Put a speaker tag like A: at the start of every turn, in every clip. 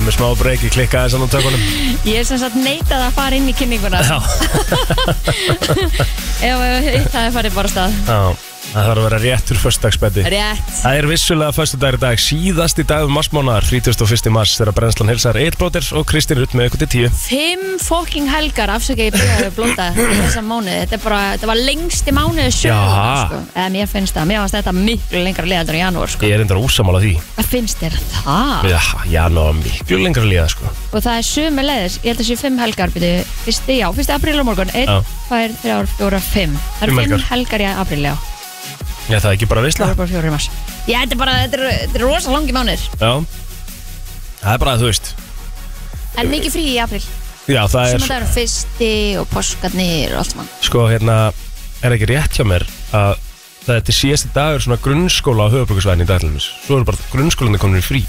A: með smá breyki, klikkaði þessan á tökunum
B: Ég er sem sagt neitað að fara inn í kynninguna
A: Já,
B: Ef það er farið bara af stað
A: já Það þarf að vera réttur föstudagsbeti
B: Rétt
A: Það er vissulega föstudagur í dag Síðasti dag um marsmánaðar, 31. mars Þegar brennslan hilsar Eilbróðir og Kristinn Rutt með ykkur til tíu
B: Fimm fokking helgar afsaka ég byrjaði að blóta þessa mánuði Þetta, er bara, þetta var lengsti mánuði sjöfum
A: Jaha.
B: sko. Eða mér finnst það, mér finnst þetta miklu lengra liðaldur en janúar sko.
A: Ég er endar ósamála því
B: Hvað finnst þér það?
A: Já, já, ná, miklu lengra líða sko.
B: Og það er sömu leiðis, ég held að sé fimm helgar byrju, fyrsti, já, fyrsti apríl á morgun Einn,
A: Já.
B: tvær, þrjár, fjóra, fimm Það eru
A: Fimm
B: fimm
A: helgar.
B: helgar í apríl, já
A: Já, það er ekki bara
B: Það
A: visla
B: eru bara fjóra í mars Já, þetta er bara, þetta er, þetta er rosa langi mánuðir
A: Já, það er bara að þú veist
B: En mikið frí í apríl
A: Já, það er,
B: Sem að það eru fyrsti og páskarnir og allt mann
A: sko, hérna Er ekki rétt hjá mér að Þetta er síðasti dagur svona grunnskóla á höfuborgarsvæðin í daglumis Svo eru bara grunnskólanir komin í frí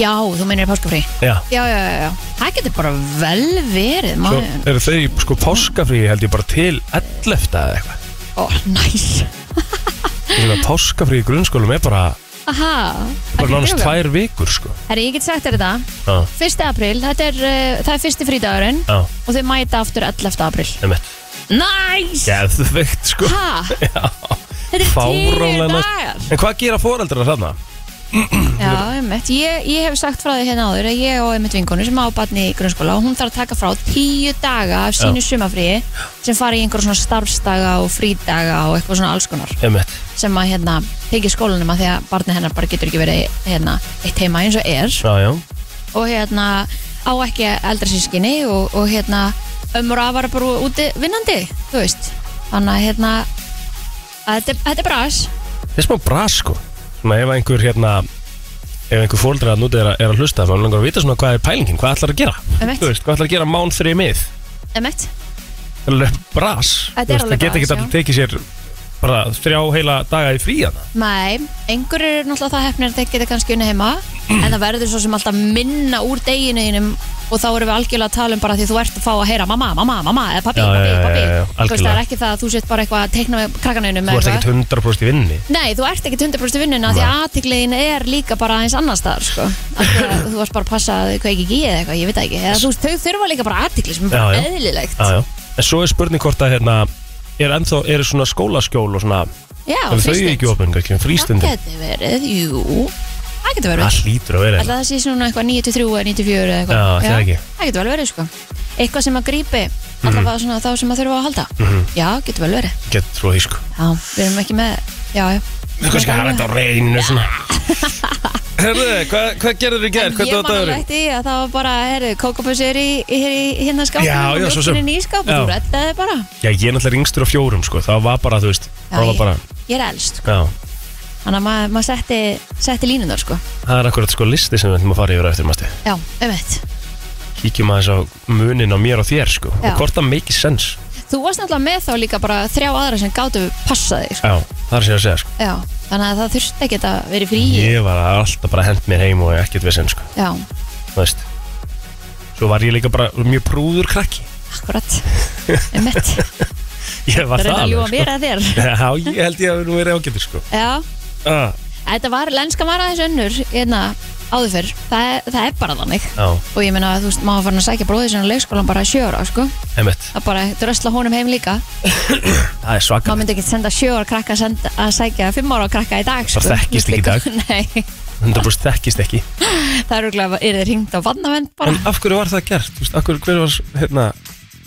B: Já, þú meinir páskafrí
A: Já,
B: Já, já, já, já Það getur bara vel verið
A: svo
B: maður
A: eru þau í, sko páskafrí held ég bara til 11 eða eitthvað
B: Ó, næs
A: Þannig að páskafrí í grunnskólum er bara,
B: Aha
A: bara nánast tvær vikur sko
B: Herri, ég get sagt þér þetta
A: Já,
B: 1. apríl, þetta er, uh, það er fyrsti frídagurinn
A: já,
B: Og þau mæta aftur 11. apríl
A: einmitt
B: Næs
A: Geðveikt sko
B: Ha,
A: Já,
B: þetta er tíu
A: fáránlega
B: dagar
A: En hvað gera foreldrar þarna?
B: Já, einmitt ég, ég hef sagt frá því hérna áður að ég og einmitt vinkonu sem á barni í grunnskóla og hún þarf að taka frá tíu daga af sínu sumafríi sem fara í einhverjum svona starfsdaga og frídaga og eitthvað svona alls konar
A: Einmitt
B: sem að hérna tekið skólanum að því að barni hennar bara getur ekki verið hérna, eitt heima eins og er
A: Já, já,
B: og hérna á ekki eldra sískinni og, og hérna ömur að vara bara úti vinnandi þú veist, þannig að hérna að þetta, er- þetta er bras
A: þetta er smá bras sko Svona ef einhver hérna Ef einhver fóldra að núti er, að- er að hlusta þá er langar að vita svona hvað er pælingin, hvað ætlar að gera
B: Einmitt.
A: Þú veist, hvað ætlar að gera mán þrið mið
B: emmett,
A: Það er alveg bras
B: Þetta er
A: Þú veist,
B: alveg
A: Það geta
B: bras,
A: ekki allir tekið sér bara þrjá heila daga í frí hérna. hana
B: mæ einhver eru náttúrulega það hefnir að þeir geta kannski unni heima en það verður svo sem alltaf minna úr deginu þínum og þá erum við algjörlega að tala um bara því þú ert að fá að heyra mamma, mamma, mamma eða pappi,
A: Já,
B: pappi,
A: já, já,
B: pappi
A: já, já,
B: þú veist það er
A: algjörlega.
B: ekki það að þú sett bara eitthvað að teikna með krakkaninum
A: Þú ert ekkert 100% í vinninni
B: Nei, þú ert ekki 100% í vinnuna því að aðtikliðin er líka bara aðeins annar staðar sko. Af því að þú ert bara að passa að þau kveiki ekki í eða eitthvað, ég veit það ekki eða þú veist, þau þurfa líka bara aðtikli sem er bara
A: Já, já.
B: eðlilegt
A: Já, já. En svo er spurning hvort að hérna er ennþá, eru svona skólaskjól og svona
B: Já,
A: eru þau ekki opinn, kannski um
B: Það
A: frístundi
B: getur verið, jú Það getur verið
A: Það hlýtur að vera
B: Alltaf
A: hérna.
B: það sé svona eitthvað 9-3 eða 9-4 eða eitthvað
A: Já, það ekki. Mhm.
B: Það getur vel verið sko Eitthvað sem að grípi allavega svona þá sem að þurfa að halda Já, getur vel verið
A: Gett Mhm. trú að því sko
B: Já, við erum ekki með Já, já
A: Við kannski hafa þetta á reynu svona Herðu, hvað, hvað gerður í gerð? Hvað
B: Ég man
A: dótt
B: alveg
A: aðurinn?
B: eftir því að það var bara, herru, kókabössur í, í, í hérna skápinu
A: Já, já,
B: og
A: svo sem.
B: mjólkinni í skápinu,
A: Já.
B: þú rettaði bara.
A: Já, ég er náttúrulega yngstur á fjórum sko Það var bara, þú veist, það var
B: ég,
A: bara
B: ég er elst, sko.
A: Já,
B: þannig að maður ma setti, setti línunar, sko.
A: það er akkurat sko listi sem við ætlum að fara yfir á eftir másti
B: Já, umveitt.
A: Kíkjum aðeins á munin á mér og þér sko
B: Já.
A: Og hvort það make sense
B: Þú varst náttúrulega með þá líka bara þrjá aðra sem gátu passaði, sko.
A: Já, það er sér að segja sko
B: Já, þannig að það þurfti ekki að vera í fríi.
A: Ég var alltaf bara hent mér heim og ekkert vesen sko
B: Já,
A: Þú veist Svo var ég líka bara mjög prúður krakki
B: akkurat, umveitt.
A: Ég var það
B: Það er að ljúa
A: alveg,
B: mér að þér. Eh.
A: sko. Já, ég held ég að nú verið ágættur sko
B: Já,
A: ah,
B: þetta var, lenskan var aðeins önnur, hérna, áður fyrr. Það, er- það er bara þannig.
A: Já,
B: Og ég meina, þú veist, maður fann að sækja bróðið sinna leikskólan bara að sjöra, sko.
A: emitt
B: að bara drösla honum heim líka
A: Það er svakar
B: maður myndi ekki senda sjö ára krakka að, senda, að sækja fimm ára krakka í dag sko.
A: Það þekkist ekki í dag.
B: Nei,
A: 100% þekkist ekki
B: það er auðvitað að eru hringt á vannavend bara
A: En af hverju var það gert? Þú veist, af hverju, hver var, hérna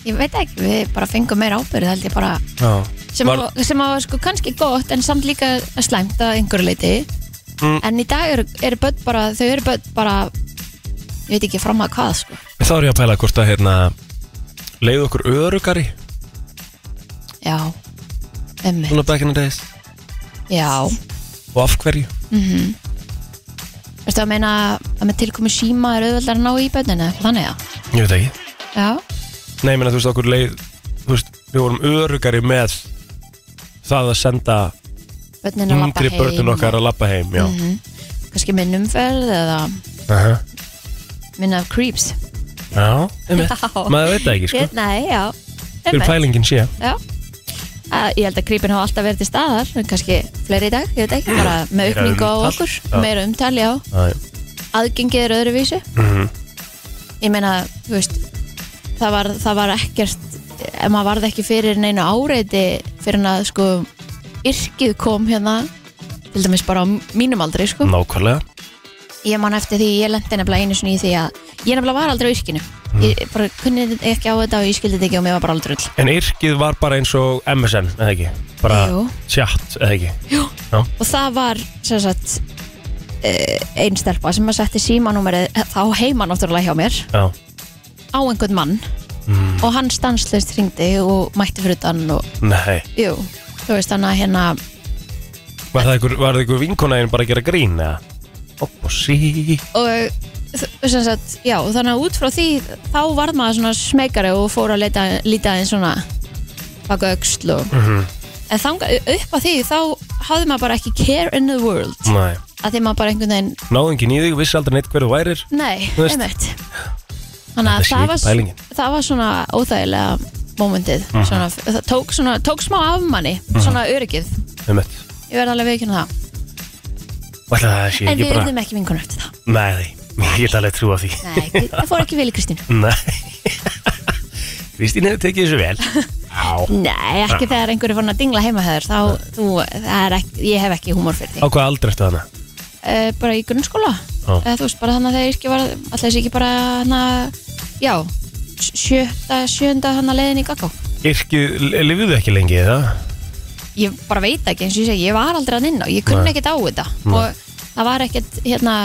B: ég veit ekki, við bara fengum meira ábyrð held ég bara
A: Já,
B: sem,
A: Var-
B: var... sem að var sko kannski gott en samt líka slæmt að einhverju leiti
A: Mm.
B: en í dag eru, eru börn bara þau eru börn bara ég veit ekki fram að hvað sko
A: þá er ég að pæla hvort að, hérna Leigðu okkur örugari
B: já, emmi,
A: Svona back in the days
B: já
A: Og af hverju?
B: veistu að meina að með tilkomi síma er auðveldar að ná í börninu, þannig að
A: Ég veit ekki
B: já,
A: Nei, menn að þú veist, okkur leið Þú veist, við vorum örugari með Það að senda
B: börninu labba
A: yngri
B: heim
A: börnun
B: og-
A: okkar að labba heim Já,
B: kannski minn umferð eða
A: Aha.
B: minn af creeps
A: já emitt
B: Já.
A: Maður veit það ekki, sko
B: ég, Nei, já,
A: Fyrir
B: einmitt,
A: pælingin sé
B: já. Að, Ég held að creepin hafa alltaf verið til staðar en kannski fleiri í dag, ég veit ekki bara með
A: Meira
B: aukningu á
A: umtal.
B: okkur,
A: Já.
B: meira umtal já,
A: Æ,
B: aðgengið er öðruvísi
A: Mhm.
B: ég meina, þú veist það var, það var ekkert ef maður varð ekki fyrir neinu áreiti fyrir hann að sko yrkið kom hérna til dæmis bara á mínum aldri sko
A: Nákvæmlega
B: ég man eftir því ég lendi nefnilega einu sinni í því að ég nefnilega var aldrei á yrkinu ég bara kunni þetta ekki á þetta og ég skildi þetta ekki og mér var bara aldrei öll
A: En yrkið var bara eins og MSN, eða ekki? Bara
B: Jú.
A: chat, eða ekki?
B: Jú.
A: Já.
B: og það var sem sagt eh, ein stelpa sem að setti símanúmerið eh, þá heima náttúrulega hjá mér
A: Já. Mm.
B: á einhvern mann og hann stanslist ringdi og mætti fyrir utan og
A: Nei.
B: jú, þú veist hann að hérna
A: Var það ykkur, var það ykkur vinkonæðin bara að gera grín, eða? Opp og sí.
B: og þ- sem sagt, já, þannig að út frá því þá varð maður svona smekari og fór að leita, líta einn svona baka öxl og
A: Mhm.
B: en þanga, upp að því þá hafði maður bara ekki care in the world
A: Nei.
B: að því maður bara einhvern veginn,
A: Náðingin í þig, vissi aldrei neitt hver þú værir.
B: nei,
A: Þú veist.
B: einmitt þannig
A: Þetta
B: að
A: sé
B: það
A: ekki
B: var,
A: pælingin.
B: það var svona óþægilega momentið, svona, það tók, svona, tók smá af manni, svona öryggið
A: Um eitt.
B: ég verði alveg veikinn það,
A: Ætla það sé
B: en
A: ekki
B: við
A: bara...
B: erum ekki vingunum eftir það,
A: Nei, ég get alveg trúa því.
B: nei, það fór ekki vel í Kristínu
A: Nei. Kristín hefur tekið þessu vel. Já.
B: Nei, ekki þegar einhverju fann að dingla heima hefur þá, þú, það er ekki, ég hef ekki húmor fyrir
A: Á
B: því
A: hvað aldrei eftir þannig?
B: uh, bara í grunnskóla
A: Já.
B: uh, þú veist, bara þannig að þegar ég ekki var alltaf þessi ekki bara hana, já, sj- sjötta, sjönda hana leiðin í gaggó
A: Yrkið, lifiðu ekki lengi, eða?
B: ég bara veit ekki, eins og ég segi, ég var aldrei að nynna ég kunni
A: Nei.
B: ekkert á þetta
A: Nei.
B: og það var ekkert, hérna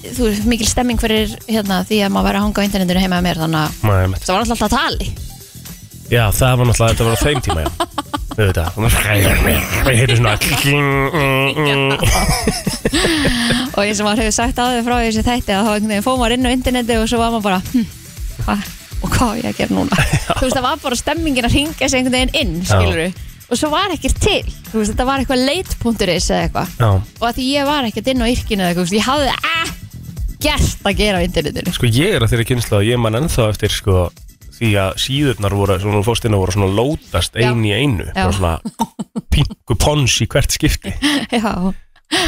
B: þú veist, mikil stemming fyrir hérna, því að maður væri að hanga á internetinu heima hjá mér þannig að
A: Nei, um
B: það var alltaf að tali
A: Já, það var náttúrulega, þetta var á þeim tíma, já. Við veit það. Við heitum svona... kling, mm, mm.
B: og eins og maður hefur sagt áður frá þessi þætti að þá einhvern veginn fóð maður inn á interneti og svo var maður bara hm, hva, og hvað á ég að gera núna þú veist það var bara stemmingin að ringa sig einhvern veginn inn skilur og svo var ekkert til þú veist þetta var eitthvað leit.is eða eitthvað
A: Já.
B: og að því ég var ekkert inn á yrkinu eða eitthvað þú veist, ég hafði ekkert að gera á internetinu
A: Sko ég er að þeirra kynsla og ég man ennþá eftir sko því að síðurnar voru, svona fóstina voru svona lótast
B: Já.
A: einu í einu
B: Já.
A: bara svona pingu pons í hvert skipti
B: já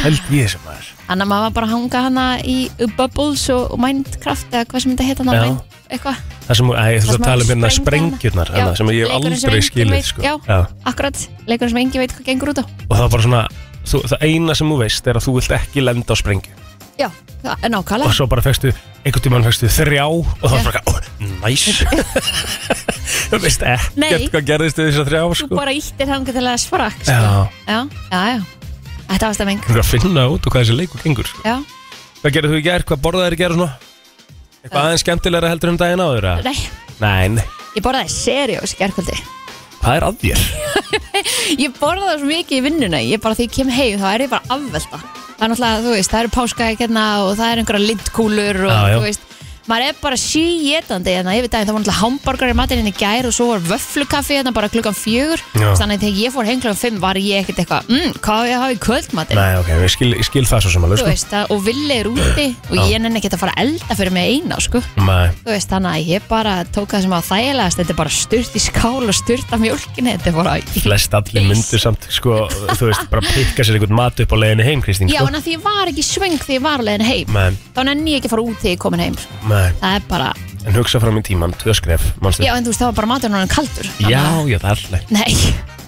A: held ég sem það er
B: annar maður var bara að hanga hana í Bubbles og Minecraft eða hvað sem þetta heita hana
A: Já.
B: Mind- eitthvað
A: það sem, æ, þú
B: Það
A: veist
B: sem
A: að tala um hérna
B: sprengja hana.
A: sprengjurnar
B: Já,
A: hana, sem ég hef
B: leikurinn sem
A: aldrei
B: enginn
A: skilið
B: veit,
A: sko.
B: já.
A: Já.
B: akkurat leikur sem engin veit hvað gengur út á
A: og það var bara svona þú, það eina sem þú veist er að þú vilt ekki lenda á sprengju
B: já það- nákvæmlega
A: og svo bara fegstu, einhvern tímann fegstu þrjá og það var bara, ó, næs þú veist
B: Nei.
A: ekkert hvað gerðist við þessar þrjá
B: Þú
A: sko.
B: bara íttir þangað til að sprakk sko.
A: Já.
B: já, já, já Þetta var stemming
A: þú verður að finna út og hvað þessi leikur gengur sko.
B: Já,
A: Hvað gerðu þú í gerð? Hvað borðaðu þér í gerð svona? Eitthvað aðeins skemmtilegra heldur um daginn áður? eða?
B: nei
A: Nei, nei.
B: Ég borðaði seriós í gerkvöldi
A: Hvað er að þér?
B: Ég borðaði svo mikið í vinnuna Ég bara því ég kem heim þá er ég bara afvelta Það er náttúrulega, þú veist, það eru páskaækjarna og það eru einhverja lindkúlur og
A: Já, já.
B: þú veist Maður er bara síétandi hérna yfir daginn, það voru náttúrulega hamburgar í matinn í gær og svo var vöflukaffi hérna bara klukkan fjögur
A: Já.
B: þannig að þegar ég fór heim klukkan fimm var ég ekkert eitthvað, mmm, hvað á ég að hafa í kvöldmatinn
A: Nei, ok, ég skil, ég skil það svo sem alveg,
B: þú
A: sko.
B: veist það, og villi er úti og ég nenni ekki að fara að elda fyrir mig eina sko.
A: Nei,
B: þú veist þannig að ég bara tók það sem að þægilegast þetta er bara sturt í skál og sturt af mjölkinni þetta er bara
A: flest allir myndir samt, sko, þú veist, bara pikka sér einhvern mat upp á leiðinu heim, Kristín,
B: já
A: sko.
B: en að því ég var ekki í svöng því ég var alveg heim
A: Nei,
B: þá nenni ég ekki að fara út þegar ég komin heim sko.
A: nei.
B: það er bara,
A: En hugsa fram í tíman, tvö skref, mannstu?
B: já en þú veist það var bara maturinn hann kaldur þannig
A: já,
B: að-
A: já, það er alltaf.
B: nei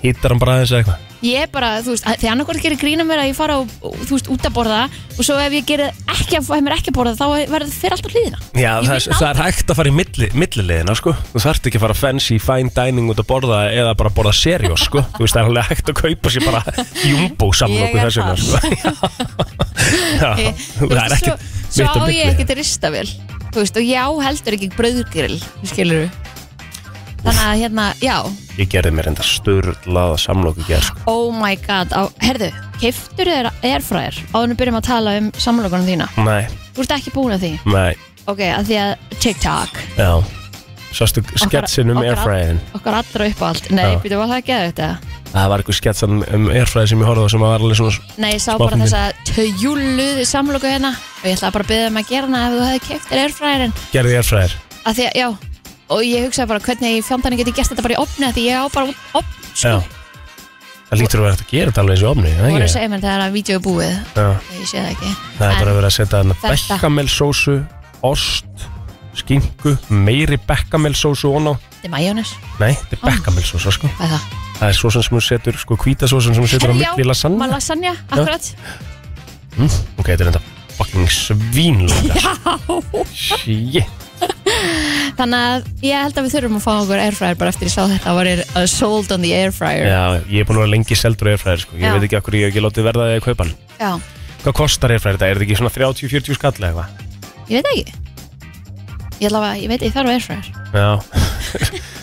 A: Hýtar hann bara aðeins eða eitthvað?
B: Ég er bara, þú veist, að- því annarkvært gerir grína mér að ég fara og, og, þú veist, út að borða og svo ef ég gerir ekki að fæ mér ekki að borða þá verður það fyrir alltaf hlýðina
A: Já,
B: Ég
A: það
B: vinn
A: er, það er hægt að fara í milli, millilegina, sko. Þú þarft ekki að fara fancy, fine dining út að borða eða bara borða seriós, sko. Þú veist, það er alveg hægt að kaupa sér bara jumbo saman
B: Ég
A: okkur
B: er
A: þess vegna,
B: þar.
A: sko. Já, Já, það er ekkert
B: Þú veist, svo,
A: mitt á
B: svo á
A: milli.
B: ég ekkert ristavél þú veist, og ég á heldur ekki brauðgrill skilur við þannig að hérna, já,
A: Ég gerði mér enda störlaða samlokku gerð, sko.
B: oh my god á, herðu, keiftur þér erfræðir áður en við byrjum að tala um samlokunum þína
A: Nei,
B: þú ert ekki búin að því,
A: nei,
B: ok, að því að TikTok,
A: já. Sástu sketsin um
B: okkar-
A: airfræðin.
B: okkar allra upp á allt nei,
A: Já.
B: býtu, var það ekki að þetta?
A: Það var eitthvað sketsan um airfræði sem ég horfði á sem var alveg svona...
B: nei, ég sá
A: Smá
B: bara
A: fyndin.
B: þessa tjúluðu samloku hérna og ég ætlaði bara að byrja um að gera hana ef þú hefði keiftir erfræðirinn
A: Gerði airfræðir.
B: að því að, já, og ég hugsaði bara hvernig í fjandarni get ég gert þetta bara í opni að því ég á bara opn, sko.
A: Já. Það lítur að vera hægt að gera þetta alveg eins og omni
B: Þú
A: Það
B: voru að
A: ekki?
B: segja mér þetta þegar að vídeo er búið
A: Já.
B: Ég sé það ekki
A: Það er bara að vera að setja hann
B: Þetta.
A: bekkamelsósu, ost, skinku, meiri bekkamelsósu og ná
B: Þetta er majónis,
A: Nei, þetta er bekkamelsósa sko
B: hvað er það?
A: Það er sósan sem þú setur, sko hvítasósan sem þú setur á
B: Herra, já,
A: milli lasanna Mm,
B: maður lasagna, akkurat
A: Ok, þetta er enda fucking svínlanga Shit
B: Þannig að ég held að við þurfum að fá okkur airfryer bara eftir ég sá þetta Það var uh, sold on the airfryer
A: Já, ég er búin að vera lengi seldur airfryer sko Ég
B: Já.
A: veit ekki okkur ég hef ekki látið verða að kaupa hann
B: Já.
A: Hvað kostar airfryer þetta? Er þetta ekki svona 30-40 skall eða eitthvað?
B: Ég veit það ekki Ég, allavega, ég veit, ég þarf airfryer sko.
A: Já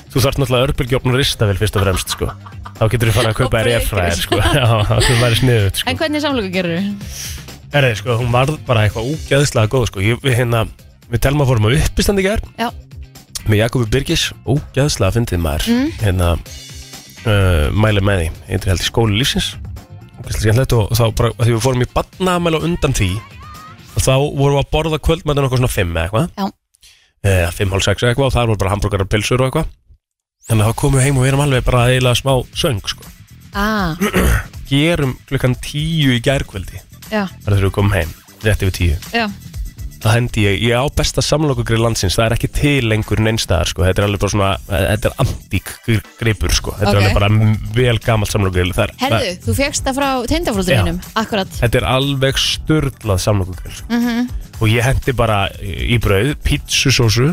A: Þú þarf náttúrulega örbylgjófn og ristavel fyrst og fremst sko Þá getur þú farið að kaupa
B: Og
A: þér
B: bleikir.
A: airfryer sko Já, þú væri sniðut sko
B: En hvernig samlokur gerur þú?
A: Herri, sko, hún varð bara eitthvað úgeðslega góð sko ég, Við hérna, við telma fórum að uppistandi gær
B: Já,
A: Með Jakobi Birgis, ógeðslega fyndið maður Hérna, uh, mæli með því Eindir held í skóli lífsins Ógeðslega skemmtilegt og þá bara, af því við fórum í badnamæla undan því Og þá vorum við að borða kvöldmættin okkur svona fimm eða eitthvað Eh,
B: já,
A: eða 5,5-6 eitthvað og þar voru bara hambúrgarar, pilsur og eitthvað þannig að þá komum við heim og við erum alveg bara eiginlega smá söng sko.
B: ah,
A: gerum klukkan 10 í gærkvöldi
B: já,
A: bara þegar við komum heim, rétt yfir 10
B: já
A: þá hendi ég, ég á besta samlokugrið landsins það er ekki til lengur neinstæðar sko. þetta er alveg bara svona, þetta er antík gripur, sko. þetta
B: Ok.
A: er alveg bara m- vel gamalt samlokugrið það, er-
B: Herðu,
A: það,
B: þú fegst það frá tindafóldur
A: Já.
B: mínum Akkurat
A: þetta er alveg sturdlað samlokugrið sko.
B: Mhm.
A: og ég hendi bara í brauð pítsusósu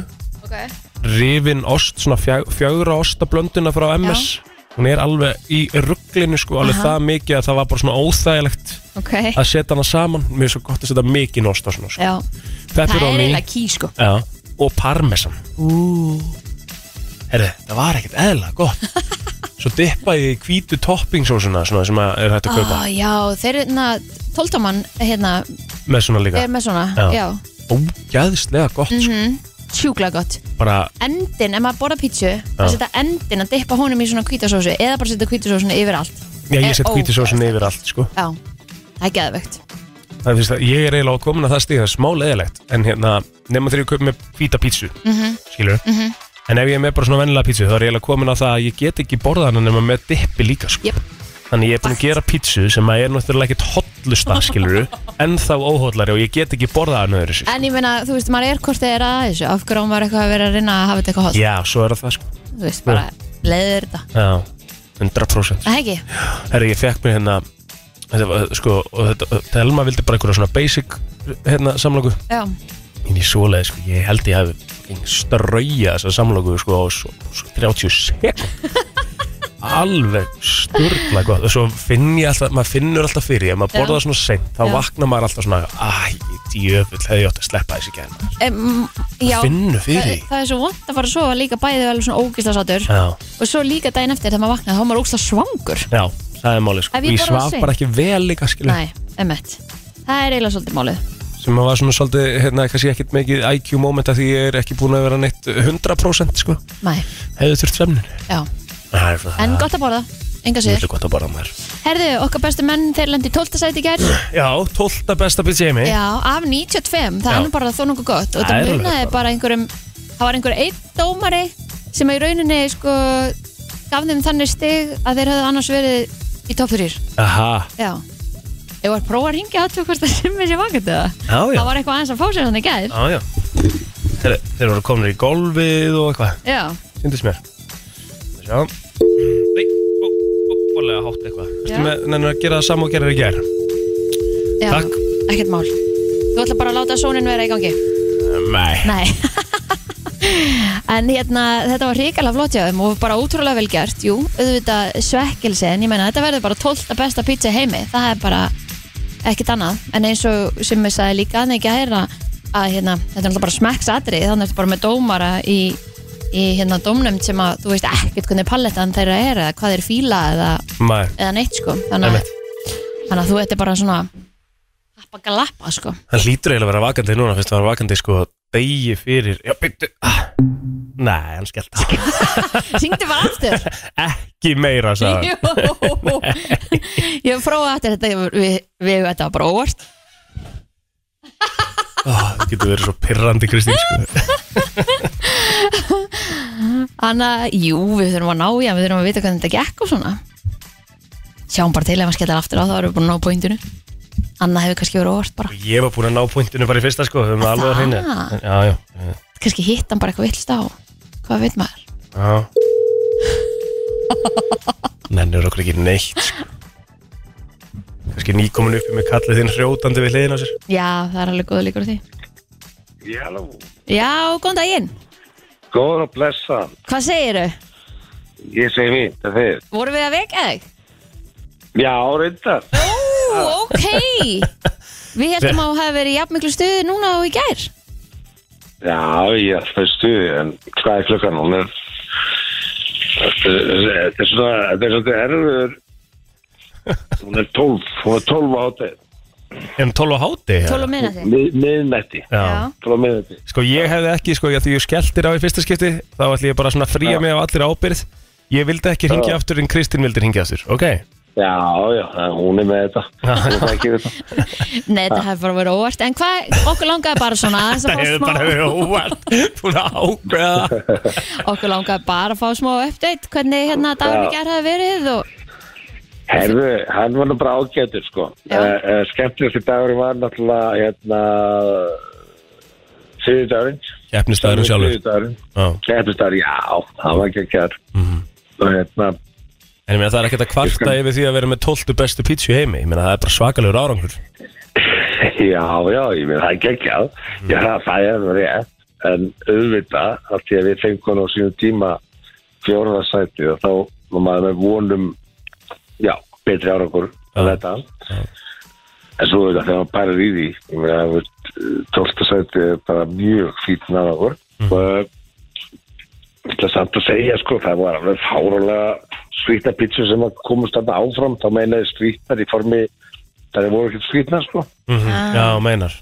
B: okay.
A: rifin ost, svona fjag- fjögra ostablönduna frá MS hún er alveg í rugglinu sko, alveg
B: Aha.
A: það mikið að það var bara svona óþægilegt
B: ok
A: að setja hana saman, mér er svo gott að setja mikið ost á svona, sko.
B: Já, það er
A: pepperoni
B: eiginlega ký sko
A: já, og parmesan herri, það var ekkert eðla gott svo dippa ég í hvítu toppingsósuna svona sem að er hægt að kaupa
B: Ah, já, þeir eru hérna, tóltamann hérna,
A: með svona líka,
B: er með svona,
A: Já.
B: já,
A: ógæðslega gott sko.
B: sjúkla gott.
A: bara,
B: Endin, ef maður borða pítsu,
A: Já.
B: að setja endin að dippa honum í svona kvítasósu eða bara setja kvítasósuna yfir allt.
A: já,
B: Er
A: ég set hvítu sósun
B: ógeðslega
A: yfir allt sko.
B: Já, það er geðvögt.
A: Það finnst að ég er eiginlega á komin að það stíða smá leðilegt En hérna, nema þegar ég kaup með hvíta pítsu mm
B: Mhm.
A: Skilur En ef ég er með bara svona vennilega pítsu Þá er ég eiginlega komin að það að ég get ekki borða hana Nema með dippi líka sko
B: Jep.
A: Þannig ég er búin að gera pítsu sem að er náttúrulega ekkert hotlusta Skilur, en þá óhotlari Og ég get ekki borða hana öðru sér
B: En ég meina, þú veist, maður er hvort þeir að þessu, af hverju á maður eitthvað að vera að reyna að hafa þetta eitthvað hótt.
A: Já, svo er það sko
B: Þú veist, bara leiður þetta.
A: Já, 100%
B: Það ekki?
A: Herri, ég fekk mér hérna Þetta var, sko, og þetta, Telma vildi bara einhverja svona basic hérna, samlóku
B: Já,
A: inn í svoleið sko, ég held ég hafi strauja þessa samlóku sko á svo, svo 30 sekund alveg sturgla gott og svo finn ég alltaf, maður finnur alltaf fyrir því, ef maður
B: Já.
A: borða svona seint þá
B: Já.
A: vaknar maður alltaf svona æ, djöfull, hefði ég átt að sleppa þessi gæm
B: um, já.
A: finnur fyrir
B: Það,
A: því
B: það er svo vond að fara að sofa líka bæðið alveg svona ógislasátur
A: já,
B: og svo líka daginn eftir þegar maður vaknaði þá var maður ógislega svangur.
A: já, það er máli sko
B: Ef ég
A: ég
B: borða
A: svaf
B: seint?
A: bara ekki vel líka skilu
B: Nei, emmett. Það er eiginlega svolítið málið.
A: sem var svona svolítið, hérna, kannski ekkert mikið IQ moment að því ég er ekki búin að vera neitt 100% sko,
B: Nei,
A: hefði þurft semnin
B: já. En gott að borða, enga
A: Mjög
B: síður
A: gott að bara maður
B: Herðu, okkar bestu menn, þeir lendi í 12. sæti í gær
A: Já, 12. besta pizza í heimi
B: Já, af 95, það
A: Já.
B: er nú bara þó nokkuð gott Og
A: Það
B: það
A: er alveg
B: munaði
A: gott.
B: bara einhverjum Það var einhver einn dómari sem í rauninni sko gaf þeim þannig stig að þeir hefðu annars verið í topp 3
A: Aha,
B: Já Ég var að prófa að ringja aðtöku hvort það sem er sér vakandi það
A: já, já,
B: Það var eitthvað aðeins að fá sér þannig í gær
A: já, já. Þeir, þeir voru komin í golfið og eitthvað,
B: Já,
A: syndist mér Það sjá Nei, ó, óbálega hátt eitthvað
B: Já.
A: Ertu með, nennir að gera það sama og gerir í ger
B: já,
A: Takk.
B: ekkert mál Þú ætla bara að láta sónin vera í gangi
A: Nei
B: Nei En hérna, þetta var hrikalega flott hjá þeim og bara ótrúlega vel gert, jú auðvitað svekkilsi, en ég meina þetta verður bara 12. besta pizza í heimi, það er bara ekkert annað, en eins og sem ég sagði líka, þannig ekki að heyra að hérna, þetta er náttúrulega bara smekks atrið þannig að þetta bara með dómara í, í hérna dómnefnd sem að þú veist ekkert hvernig palettan þeirra er eða hvað þeir fíla eða,
A: Nei,
B: eða neitt sko, þannig
A: Einmitt.
B: að, þannig að þú þetta er bara svona happa galappa sko,
A: hann lítur eiginlega að vera vakandi núna Fyrst það var vakandi sko degi fyrir Já, byrju ah. Nei, hann skellt
B: syngdu bara aftur
A: Ekki meira, sagði hann
B: Jú, ég hef prófað aftur þetta ég- við, við þetta var bara óvart
A: Ó, Það Ah, getur verið svo pirrandi, Kristín sko.
B: Þannig að, jú, við þurfum að ná í hann, við þurfum að vita hvernig þetta gekk og svona sjáum bara til ef hann skellar aftur á þá erum við búin að ná pointinu Anna hefur kannski verið óvart bara
A: Ég var búin að ná pointinu bara í fyrsta sko Við höfum það alveg að hreinu
B: Það?
A: En- Já, já, já,
B: kannski hitt hann bara eitthvað villst á hvað veit maður
A: já. Nennur okkur ekki neitt sko. Kannski nýkomin uppi með kallið þinn hrjótandi við hliðin á sér
B: já það er alveg góða líkur á því
C: Halló,
B: já góðan daginn
C: góðan og blessan.
B: hvað segiru
C: Ég segi mín, það þið.
B: vorum við að vekja þig
C: Já, reyndar.
B: ó ok við heldum að hafa verið í jafnmiklu stuði núna og í gær
C: Já, ég er alltaf í stuði, en hvað er klukkan? Hún er... Þetta er- þetta er svona, þetta er svona erfur. Hún er tólf, hún er tólf á hátæð.
A: En 12 á háti
B: 12 og minna þig
C: Miðnætti.
A: Já.
C: Tólf á miðnætti.
A: Sko ég hefði ekki, sko, að því ég skelltir á í fyrsta skipti Þá ætli ég bara svona að fría mig á allir ábyrð Ég vildi ekki
C: Já.
A: hringja aftur en Kristín vildi hringja aftur Ok,
C: Já, já, það- hún er með þetta. Hún er ekki um þetta.
B: nei þetta hefur bara verið óvart en hvað okkur langaði bara svona aðeins að
A: það
B: fá
A: hefur
B: smá-
A: bara verið óvart Búin að ákveða það.
B: okkur langaði bara að fá smá update hvernig hérna dagurinn í gær hafi verið og
C: Herðu, hann var nú bara ágætur sko.
B: Já.
C: Uh, uh, Skemmtilegstu dagur var náttúrulega hérna þriðdagurinn.
A: Keppnisdagurinn sjálfur.
C: Þriðdagurinn.
A: Já. Mhm.
C: Keppnisdagurinn, já, það var ekki ekki þar. Og hérna,
A: En ég meina það er ekkert að kvarta yfir því að vera með 12 bestu pítsu í heimi Ég meina það er bara svakalegur árangur
C: já, já, ég meina það er ekki ekki að. Já, það- það er nú rétt. En auðvitað, af því að við fengum hann á sínum tíma fjórðarsæti og þá var maður með vonum, já, betri árangur en
A: Já.
C: þetta.
A: Já.
C: En svo þetta þegar maður pærir í því, ég meina, þú veist, 12. sæti er bara mjög fýtt náður. Mm. Og ég ætla samt að segja, sko, það var alveg fárulega skrýtna pítsu sem að komast þarna áfram, þá meina þið skrýtnar í formi, það voru ekkert skrýtnar, sko.
A: mm Já, meinar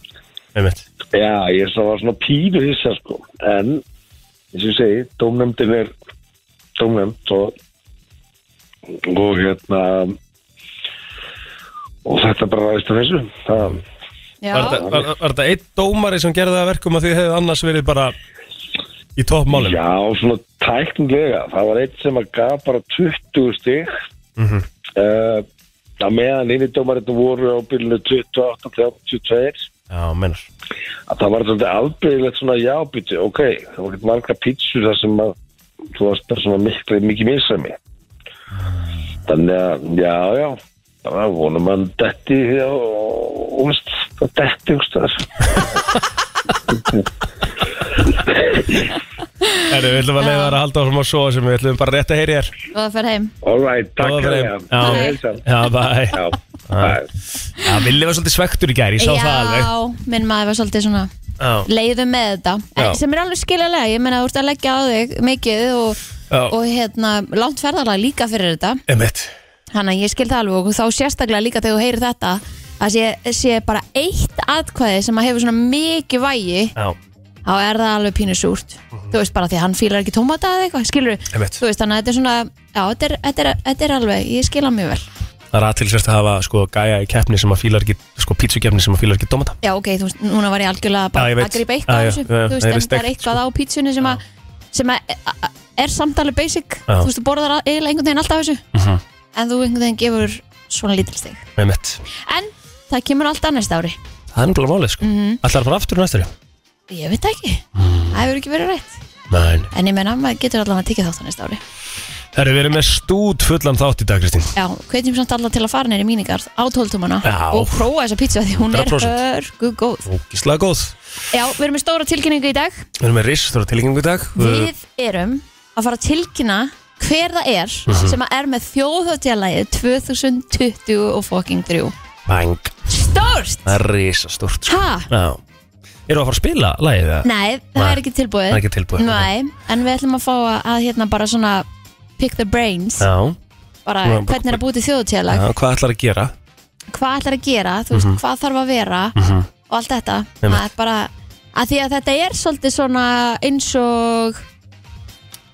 A: Einmitt.
C: Já, ég er svo var svona pínu hissa, sko. En, eins og ég segi, dómnefndin er dómnefnd og, og hérna, og þetta bara ræðist af þessu. Það,
B: já,
A: Var þetta- var- var þetta einn dómari sem gerði það að verkum að þið hefði annars verið bara í toppmálum?
C: Já, svona tæknilega. Það var eitt sem að gaf bara 20 stig.
A: Mm -hmm.
C: Uh, að meðan innidómarinn voru á bylunu 28-32
A: Já, meinar
C: að það var þetta afbyrðilegt svona jábyrði, ok, það voru ekkert marga pítsur þar sem að þú varst bara svona miklu, mikið misræmi þannig að, já, já þannig að vonum að detti og, og veist, það detti og stöðar
A: Herru, við ætlum að leiða það að halda áfram á svo sem við ætlum bara rétt að heyri þér
B: og það fer heim
C: all right, takk
A: Góða ferð.
C: fyrir
A: Já.
C: heilsan.
A: Já, bæ
C: já, bæ
A: Já, Villi var svolítið svektur í gæri, ég sá það alveg
B: já minn maður var svolítið svona
A: Já,
B: leiðum með þetta
A: Já.
B: en, sem er alveg skiljalega, ég meina þú ert að leggja á þig mikið og,
A: Já.
B: og hérna langt ferðarlega líka fyrir þetta
A: einmitt
B: þannig að ég skil það alveg og þá sérstaklega líka þegar þú heyrir þetta að sé, sé bara eitt atkvæði sem að hefur svona mikið vægi
A: Já,
B: þá er það alveg pínu súrt þú veist bara því að hann fílar ekki tómata eða eitthvað skilur
A: Mhm. Einmitt.
B: þú veist þannig að þetta er svona já, þetta er, þetta er, þetta er alveg, ég skil hann mjög vel
A: það er aðtilsvært að hafa sko gæja í keppni sem að fílar ekki, sko pítsukeppni sem að fílar ekki domata
B: já ok, þú veist, núna var ég algjörlega bara
A: Já, ég veit.
B: að gripa
A: Já,
B: eitthvað
A: já,
B: já, þessu,
A: já, já,
B: þú veist,
A: það er
B: en það er
A: steikt,
B: eitthvað á pítsunni sem að sem að e, a- a- er samtali basic,
A: Já.
B: þú veist, þú borðar að- eiginlega einhvern veginn alltaf þessu,
A: Mhm.
B: en þú einhvern veginn gefur svona lítil stig,
A: Einmitt
B: en það kemur allt annars ári,
A: Það er nefnilega málið sko
B: Mhm.
A: Ætlar að fara aftur næstari?
B: ég veit það ekki það hefur ekki verið rétt,
A: Nein
B: en ég menna maður getur allavega að tekið þátt á næsta ári
A: Herru, við erum með stút fullan þátt í dag, Kristín
B: já, hvetjum samt alla til að fara neyri míningar á tóltumana
A: Já.
B: og prófa þessa pítsu af því hún er
A: 100%.
B: hörgu góð
A: Ógislega góð
B: já, við erum með stóra tilkynningu í dag
A: Við erum með risastóra tilgjengu í dag
B: Við erum að fara að tilkynna hver það er
A: Mhm.
B: sem að er með þjóðhjóttjalægið 2020 og fucking 3
A: Bang
B: Stórst!
A: Það er risastórt sko.
B: Ha?
A: Já Eru að fara að spila lagið það?
B: Nei, það
A: Nei,
B: er ekki tilbúið
A: það er ekki tilbúið,
B: Nei, en við ætlum að fá að, að hérna bara svona pick the brains
A: Já
B: bara
A: Svona-
B: hvernig er að búið til þjóðhjóttjalæg
A: Já, Hvað ætlar að gera?
B: hvað ætlar að gera, þú veist, hvað þarf að vera
A: Mhm.
B: og allt þetta
A: Einmitt.
B: það er bara, að því að þetta er svolítið svona eins og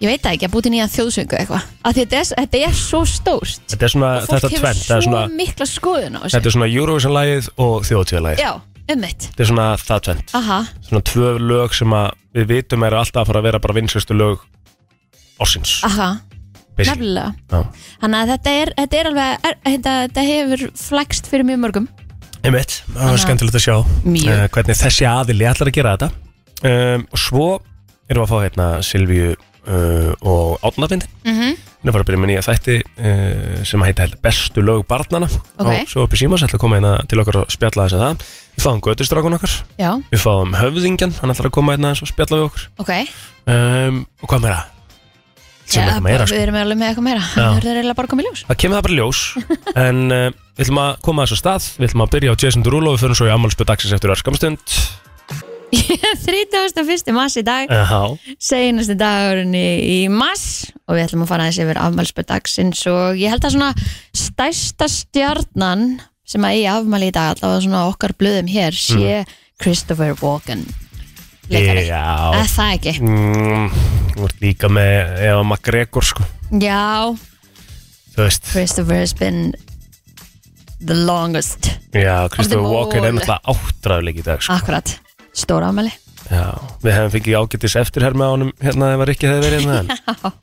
B: ég veit það ekki, að búið til nýja þjóðsöngu eitthvað, að þetta er, þetta er svo stórt
A: Þetta er svona,
B: Og fólk
A: þetta
B: hefur
A: tvenn
B: svo
A: er svona,
B: mikla skoðun á þessu
A: Þetta er svona Eurovision-lagið og þjóðtíðalagið
B: já, Ah. ummitt
A: Þetta er svona það tvenn
B: aha,
A: Svona tvö lög sem að við vitum er alltaf að fara að vera bara vinslustu lög Orsins
B: aha,
A: basically.
B: Ah, nefnilega
A: Já.
B: Þannig að þetta er, þetta er alveg, er, þetta, þetta hefur flækst fyrir mjög mörgum
A: Einmitt, það var
B: Þannig að-
A: skemmtilegt að sjá
B: Mjög.
A: uh, hvernig þessi aðili ætlar að gera þetta um, og svo erum við að fá hérna Silvíu uh, og Átnafindin
B: mm -hmm.
A: Nú fara að byrja með nýja þætti uh, sem heita held, Bestu lög barnana
B: Ok.
A: og svo upp í símas ætla að koma hérna til okkar og spjalla þess að það Við fáum götustrákun okkar,
B: Já,
A: við fáum höfðingjan hann ætlar að koma hérna aðeins og spjalla við okkur
B: ok
A: um, og hvað meira? Sem
B: Já,
A: eitthvað meira sko
B: Við erum alveg með eitthvað meira
A: Já.
B: Það verður eiginlega bara að koma í ljós
A: Það kemur það bara í ljós En uh, við ætlum að koma þess að stað Við ætlum að byrja á Jason Derulo Við förum svo í ammálspjöð dagsins eftir örskamstund
B: 31. mars í dag
A: Já
B: Seinasti dagurinn í, í mars Og við ætlum að fara aðeins yfir afmælspöð dagsins Og ég held að svona stærsta stjarnan Sem að í afmæli í dag Allavega svona á okkar blöðum hér Sé
A: Mm.
B: Christopher Walken Leikari
A: Já
B: Eða það ekki
A: Mm, Þú ert líka með Eva McGregor sko
B: Já,
A: Þú veist
B: Christopher has been The longest
A: Já, Kristofur
B: Orðið Ah.
A: Walken er
B: mól.
A: náttúrulega áttræðuleik í dag sko
B: Akkurat, stóra afmæli
A: Já Við hefum fengið ágætis eftirherma á honum Hérna ef að Rikki hefði verið hérna en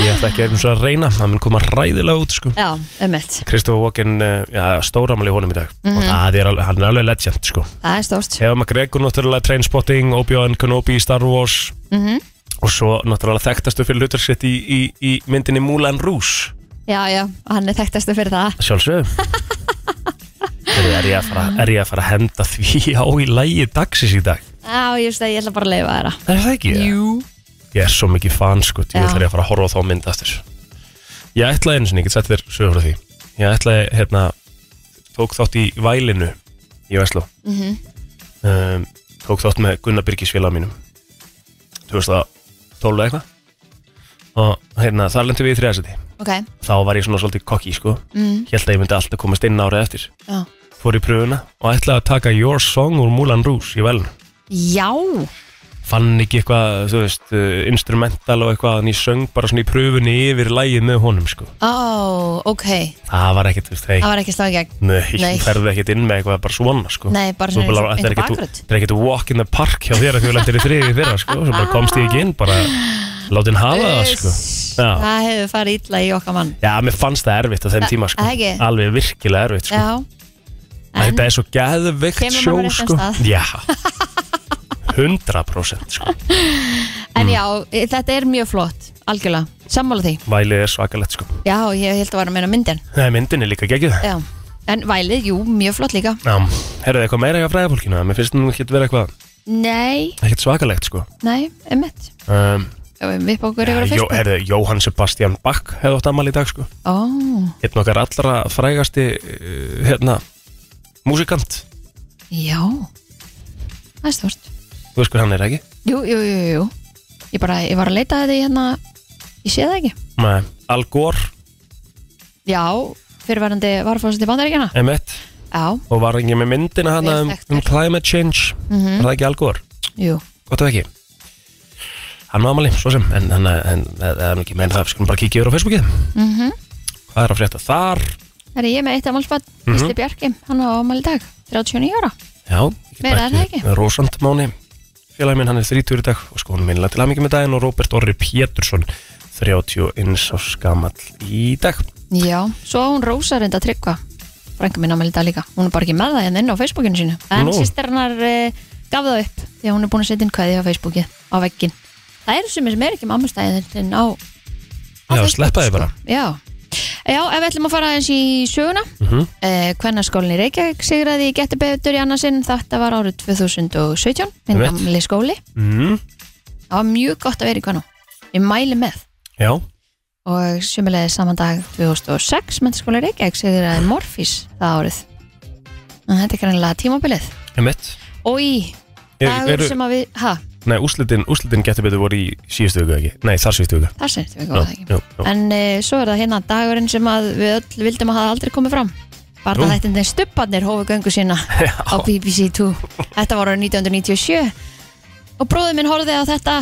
A: Ég ætla ekki einu svo að reyna Það mun koma ræðilega út sko
B: Já, ummitt,
A: Kristofur Walken, uh, já, stóramæli honum í dag Og það er alveg, hann er alveg legend sko
B: það er stórt
A: Eva McGregor náttúrulega Trainspotting, Obi-Wan Kenobi, Star Wars
B: Mhm.
A: og svo náttúrulega þekktastu fyrir hlutarsitt í, í, í myndinni Moulin Rouge
B: Já, já, hann er þekktastu fyrir það
A: sjálfsögum er, er, ég að fara, er ég að fara að henda því á í lægi dagsins í dag
B: Já, ég veist að ég ætla bara að leifa þeirra
A: er það ekki?
B: Jú
A: Ég er svo mikið fan sko, ég
B: Já.
A: ætla ég að fara að horfa á þá mynd aftur Ég ætlaði einu sinni, ég get sett þér sögur frá því Ég ætlaði, hérna, tók þátt í Vælinu í Vestló
B: Mhm.
A: um, Tók þátt með Gunnar Birgis félag mínum 2012 eða eitthvað Og hérna, þar lendi við í þriðasæti
B: Ok,
A: Þá var ég svona svolítið kokki, sko
B: mm.
A: Hélt að ég myndi alltaf komast inn árið eftir
B: já.
A: Fór í pröfuna og ætlaði að taka Your Song úr Moulin Rouge í Vælinu
B: já,
A: fann ekki eitthvað, þú veist, uh, instrumental og eitthvað, en ég söng bara svona í pröfunni yfir lægið með honum, sko.
B: ó, ok
A: Það var ekkert, þú veist, hei,
B: Það var ekki sláð í gegn
A: nei,
B: Nei.
A: þú ferði ekkert inn með eitthvað bara svona, sko.
B: Nei, bara
A: Þú
B: svona
A: bara,
B: eins og
A: þetta er
B: einhver
A: ekkert,
B: bakgrönd
A: þetta er ekkert walk in the park hjá þér að þú lendir í þriði þeirra, sko, svo bara komst ég ekki inn, bara látin hafa það, sko. Já.
B: Það hefur farið illa í okkar mann
A: Já, mér fannst það erfitt á þeim
B: Já,
A: tíma, sko.
B: ekki?
A: Alveg virkilega erfitt, sko.
B: Já, en
A: Þetta er svo geðveikt
B: Kemur maður
A: sjó,
B: á réttan
A: sko.
B: stað.
A: Já, 100% sko. Mm.
B: En já, e, þetta er mjög flott, algjörlega Sammála því
A: Vælið er svakalegt, sko.
B: Já, ég held að vera að meina myndin
A: Nei, myndin er líka geggjuð.
B: Já, en vælið, jú, mjög flott líka
A: Já, herruðu eitthvað meira hjá fræðafólkinu Mér finnst nú ekkert vera eitthvað
B: Nei,
A: ekkert svakalegt sko
B: nei, emmitt
A: um,
B: Við bókur
A: ja,
B: yfir á
A: Jó,
B: Facebook
A: herruðu, Jóhann Sebastian Bach hefði átt ammali í dag sko
B: Ó,
A: Hérna okkar allra frægasti uh, hérna, músikant
B: já Það er stort
A: Þú veist hvað hann er ekki?
B: Jú, jú, jú, jú Ég bara, ég var að leita að því hérna Ég sé það ekki
A: Nei, Al Gore,
B: Já, fyrirverandi varfóðsandi bandaríkjana
A: M1
B: Já,
A: og var ekki með myndina hana
B: Vel
A: um,
B: þekktur.
A: um climate change
B: Mhm.
A: Var það ekki Al Gore?
B: jú
A: Gott ef ekki Hann var ammali, svo sem En, en, en, en, en ekki menn það, við skulum bara kíkja yfir á Facebookið
B: mm -hmm.
A: Hvað er að frétta þar?
B: Það er ég með eitt amálspann
A: Mhm.
B: Gísli Bjarki, hann á ámæli dag 39 ára
A: Já, ég get
B: Meira er
A: bætt
B: það
A: við.
B: ekki.
A: Rósant Máni, félagi minn, hann er 30 í dag og sko hann minnilega til aðmyggjum með daginn og Róbert Orri Pétursson 31 á skamall í dag
B: Já, svo á hún Rósa reynda að tryggva Frænka mín ámæli dag líka Hún er bara ekki með það hérna inn á Facebookinu sínu En
A: Nú.
B: sýstir hennar eh, gaf það upp Því að hún er búin að setja inn kveði á Facebooki Á veggin Það eru sem er ekki mammastæðin En á, á
A: Já,
B: Facebook,
A: sleppa þið bara
B: Já. Já, ef við ætlum að fara eins í söguna
A: mm
B: eh, Kvennarskólin í Reykjavík sigraði í Getur betur í annarsinn Þetta var árið 2017 Minn
A: Einmitt.
B: gamli skóli
A: mm,
B: Það var mjög gott að vera í kvennu Ég mæli með
A: Já,
B: Og sumulegði saman dag 2006 Mennskóli í Reykjavík sigraði Morfís það árið En þetta er greinlega tímabilið
A: emitt
B: Og í
A: Er-
B: dagur
A: eru-
B: sem að við Ha,
A: Nei, úslitin, úslitin getur betur voru í síðustu viku ekki Nei, þar síðustu viku
B: þar sem við
A: Já,
B: góða það ekki
A: já, já.
B: En uh, svo er það hérna dagurinn sem að við öll vildum að hafa aldrei komið fram Barnaþættindin Stubbarnir hófu göngu sína á BBC2 Þetta var árið 1997 og bróðið minn horfði á þetta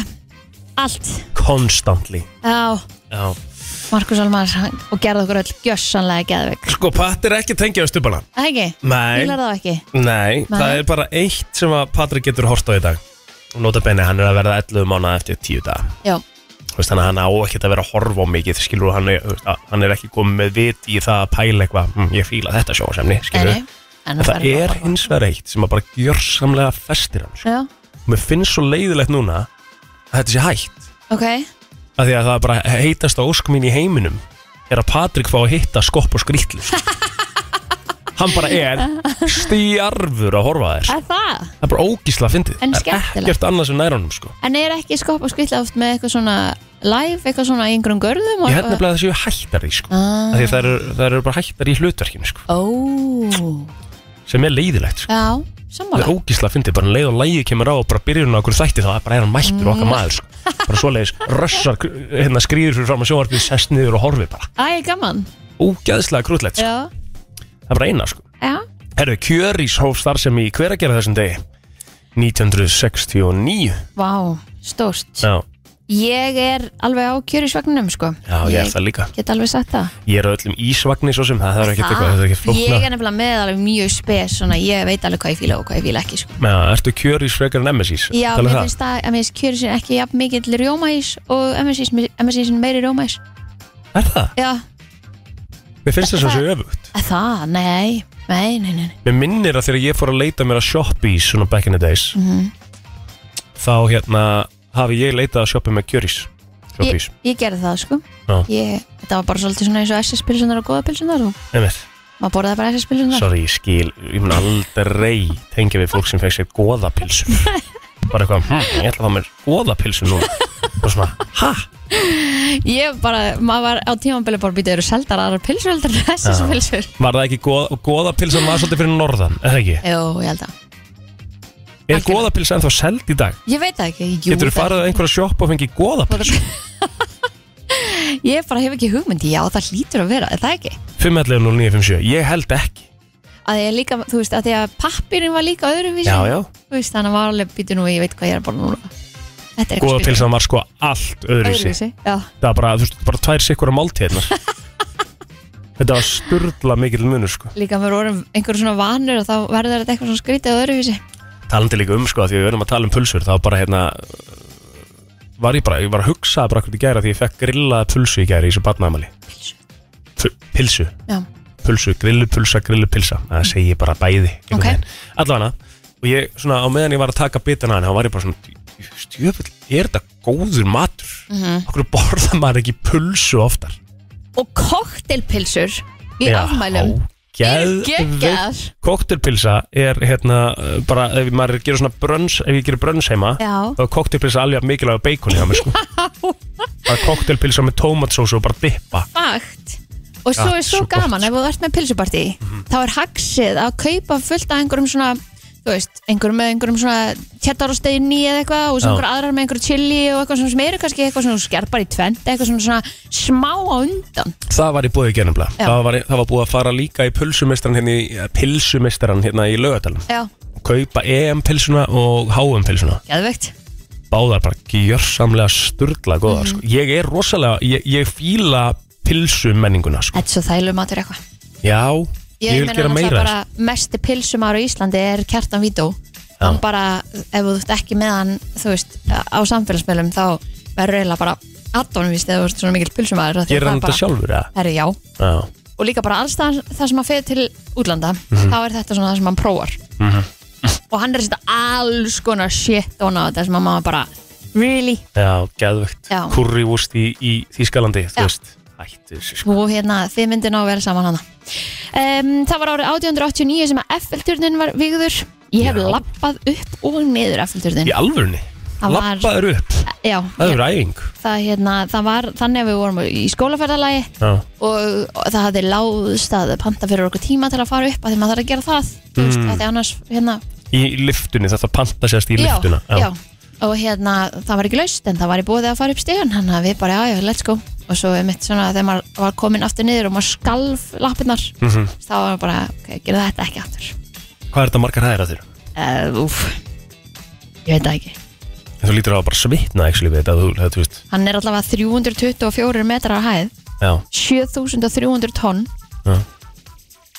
B: allt
A: Constantly
B: á
A: Já.
B: Markus Almar hann- og gerði okkur öll gjössanlega geðveik
A: Sko, Pat er ekki tengjað stupana
B: Það ekki?
A: Nei,
B: Fílar það ekki?
A: nei, það
B: Nei.
A: er bara eitt sem að Patrik getur hort á í dag og nota benni, hann er að verða 11 mánuð eftir 10 dag
B: Já,
A: Þú veist, þannig að hann á ekkert að vera að horfa á mikið skilur, hann er, þú veist, að- hann er ekki komið með vit í það að pæla eitthvað, hm, ég fíla þetta sjóasemni
B: Nei,
A: skilur,
B: nei, en
A: en
B: hún
A: það
B: fari bara
A: er
B: að horfa.
A: hins vegar eitt sem að bara gjörsamlega festir hann sko.
B: Já,
A: mér finnst svo leiðilegt núna að þetta sé hægt
B: ok
A: að því að það er bara heitast á ósk mín í heiminum er að Patrik fá að hitta skopp og skrýtlu sko. hann bara er stjarfur að horfa að þér
B: Er það?
A: það er bara ógísla að fyndið Það
B: En
A: er
B: skemmtilegt.
A: ekkert annað sem nær honum sko.
B: En er ekki skopp og skvilla oft með eitthvað svona live, eitthvað svona í einhverjum görðum?
A: ég held nefnilega að það séu hættar í sko.
B: Ah.
A: Af því það eru, það eru bara hættar í hlutverkinu sko,
B: Ó,
A: sem er leiðilegt sko.
B: já,
A: það er
B: sammála
A: ógísla að fyndi, bara um leið og lægi kemur á og bara byrjun á okkur þætti þá er bara er hann mættur okkar
B: Mm.
A: maður sko. bara svoleiðis, rössar hérna skrýður fyrir fram að sjónvarpið sest niður og horfi bara,
B: Æ, gaman
A: ógæðslega krútlegt sko.
B: Já,
A: það er bara eina sko.
B: já,
A: Herru, Kjörís hóf starfsemi í hver að gera þessum degi 1969
B: vá, stórt
A: Já,
B: Ég er alveg á kjöri svagninum, sko
A: já ég er það líka
B: Get alveg sagt það
A: Ég er á öllum ísvagnir svo sem, það er ekkert eitthvað,
B: Það-
A: þetta er ekkert
B: Ég
A: flóknar
B: er nefnilega með alveg mjög spes svona, ég veit alveg hvað ég fíla og hvað ég fíla ekki sko.
A: Já, ertu Kjörís frekar en MSIs?
B: Já,
A: Talið
B: mér
A: um það?
B: finnst það, að mér finnst kjöri sér ekki jafn mikill rjómaís og MSIs, MSIs er meiri rjómaís
A: Er það?
B: Já,
A: Mér finnst það svo svo öfugt
B: það, nei, nei, nei, nei.
A: Mér minnir að þegar ég fór að leita mér að shoppi í svona back in the days þá hérna hafi ég leitað að shoppi með kjörís shoppís,
B: Ég, ég gerði það, sko
A: Já.
B: ég, Þetta var bara svolítið svona eins og SS-pilsunar og góða pilsunar og
A: einmitt
B: maður borðaði bara SS-pilsunar
A: sorry, ég skil, ég mun aldrei tengja við fólk sem fekk sér goðapilsum bara eitthvað, hm, ég ætla að fá mér goðapilsum núna og svona, ha?
B: Ég bara, maður var á tímambili bara býtið eru seldar aðrar pilsur heldur en SS-pilsur
A: var það ekki goð, goðapilsum var svolítið fyrir norðan, eða ekki?
B: Jú, ég held að
A: Er
B: Algjörlega.
A: goðapilsa ennþá seld í dag?
B: Ég veit það ekki, jú
A: Getur þú
B: það-
A: farið að einhverja sjopp og fengið goðapilsum?
B: Ég bara hef ekki hugmyndi, já það hlýtur að vera, er það ekki?
A: 511 ég held ekki
B: Að ég líka, þú veist, að því að pappirinn var líka öðruvísi
A: Já, já.
B: Þú veist, þannig að var alveg býtu nú, ég veit hvað ég er að borða núna Þetta er eitthvað
A: goðapilsan var sko allt öðruvísi
B: öðruvísi Já,
A: það var bara, þú veist, bara tvær sikkur á máltíðnar þetta var sturla mikil munur sko.
B: líka maður orðum einhver svona vanur og þá verður þetta eitthvað svona skrítið öðruvísi
A: talandi líka um sko, að því við verðum að tala um pulsur þá bara hérna var ég bara, ég var að hugsa bara hvernig í gæra því ég fekk grillaða pulsu í gæra í þessu barnaðamæli
B: Pilsu.
A: pilsu,
B: Já, Mm.
A: pulsu, grillupulsa, grillupilsa það segi ég bara bæði einhvern
B: Ok.
A: veginn. allavega og ég svona á meðan ég var að taka bitan hann þá var ég bara svona stjöfull, er þetta góður matur
B: Mhm.
A: okkur borða maður ekki pulsu oftar
B: og koktelpilsur í afmælum Eru geggjaðar.
A: geggjaðar Koktelpilsa er hérna uh, bara ef maður gerir svona brönns ef ég gerir brönns heima
B: Já.
A: þá er koktelpilsa alveg mikilvæg á beikoni á mig sko það er koktelpilsa með tómatsósu og bara dippa
B: Fakt Og svo
A: Ja,
B: er svo,
A: svo gott, Mhm.
B: gaman ef þú ert með pilsupartí þá er haxið að kaupa fullt af einhverjum svona þú veist, einhverjum með einhverjum svona tjattarostegni eða eitthvað og
A: Já.
B: svo einhverjum aðrar með einhverjum chili og eitthvað svona sem eru kannski eitthvað svona skerpar í tvend eitthvað svona, svona smá á undan
A: það var í búið í gerðumla
B: Já.
A: það, var- það var búið að fara líka í pulsumestran hérna í eh, pilsumestran hérna í lögadalum
B: Já,
A: kaupa EM pilsuna og HM pilsuna
B: geðvegt
A: báðar bara gjörsamlega sturla góðar
B: Mhm.
A: sko. ég er rosalega ég, ég fíla pilsumenninguna sko.
B: Þetta er svo þælu matur eitthvað
A: já Ég, vil
B: meina
A: gera
B: náttúrulega
A: meira af þessu.
B: bara mesti pilsumar á Íslandi er Kjartan Vító
A: Já.
B: hann bara, ef þú ert ekki með hann þú veist, á samfélagsmiðlum þá verður eiginlega bara addónum víst eða þú ert svona mikil pilsumar
A: Gerir hann þetta sjálfur eða?
B: Herri, já.
A: Já,
B: Og líka bara alls það, það sem hann fer til útlanda,
A: Mhm.
B: þá er þetta svona það sem hann prófar. Og hann er að setja alls konar shit on á þetta sem hann maður bara, really?
A: já, geðvögt
B: Já.
A: Currywurst í, í Þýskalandi, þú
B: Já.
A: veist Ættu þessu sko
B: Sko, hérna, þið myndir ná vel saman hana. Um, það var árið 1889 sem að Eiffelturnin var vigður. Ég hef
A: Já.
B: lappað upp og niður Eiffelturnin.
A: Í alvörni,
B: Það var-
A: lappaður upp
B: Já,
A: Það
B: ég-
A: eru æfing
B: það, hérna, það var þannig að við vorum í skólaferðalagi
A: Já,
B: og, og það hafði láðst að panta fyrir okkur tíma til að fara upp að því maður þarf að gera það, þú veist, að því annars, hérna,
A: Í lyftunni, þetta panta sérst Mm. í lyftuna
B: já, já. og hérna það var ekki laust en það var í bóðið að fara upp stíðan þannig að við bara, já, já, let's go og svo er mitt svona þegar maður var komin aftur niður og maður skalf lappirnar þá var maður bara, ok, gera þetta ekki aftur
A: Mhm. Hvað er þetta margar hæðir að þér?
B: uh, úf, ég veit það ekki
A: Þú lítur á að bara svitna, ekki við þetta, þú, þetta, þú veist
B: hann er allavega 324 metrar á hæð
A: Já,
B: 7300 tonn
A: já,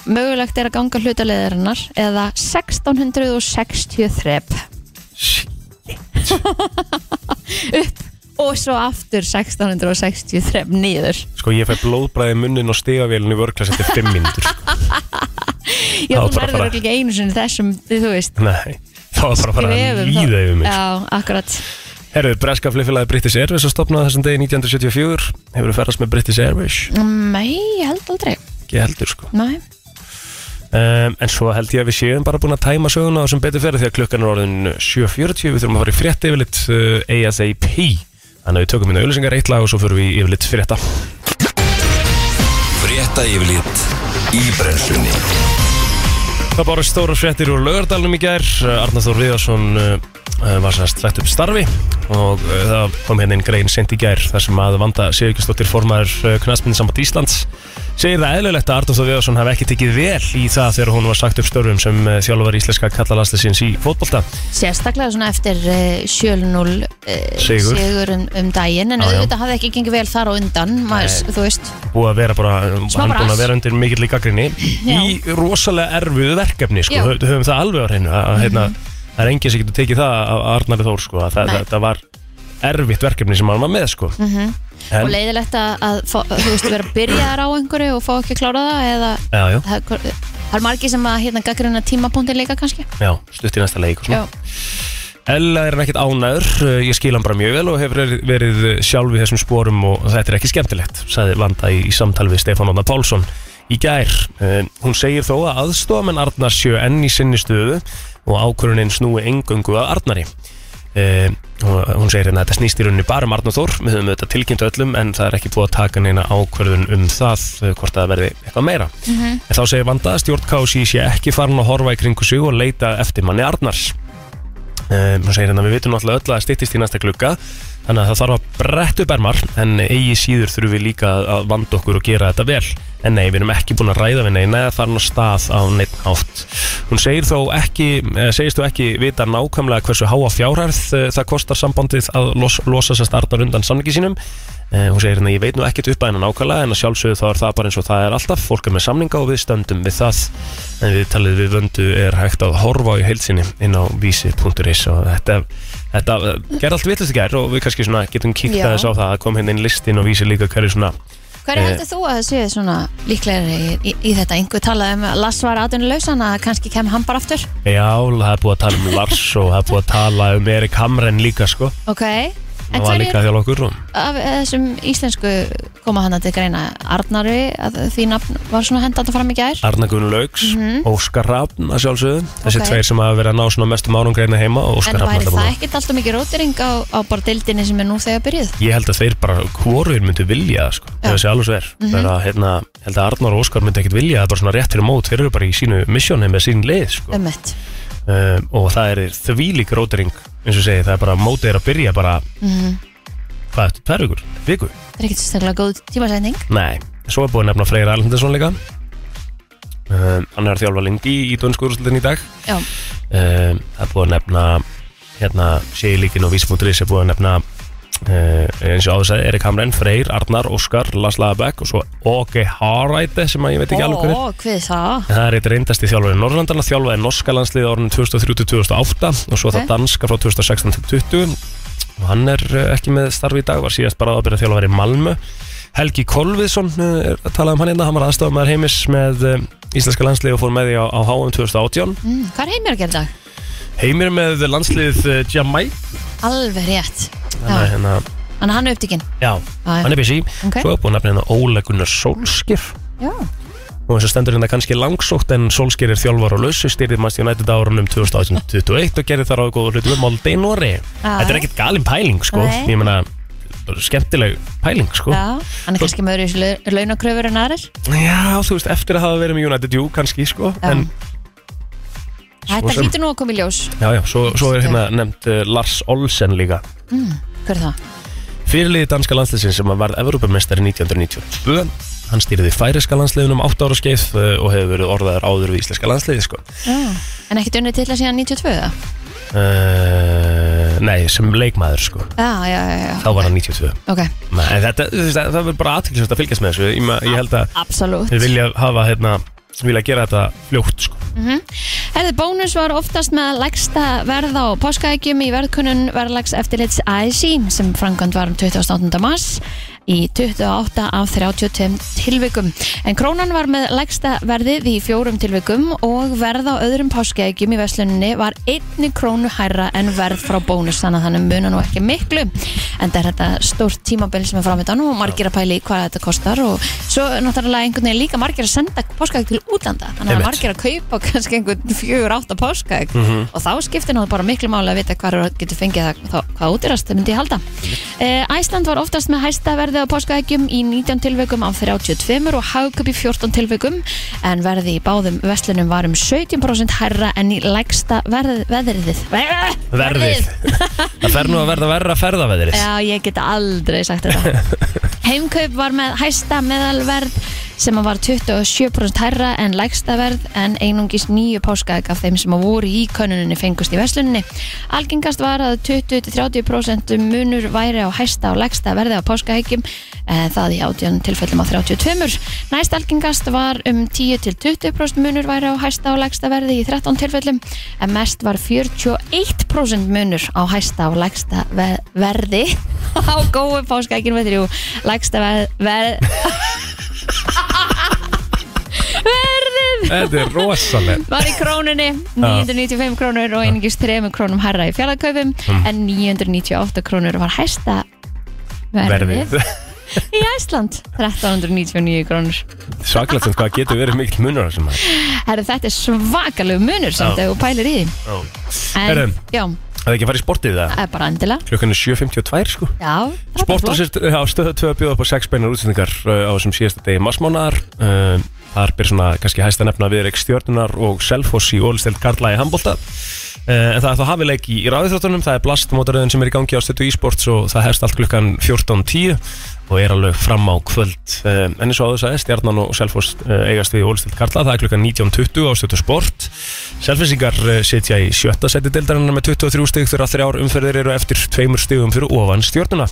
B: mögulegt er að ganga hlutaleðarinnar eða 1660 þrepp
A: Shit.
B: upp og svo aftur 1663 niður
A: Sko ég fæ blóðbræði munnin og stigavélun í vörklas eftir 5 mínútur sko.
B: Já,
A: Það var
B: þú
A: bara að
B: verður
A: fara-
B: ekki einu sinni þessum, þú veist
A: Nei, það var bara að fara að
B: Við höfum
A: líða
B: það.
A: yfir mig sko.
B: Já, akkurat
A: Herðu, breska flugfélagi British Airways að stopna þessum degi 1974 Hefur þú ferðast með British Airways?
B: Nei, ég held aldrei
A: Ekki heldur sko
B: Nei,
A: um, En svo held ég að við séum bara búin að tæma söguna og sem betur ferði því að klukkan er orðin 7.40 Við þurfum að fara í frétt yfirlit uh, ASAP Þannig að við tökum minna auðlýsingar eitt lag og svo fyrir við í yfirlit frétta
D: Frétta yfirlit í brennslunni
A: Það bára stóra fréttir úr lögardalunum í gær Arnar Þór Viðarsson uh, uh, var sérst lætt upp starfi og uh, það kom hérna inn grein sent í gær þar sem að Vanda Sigurkjastóttir formar uh, knaspinn samband Íslands segir það eðlilegt að Arnar Þór Viðarsson hafi ekki tekið vel í það þegar hún var sagt upp störfum sem uh, þjálfur íslenska kallalanslisins í fótbolta
B: sérstaklega svona eftir uh, 7-0 uh,
A: Sigur.
B: um, um daginn en
A: Já, já.
B: auðvitað hafði ekki gengið vel þar á undan maður, þú veist,
A: búið að vera bara
B: Smá
A: hann búin
B: bras.
A: að vera undir mikill í gaggrinni í rosalega erfuðu verkefni sko.
B: Já. Mhm.
A: Hö- höfum það alveg á hreinu að, að, hérna, það er enginn sem getur tekið það af Arnari Þór sko. að það,
B: Nei. Mm.
A: það, það var erfitt verkefni sem hann var með sko.
B: Mhm. og
A: en,
B: leiðilegt að, að fá, þú veist, vera byrjaðar á einhverju og fá ekki að klára það eða
A: já, já,
B: það, hvor- það er margir sem að hérna gaggrina tímapunktin líka kannski
A: já, stutt í næsta leik og svona.
B: Já,
A: Ella er hann ekkert ánæður, ég skil hann bara mjög vel og hefur verið- verið sjálf í þessum sporum og þetta er ekki skemmtilegt, sagði Vanda í, í samtali við Stefán Óna Pálsson í gær. Eh, Hún segir þó að aðstofamenn Arnar sjö enn í sinni stöðu og ákvörunin snúi engöngu að Arnari. Eh, Hún hún segir hérna að þetta snýst í rauninni bara um Arnar Þór, við höfum auðvitað tilkynnt öllum en það er ekki búið að taka neina ákvörðun um það eh, hvort það verði eitthvað meira. En þá segir Vanda að stjórn KSÍ sé ekki farin að horfa í kringu sig og leita eftir manni Arnars. Um, hún segir hérna, við vitum náttúrulega öll að styttist í næsta klukka þannig að það þarf að bretta upp ermar en eigi síður þurfum við líka að- að vanda okkur og gera þetta vel en nei, við erum ekki búin að ræða við neina eða farin á stað á neitt hátt hún segir þó ekki, eh, segist þó ekki vita nákvæmlega hversu háa fjárhærð eh, það kostar sambandið að los, losa sérst Arnar undan samlingi sínum Eh, hún segir hérna, ég veit nú ekkert upp að hennar nákvæmlega en að sjálfsögðu þá er það bara eins og það er alltaf fólk er með samninga og við stöndum við það en við talið við vöndu er hægt að horfa í heilsinni inn á vísi.is og þetta, þetta eh, gerði allt vitast í gær og við kannski svona getum kíkt
B: Já.
A: aðeins á það að kom hérna inn listin og vísi líka hverju svona
B: hverju
A: Eh.
B: heldur þú að það séu svona líklegri í, í, í þetta einhver talaði um að Lass var aðunlaus hann að kannski kem hann bara aftur
A: já, það er búið að tala um Lars og það er búið að tala um Erik Hamren líka sko,
B: Ok, en
A: það var
B: hverju
A: líka þjálf okkur og
B: af þessum íslensku koma hann að til greina Arnari að því nafn var svona hendat að fram í gær
A: Arna Gunn Laugs, Óskar Rafn að sjálfsögðu, þessi
B: Mhm. Ok.
A: tveir sem hafa verið að ná svona mestum árangreina heima og
B: en
A: Óskar Rafn
B: væri
A: alltaf búin
B: það
A: að-
B: ekkert alltaf mikið rótiring á, á bara deildinni sem er nú þegar byrjuð
A: ég held að þeir bara hvorur myndu vilja það sko, ef
B: Já. Mhm.
A: það sé alveg sver mm -hmm. að, hérna, ég held að Arnar og Óskar myndu ekkit vilja það bara svona rétt fyrir mót, þeir eru bara í sínu missjóni með sín leið sko
B: ömmett
A: um, og það er þvílík rótering eins og segi, það er bara mótið er að byrja bara hvað eftir, tvær vikur? Viku?
B: Mhm. það er ekkert sérstaklega góð tímasætning
A: Nei, svo er búin að nefna Freyra Alhendarsson líka um, hann er að þjálfa lengi í dönskuðurslutin í dag
B: já,
A: um, það er búið að nefna hérna séilíkin og vísbúndurins er búið að nefna uh, eins og áður sagði Erik Hamren, Freyr, Arnar, Óskar, Lars Lagerbæk og svo OK Harreide sem að ég veit ekki alveg hver er
B: ó, hvað er það?
A: En Það er eitt reyndasti þjálfari Norrlandana, þjálfaði norska landsliði árunum 2003-2008 og svo
B: Ok.
A: það danska frá 2016-20 og hann er eh, ekki með starfi í dag, var síðast bara að byrja þjálfari í Malmö. Helgi Kolviðsson eh, er að tala um hann hérna, hann var aðstofamæður heimis með eh, íslenska landsliði og fór með því á, á HM 2018.
B: Mm, hvað er heimir að gera í dag?
A: Heimir með landslið eh, Jamaica
B: alveg rétt
A: Þannig að
B: já,
A: hérna,
B: hann er hann er upptikinn
A: já, hann er busy
B: Ok.
A: Svo er búin að nefna hérna Óla Gunnar Solskjær
B: já,
A: og eins og stendur hérna kannski langsótt en Solskjær er þjálfar og lausu styrðið mannst United á árunum 2021 og gerði þar á góða hlutu við Molde í Nóri
B: Já.
A: Þetta er ekkert galin pæling sko
B: Nei.
A: Ég meina, bara skemmtileg pæling sko
B: já hann er kannski með öðru launakröfur en aðrir
A: Já, þú veist, eftir að hafa verið með United, jú, kannski sko
B: Já.
A: En
B: þetta
A: sem-
B: hlýtur nú að koma í ljós
A: já, já, svo, svo er hérna nefnt uh, Lars Olsen líka
B: Mm, hver er það?
A: Fyrirliði danska landsliðsins sem varð Evrópamestari 1992 Hann stýrði færiska landsliðunum 8 ára skeið eh, og hefur verið orðaður áður við íslenska landsliði sko.
B: Já. en ekkert unnið til að síðan 92 eða?
A: uh, Nei, sem leikmaður sko.
B: já, já, já, já,
A: Þá var hann 92
B: ok
A: Nei, þetta, þú veist, það verður bara aðtækilsvægt að fylgjast með þessu Ég, ma- ég held að
B: Absolutt
A: þeir vilja hafa hérna, vilja gera þetta fljótt sko.
B: Herði, Mhm. bónus var oftast með lægsta verð á páskaækjum í verðkunnun verðlags eftirlits ASI sem framkvæmt var um 28. mars í 28 af 32 tilvikum. En krónan var með lægsta verðið í fjórum tilvikum og verð á öðrum páskaækjum í versluninni var einni krónu hærra en verð frá bónus þannig að þannig munar nú ekki miklu. En það er þetta stórt tímabil sem er framöndan og margir að pæli hvað þetta kostar og svo náttúrulega einhvern veginn líka margir að senda páskaæk til útlanda. Þannig að
A: Einmitt.
B: margir er að kaupa kannski einhvern fjögur átta páskaegg og þá skiptir náttúrulega bara miklu máli að vita hvað getur fengið það, þá, hvað útirast myndi ég halda. Eh, Æsland var oftast með hæsta verðið á páskaeggjum í 19 tilveikum af 32 og hagköp í 14 tilveikum en verðið í báðum vestlunum var um 17% hærra en í lægsta verð, veðriðið. Verðið!
A: Verðið Það fer nú að verða verra ferðaveðrið
B: Já, ég get aldrei sagt þetta Heimkaup var með hæsta meðalverð sem að var 27% hærra en lægsta verð en einungis nýju páskaðeg af þeim sem að voru í könnuninni fengust í versluninni. Algengast var að 20-30% munur væri á hæsta og lægsta verði á páskaðegjum það í átjón tilfellum á 32. Næst algengast var um 10-20% munur væri á hæsta og lægsta verði í 13 tilfellum en mest var 41% munur á hæsta og lægsta ve verði á góðu páskaækjum við þrjú lægsta veð, veð verðið
A: Þetta er rosalega
B: var í krónunni 995 krónur og einingis 3 krónum herra í fjallaköpum en 998 krónur var hæsta verðið
A: Verðið
B: í Æsland 1399 krónur
A: Svaklegt sem hvað getur verið mikill munur á þessum maður.
B: Herru, þetta er svakalegu munur samt
A: Já.
B: ef þú pælir í því en,
A: Herru.
B: já,
A: Það er ekki að fara í sportið það
B: það er bara endilega
A: Klukkan er 7.52 sko
B: Já, það er bara
A: Sportar
B: flott.
A: sér á stöðu 2 að bjóða upp á 6 beinar útsendingar uh, á þessum síðasta degi massmánaðar uh, Þar byrja svona kannski hæsta nefna við stjórnunar og Selfoss í ólisteld Karla í handbolta uh, En það er þá hafið leik í, í ráðiþróttunum Það er blastmótaröðin sem er í gangi á stöðu e-sports og það hefst allt klukkan 14.10 og er alveg fram á kvöld uh, En eins og áður sagði, stjarnan og Selfoss uh, eigast við í ólisteld Karla Það er klukkan 19.20 á stöðu sport Selfinsingar uh, sitja í sjötta seti deildarinnar með 23 stig þegar þrjár umferðir eru eftir tveimur stigum fyrir ofan stjórnuna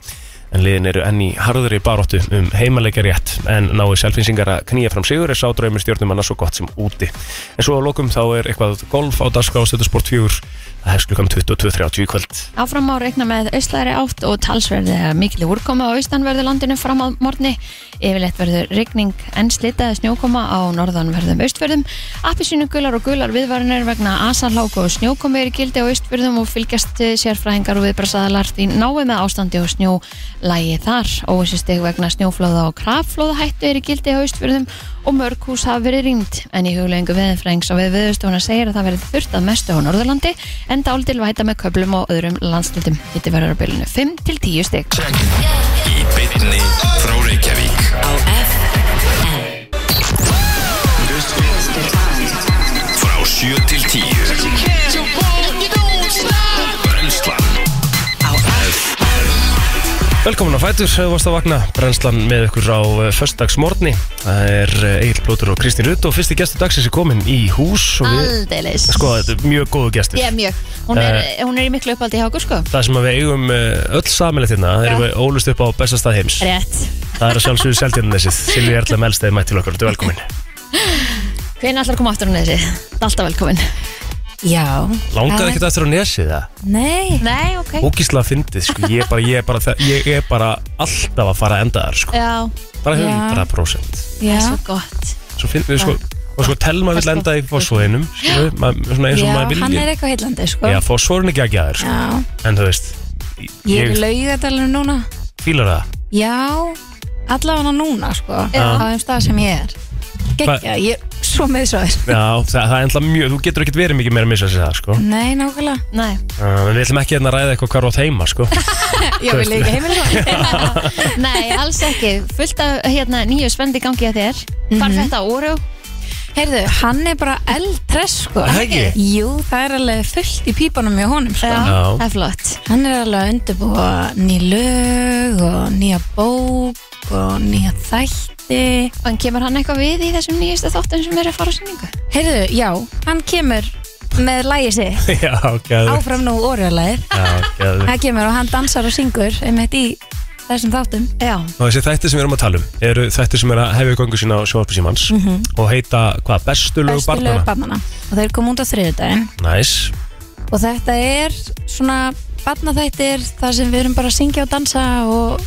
A: en liðin eru enn í harðri baróttu um heimaleikja rétt en náðu selfinsingar að knýja fram sigur er sádraumi stjórnum annars svo gott sem úti en svo á lokum þá er eitthvað golf á dagskrá á Stöðusport 4 það hefst klukkan 22.30 í kvöld
B: Áfram má reikna með austlæri átt og talsverði að mikil úrkoma á austanverðu landinu fram á morgni. Yfirleitt verður rigning en slitaði snjókoma á norðanverðum austverðum. Appisínu gular og gular viðvarinir vegna asalháku og snjókomi er í gildi á austverðum og fylgjast eh, sérfræðingar og viðbrasaðalar í nái með ástandi og snjólægi þar. Óvissisteg vegna snjóflóða og krafflóðahættu er í gildi á austverðum og mörg hús hafa verið rýmd en í huglegingu veðinfrængs og við viðustofuna segir að það verið þurft að mestu á Norðurlandi en dálítil væta með köplum og öðrum landstildum Þetta verður á bylunu 5 til 10 stygg
D: Í bytni frá Reykjavík Frá 7 til 10 Brenslan
A: Velkomin á Fætur, hefur varst að vakna brennslan með ykkur á föstagsmorni það er Egil Plótur og Kristín Rutt og fyrsti gestur dagsins er komin í hús og við,
B: Aldeilis
A: sko þetta er mjög góðu gestur
B: Ég er mjög, hún er,
E: Eh.
B: hún er í miklu uppaldi hjá okkur sko
A: það sem að við eigum eh, öll samilegt hérna
B: Já.
A: erum við ólust upp á bestastað heims
B: Rétt
A: það er að sjálfsögðu seldjarnesið Silvi Erla Melstæði mætt til okkur, þetta er velkomin
B: Hvernig ætlar að koma aftur hún þessi? Alltaf velkomin
E: Já,
A: Langaði ekkert eftir á nesið það
E: nei
B: Nei, ok
A: Ógísla fyndið, sko Ég er bara, ég er bara, það- ég er bara alltaf að fara að enda þar, sko
B: Já,
A: Bara
E: Já.
A: 100%
B: það
E: Já,
B: er svo gott
A: Svo fyndið, sko Og sko, Telma vill enda í fósfóðinum, sko Svona eins og
E: já
A: maður
E: hann
A: vilji
E: er eitthvað heillandi sko
A: Já, fósfóðin er ekki að gæða þér, sko
E: Já.
A: En þú veist,
E: Ég er í
A: ég
E: laugadalunum núna
A: fílar það
E: Já, allavega núna sko Á þeim stað sem ég er Gekja, ég er svo með svo þér
A: Já, það, það er ennla mjög, þú getur ekkert verið mikið meira að missa sér það, sko
E: Nei, nákvæmlega
B: Nei,
A: uh, En við ætlum ekki hérna að ræða eitthvað hvar á heima, sko
E: Ég vil líka heimilega
B: Nei alls ekki Fullt af hérna, nýju spendi gangi að þér Farfetta óru
E: Heyrðu, hann er bara eldtress sko
A: Það ekki?
E: Jú, það er alveg fullt í pípanum hjá honum sko
A: Já.
B: Það er flott
E: Hann er alveg að undirbúa ný lög og nýja bók og nýja þætti
B: Og hann kemur hann eitthvað við í þessum nýjastu þáttum sem eru að fara á sýningu?
E: Heyrðu, já, hann kemur með lægið sitt
A: Já, gæðu
E: áfram nú orðalæð
A: Já, gæðu
E: Það kemur og hann dansar og syngur einmitt í þessum þáttum
B: Já,
A: Og þessi þættir sem við erum að tala um eru þættir sem er að hefja göngu sína á sjónvarpi símans og heita, hvað, bestu lög
E: bestu
A: barnana?
E: lög barnana og þeir kom út á þriðudaginn
A: Næs,
E: og þetta er svona barnaþættir þar sem við erum bara að syngja og dansa og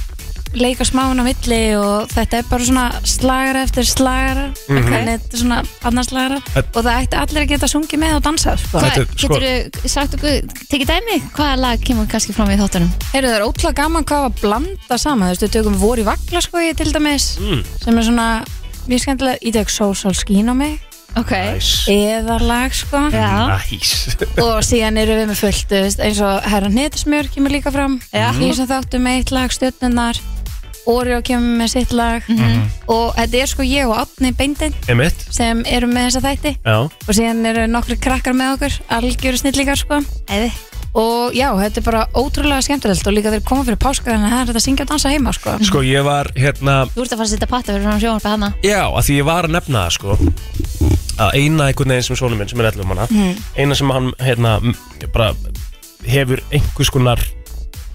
E: leika smáin á milli og þetta er bara svona slagara eftir slagara þannig þetta er svona barnaslagara
A: Mhm. Þetta-
E: og það ætti allir að geta sungið með og dansað sko.
A: Þetta
B: hvað,
A: er- sko-
B: geturðu sagt okkur, tekið dæmi, hvaða lag kemur kannski fram í þáttunum?
E: Heyrðu, það er ótrúlega gaman hvað var að blanda saman, þú veist, við tökum vor í vagla sko ég til dæmis,
A: Mm. Mhm.
E: sem er svona mjög skemmtilega, ég tek sól sól skín á mig
B: Ok,
A: næs,
E: eða lag sko
B: já,
A: næs
E: og síðan eru við með fullt þú veist, eins og herra netismjör kemur líka fram
B: Já.
E: ég sem þáttu með eitt lag stjórnunar Oreo kemur með sitt lag
A: Mhm.
E: og þetta er sko ég og Átni Beindin
A: Emitt,
E: sem eru með þessa þætti
A: já,
E: og síðan eru nokkri krakkar með okkur algjöru snillingar sko
B: eði,
E: og já, þetta er bara ótrúlega skemmtilegt og líka þeir koma fyrir páska þannig að það er þetta að syngja og dansa heima sko
A: sko ég var hérna
B: þú ert að fara að setja patta fyrir fram sjónvarpa hana
A: Já, að því ég var að nefna það sko að eina einhvern veginn sem sonum minn sem er 11 manna, eina sem hann hérna, m- bara hefur einhvers konar,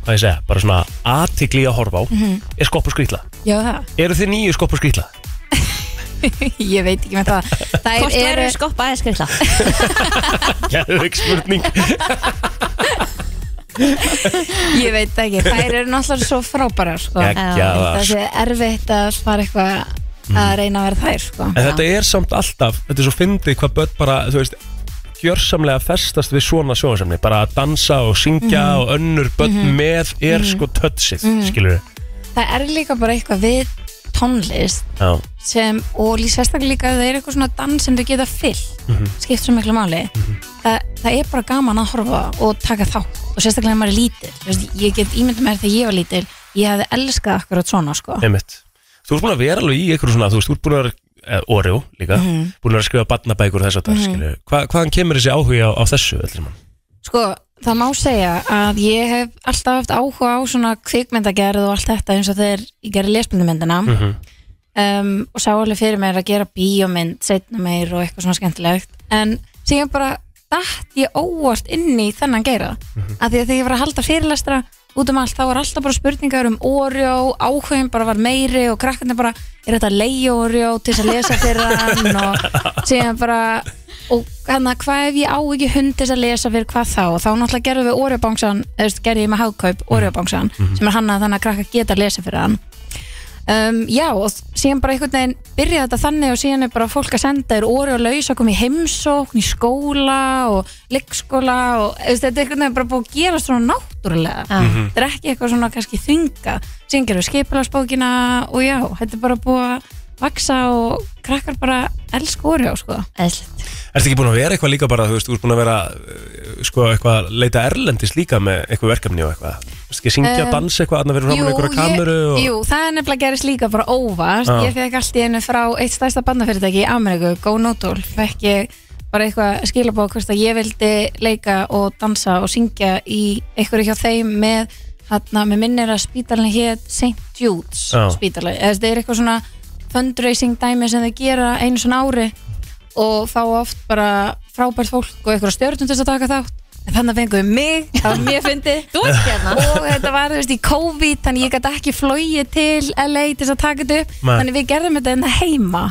A: hvað ég segja bara svona aðtigli að horfa á er skopp og skrýtla.
E: já það,
A: Eru þið nýju skopp og skrýtla?
E: ég veit ekki með það það
B: Hvort
E: er,
B: verður skoppa eða skrifla?
A: Gæðveik spurning
E: ég veit það ekki þær eru náttúrulega svo frábærar sko
A: Geggjaðar. Mm.
E: það sé erfitt að fara eitthvað að reyna að vera þær sko.
A: En þetta er samt alltaf, þetta er svo fyndið hvað börn bara, þú veist gjörsamlega festast við svona sjóðasemni bara að dansa og syngja
E: Mhm.
A: og önnur börn með er sko tötsið mm skilur við
E: það er líka bara eitthvað við tónlist
A: Já,
E: sem, og lí- sérstaklega líka það er eitthvað svona dans sem þau geta fyllt
A: Mhm.
F: Mm-hmm.
E: skipt svo miklu máli það, það er bara gaman að horfa og taka þátt og sérstaklega ef maður er lítil Þú veist, ég get ímyndið mér þegar ég var lítil ég hefði elskað akkurat svona sko.
A: Einmitt. Þú ert búin að vera alveg í einhverju svona, þú veist, þú ert búin að vera eh, Oreo líka,
E: Mhm.
A: búin að vera að skrifa barnabækur og þess að það, skilju. Hva, hvaðan kemur þessi áhugi á, á þessu, öll sem hann?
E: Sko, það má segja að ég hef alltaf haft áhuga á svona kvikmyndagerð og allt þetta eins og þegar ég gerði lesbundumyndina
G: Mhm.
E: um, og sá alveg fyrir mér að gera bíómynd setna meir og eitthvað svona skemmtilegt en síðan bara dætt ég óvart inn í þennan geira af því að þegar ég var að halda fyrirlestra út um allt þá var alltaf bara spurningar um orjó áhugin bara var meiri og krakkarnir bara er þetta leið orjó til þess að lesa fyrir hann og síðan bara og hann að hvað ef ég á ekki hund til þess að lesa fyrir hvað þá og þá náttúrulega gerðum við orjóbangsan eða þú veist, gerði ég með hagkaup orjóbangsan sem er hann að þannig að krakkar geta að lesa fyrir hann um, já og síðan bara einhvern veginn byrjaði þetta þannig og síðan er bara fólk að senda þér orði og laus að koma í heimsókn í skóla og leikskóla og þú veist, þetta er einhvern veginn bara búið að gera svona náttúrulega
B: Já.
E: þetta er ekki eitthvað svona kannski þunga síðan gerum við skipilagsbókina og já, þetta er bara búið að vaksa og krakkar bara elsku orði sko.
B: Eðslegt
A: Ertu ekki búin að vera eitthvað líka bara, þú veist, þú ert búin að vera, eh, sko, eitthvað, leita erlendis líka með eitthvað verkefni og eitthvað? Þú veist ekki syngja,
E: Em,
A: dansa eitthvað, annar verið fram með einhverja kameru
E: Eh, ég,
A: og...
E: jú, það er nefnilega gerist líka bara óvart
A: Já.
E: Ég fekk allt í einu frá eitt stærsta bandafyrirtæki í Ameríku, Go Notol Fekk ég bara eitthvað skilabóð hvort að ég vildi leika og dansa og syngja í einhverju hjá þeim með, hérna, með minnir að spítalinn hétt St. Jude's
A: Já.
E: spítali Eða þetta er eitthvað svona fundraising dæmi sem þau gera einu svona ári og fá oft bara frábært fólk og einhverja stjórnum til þess að taka þátt en þannig að fengum við mig, það var mjög fyndið
B: Þú ert hérna
E: og þetta var, þú veist, í COVID þannig ég gæti ekki flogið til LA til þess að taka þetta upp
A: Nei.
E: þannig við gerðum þetta hérna heima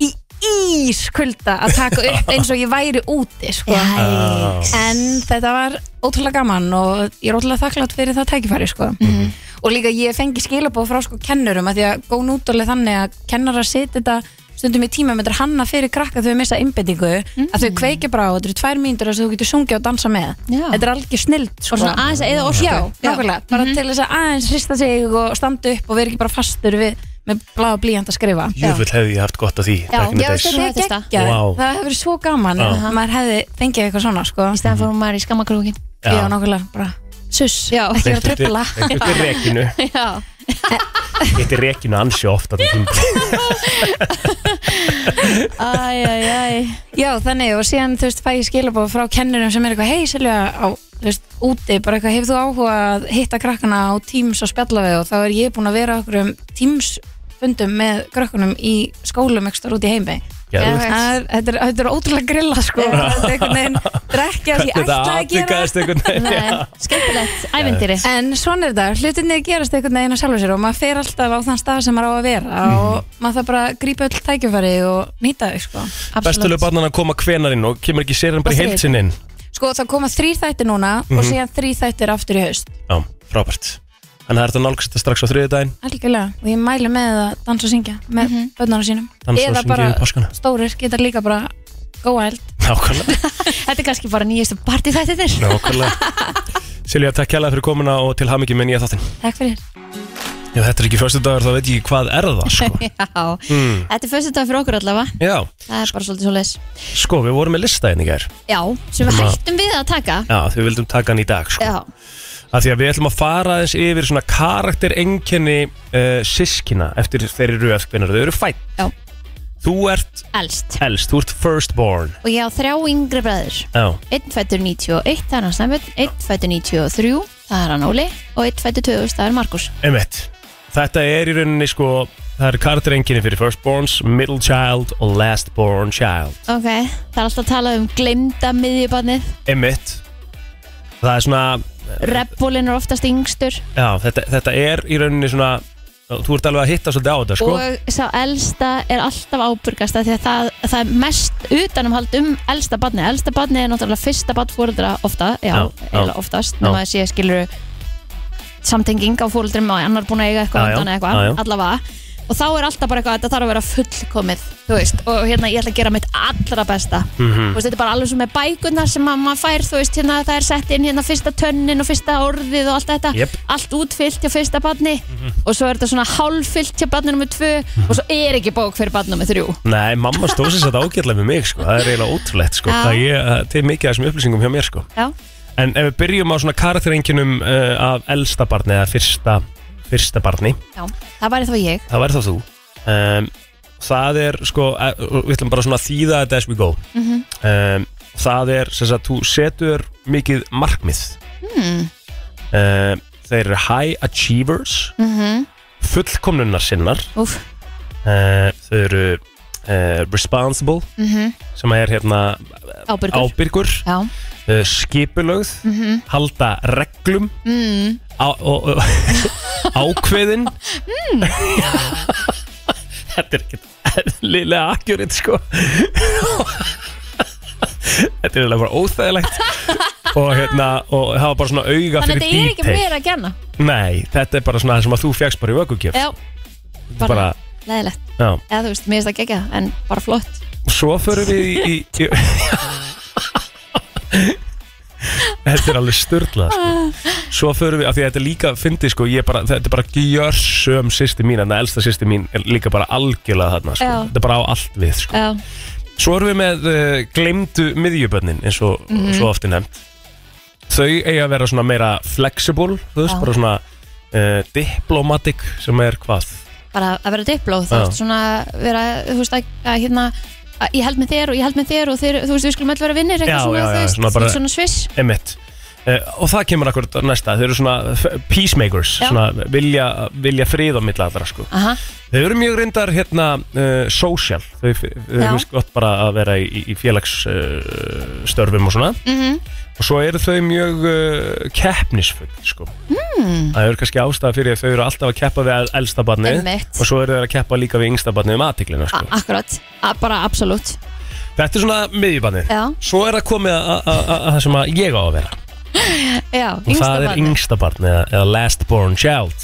E: í ískulda að taka upp eins og ég væri úti sko.
B: Jæks
E: en þetta var ótrúlega gaman og ég er ótrúlega þakklátt fyrir það tækifæri sko.
B: Mhm.
E: og líka ég fengi skilabóð frá sko, kennurum að því að góð nútúrlega þannig að kennarar setja þetta stundum í tíma með hanna fyrir krakka þau missa einbendingu
B: Mm.
E: að þau kveikja bara á þetta eru tvær mínútur þar sem þú getur sungið og dansa með
B: Já.
E: þetta er algjör snild sko.
B: Og svona aðeins að eða orku Mhm.
E: Já, nákvæmlega, bara til þess að aðeins hrista sig og standa upp og vera ekki bara fastur við, með blá og blíjand að skrifa
A: Jöfull hefði ég haft gott af því, back in the
E: Já,
A: days.
E: þetta er
B: Svo þetta.
E: geggjað,
A: Vá.
E: það hefur verið svo gaman
A: Já.
E: ef maður hefði fengið eitthvað svona sko.
B: Í stæðan fórum maður í skammakrúkin
A: Já.
E: Já, nákvæmlega, bara suss,
B: Já.
E: ekki vera að
A: Eitthvað til-
E: trippla
A: eitthvað til rekinu,
B: Já
A: eitt er rekinu ansi oft að það
B: Æ, æ, æ
E: Já, þannig og síðan þú veist fæ ég skilabóð frá kennurum sem er eitthvað hei Silja á, þú veist, úti bara eitthvað hefur þú áhuga að hitta krakkana á Teams og spjalla við og þá er ég búin að vera okkur um Teams fundum með krakkunum í skólum ekstra út í heimi
A: Geðveikt.
E: Það er- Þetta er, þetta er ótrúlega grilla sko Þetta er einhvern veginn drekja því
A: Þetta
E: ætlaði að gera
A: atvikaðist einhvern
B: Það
A: veginn
B: er skemmtilegt, ævindýri
E: En svona er þetta, hlutinni gerast einhvern veginn að sjálfu sér og maður fer alltaf á þann stað sem maður á að vera
A: Mhm.
E: og maður þarf bara að grípa öll tækifæri og nýta þau sko
A: Bestu lög barnan að koma hvenar inn og kemur ekki sérinn bara í
E: Og
A: heilsin inn
E: Sko það koma þrýr þættir núna og
A: Mhm.
E: síðan þrýr þættir aftur í haust
A: Já, frábært Þannig að það er þetta nálgast þetta strax á þriðudaginn
E: Algjörlega, og ég mælu með að dansa og syngja með mm
B: Mhm.
E: sínum
A: Dansa og
E: Eða
A: syngja
E: bara
A: yfir um páskana.
E: stórir geta líka bara go wild
A: Nákvæmlega,
B: Þetta er kannski bara nýjastu party þættir
A: nákvæmlega Silja, takk kjærlega fyrir komuna og til hamingi með nýja þáttinn
E: Takk fyrir
A: Ef þetta er ekki fyrstu dagur þá veit ég ekki hvað er það sko.
B: Já, þetta er fyrstu dag fyrir okkur allavega
A: Já,
B: Það er bara svolítið svo leis
A: sko, við vorum með lista einnig gær
B: Já, sem við
A: Sem að-
B: hættum við að taka
A: Já, því við vildum taka hann í dag sko.
B: Já,
A: Af því að við ætlum að fara aðeins yfir svona karakterengjenni uh, sískina eftir þeirri röð hvenar þau eru fætt
B: já,
A: Þú ert
B: elst
A: elst, þú ert firstborn
B: Og ég á þrjá yngri bræður
A: Já,
B: Einn fættur 91, það er hann Snæbjörn Einn fættur 93, það er hann Óli Og einn fættur 2000, það er Markus
A: einmitt Þetta er í rauninni sko, það eru karakterengjenni fyrir firstborns, middle child og lastborn child
B: Ok, það er alltaf að tala um glemda miðjubarnið
A: Einmitt Það er svona,
B: Rebbolin er oftast yngstur
A: já, þetta, þetta er í rauninni svona Þú ert alveg að hitta svolítið á þetta sko
B: Og sá elsta er alltaf ábyrgasta Því að það, það er mest utanumhald um elsta barnið Elsta barnið er náttúrulega fyrsta barn fóreldra ofta Já,
A: Já, já.
B: já oftast
A: Já.
B: Nú að sé skilur samtenging á fóreldrum og annar búin að eiga
A: Já,
B: eitthvað
A: já,
B: undan eða
A: já, já.
B: eitthvað allavega og þá er alltaf bara eitthvað þetta þarf að vera fullkomið þú veist, og hérna ég ætla að gera mitt allra besta
A: Mhm.
B: þú veist, þetta er bara alveg svo með bækunar sem að maður fær, þú veist, hérna það er sett inn hérna fyrsta tönnin og fyrsta orðið og allt þetta,
A: Jep. Mhm.
B: allt útfyllt hjá fyrsta badni og svo er þetta svona hálffyllt hjá badni nummer tvö og svo er ekki bók fyrir badni nummer þrjú
A: Nei, mamma stóð sér þetta ágætlega með mig sko Það er eiginlega ótrúlegt sko
B: Já.
A: Það ég, til mikið af þessum upplýsingum hjá mér sko
B: Já,
A: En ef við byrjum á svona karakterengjunum uh, af elsta barni eða fyrsta, fyrsta barni,
B: já, það væri þá ég
A: það væri þá þú. Um, það er sko, eh, við ætlum bara svona að þýða þetta as we go.
B: Mhm.
A: um, það er sem sagt, þú setur mikið markmið.
F: Mm-hmm.
A: Mm. þeir eru high achievers, mm
F: Mm-hmm.
A: -hmm. fullkomnunnar sinnar,
B: Úf,
A: uh, þau eru uh, responsible, sem er hérna
B: ábyrgur
A: ábyrgur
B: Já, Mhm.
A: uh, skipulögð halda reglum
B: Mm.
A: á, og, og, ákveðin þetta er ekkert eðlilega akjúrit sko þetta er eiginlega bara óþægilegt og hérna og hafa bara svona auga
B: þannig
A: fyrir
B: að þetta er ekki
A: detail.
B: meira að genna
A: nei, þetta er bara svona það sem að þú fegst bara í vöggugjöf
B: Já,
A: bara, bara
B: leðilegt
A: já.
B: Eða þú veist, mér finnst það gegja, en bara flott
A: Svo förum við í, í, í Þetta er alveg störla sko. Svo förum við, af því að þetta er líka fyndi sko, ég bara, þetta er bara gjörsum sýsti mín, en að elsta sýsti mín er líka bara algjörlega þarna, sko.
B: Já.
A: þetta er bara á allt við sko.
B: Já,
A: Svo erum við með uh, glemdu miðjubönnin eins og
B: Mhm.
A: svo ofti nefnt Þau eiga að vera svona meira flexible, þú veist,
B: Já.
A: bara svona uh, diplomatic sem er hvað
B: bara að vera dipló þú
A: Já.
B: veist, svona vera, þú veist, að, að hérna að ég held með þér og ég held með þér og þeir, þú veist, við skulum öll vera vinnir
A: Já,
B: eitthvað svona,
A: já,
B: þú
A: já,
B: veist,
A: svona bara-
B: svona sviss
A: Emmett Uh, og það kemur akkur næsta, þau eru svona f- peacemakers,
B: Já. Ah.
A: svona vilja, vilja frið á milli aðra sko.
B: Aha,
A: Þau eru mjög reyndar hérna uh, social, þau f- þau
B: Já.
A: finnst gott bara að vera í, í félagsstörfum uh, störfum og svona
B: Mhm.
A: og svo eru þau mjög uh, keppnisfull sko.
B: Hmm.
A: mm. það eru kannski ástæða fyrir að þau eru alltaf að keppa við el- elsta barnið
B: Einmitt. Ah,
A: og svo eru þau að keppa líka við yngsta barnið um aðtiklina sko.
B: a- akkurat, a- bara absolutt
A: Þetta er svona miðjubarnið
B: Já.
A: Svo er það komið að- að- að að- að það sem að ég á að vera
B: Já,
A: og
B: yngsta
A: það er
B: barnið.
A: yngsta barn eða, eða last born child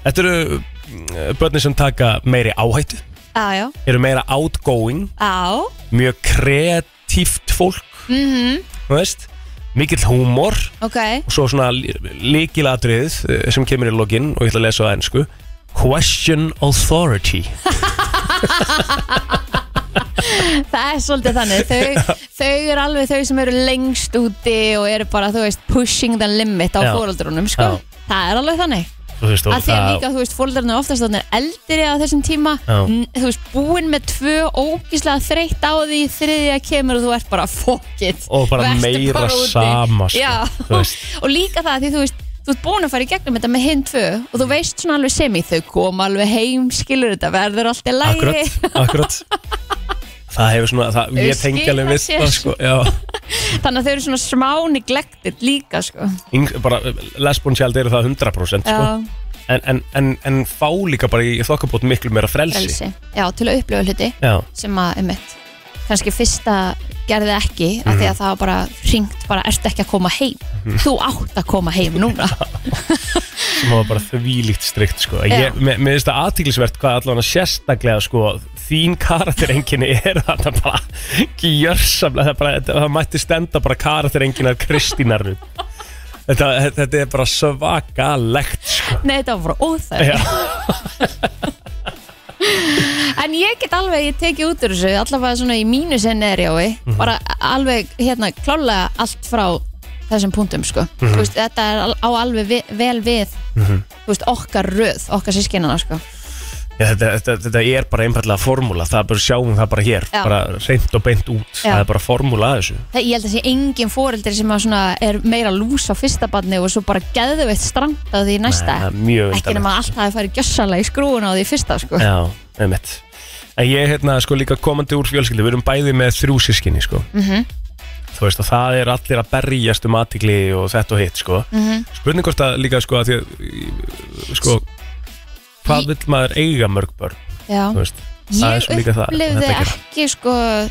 A: Þetta eru mm, börnin sem taka meiri áhættu
B: Já, já,
A: eru meira outgoing,
B: á, Mhm,
A: mjög kreatíft fólk mm -hmm. veist, mikill húmor
B: ok
A: og svo svona líkilatriðið sem kemur í login og ég ætla að lesa á ennsku Question authority
B: Það er svolítið þannig, þau, þau eru alveg þau sem eru lengst úti og eru bara, þú veist, pushing the limit á
A: Já.
B: fóreldrunum, sko
A: Já.
B: Það er alveg þannig
A: Þú veist, og
B: að því að
A: það-
B: líka, þú veist, fólkarnir oftast þannig eldri á þessum tíma
A: Já.
B: n- þú veist, búinn með tvö ógíslega þreytt á því þriðja kemur og þú ert bara fokkið
A: Og bara meira sama, sko, þú
B: sko,
A: veist.
B: og líka það að því þú veist þú ert búinn að fara í gegnum þetta með hinn tvö og þú veist svona alveg sem í þau koma alveg heim skilur þetta, verður allt í læri
A: Akkurat, akkurat það hefur svona, það,
B: Þau
A: ég tengi alveg
B: skila
A: við
B: sér.
A: það sko, já,
B: Þannig að þau eru svona smáni glektir líka sko.
A: Yng, bara eh, lesbún sjálf eru það 100% sko.
B: Já,
A: en, en, en, en fá líka bara í þokkabót miklu meira frelsi,
B: frelsi Já, til að upplifa hluti
A: Já,
B: sem að, einmitt, kannski fyrsta gerði ekki, af
A: Mhm.
B: því að það var bara ringt bara, ertu ekki að koma heim þú átt að koma heim núna
A: sem hafa bara þvílíkt strikt sko.
B: Já.
A: ég, mér, mér finnst það aðtílisvert hvað allavega sérstaklega sko, þín karakterenginni er þetta bara gjörsamlega það, bara, það mætti stenda bara karakterenginar Kristínar þetta, þetta er bara svakalegt sko.
B: Nei, þetta var bara
A: Já.
B: óþæg En ég get alveg, ég teki út úr þessu allavega svona í mínu scenariói
A: Mhm.
B: bara alveg, hérna, klálega allt frá þessum punktum, sko
A: Mhm.
B: Þú veist, þetta er al- á alveg vi, vel við þú veist, okkar röð, okkar sískinana, sko
A: Já, þetta, þetta, þetta er bara einfallega formúla það er bara sjáum það bara hér
B: Já.
A: bara reynd og beint út,
B: Já.
A: það er bara formúla að þessu
B: Það, ég held að sé engin foreldri sem að svona er meira lús á fyrsta barni og svo bara geðveitt strangt á því næsta
A: Það er mjög
B: ekki nema að allt hafi farið gjössalega í skrúuna á því fyrsta sko.
A: Já, einmitt En ég er hérna sko líka komandi úr fjölskyldu Við erum bæði með þrjú sískinni sko
B: Mhm,
A: Þú veist og það er allir að berjast um aðtikli og þetta og hitt sko
B: mhm.
A: Spurning hvort að líka sko að því að Sko Hvað vill maður eiga mörg börn
B: Já.
A: Þú veist það er
B: ég
A: svo líka það,
B: upplifði
A: þetta gera.
B: ekki sko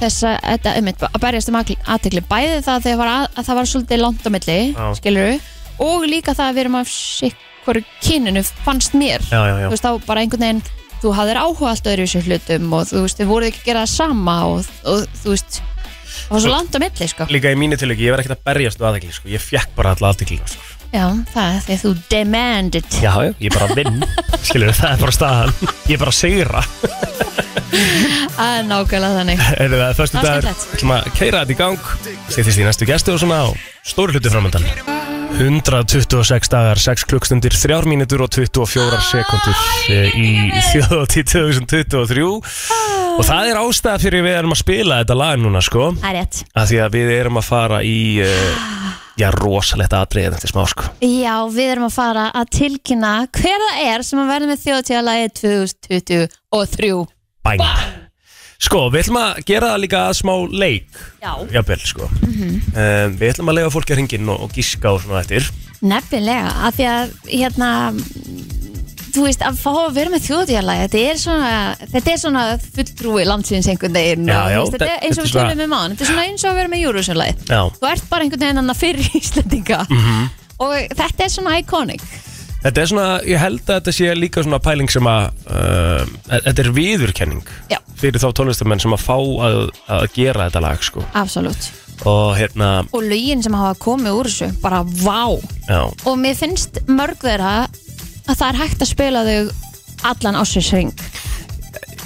B: þessa, þetta einmitt, að berjast um aðtekli bæði það þegar var að, að það var svolítið langt á milli,
A: Já.
B: skilur og líka það að við erum af sikkur kyninu fannst mér
A: Já, já, já
B: þú veist þá bara einhvern veginn þú hafðir áhuga allt öðru í þessu hlutum og þú veist, þið voruð ekki að gera það sama og, og þú veist, það var svo langt á milli sko.
A: Líka í mínu tilöki, ég var ekkert að berjast um aðtikli sko Ég fekk bara alla aðtikli sko.
B: já, það er því að þú demanded
A: Já, já, ég bara vinn Skilur það er bara staðan Ég er bara að sigra
B: að nákvæmlega þannig
A: Erum það förstu
B: Það er
A: dagur
B: skemmtilegt.
A: ætlum að keira þetta í gang Stýttist í næstu gestu og svona á stóri hluti framöndan 126 dagar, 6 klukkstundir, 3 mínútur og 24 sekundur í þjóðatíð 2023 og það er ástæða fyrir við erum að spila þetta lag núna sko
B: það er rétt
A: af því að við erum að fara í uh, já, rosalegt atriðið eftir smá sko
B: Já, við erum að fara að tilkynna hver það er sem að verða með þjóðtíðalagi 2023.
A: Bang! Sko, við ætlum að gera það líka að smá leik
B: Já.
A: Jafnvel, sko
B: Mhm.
A: um, Við ætlum að lega fólki að hringin og, og gíska og svona eftir
B: Nefnilega, af því að, hérna, þú veist, að fá að vera með þjóðtíðalagi, þetta er svona, þetta er svona fulltrúi landsins einhvern veginn.
A: Já,
B: og,
A: já,
B: þú Þetta
A: þetta-
B: er eins og
A: þetta
B: við
A: er svona-
B: tölum um án, þetta er svona eins og að vera með Eurovision-lagi.
A: Já Mm.
B: Þú ert bara einhvern veginn annað fyrir Íslandinga. -hmm. Og þetta er svona iconic.
A: Þetta er svona, ég held að þetta sé líka svona pæling sem að uh, Þetta er viðurkenning
B: Já.
A: Fyrir þá tónlistamenn sem að fá að, að gera þetta lag sko
B: Absolutt.
A: Og hérna,
B: Og lögin sem hafa komið úr þessu, bara vá.
A: já
B: og mér finnst mörg þeirra að það er hægt að spila þau allan ásinsring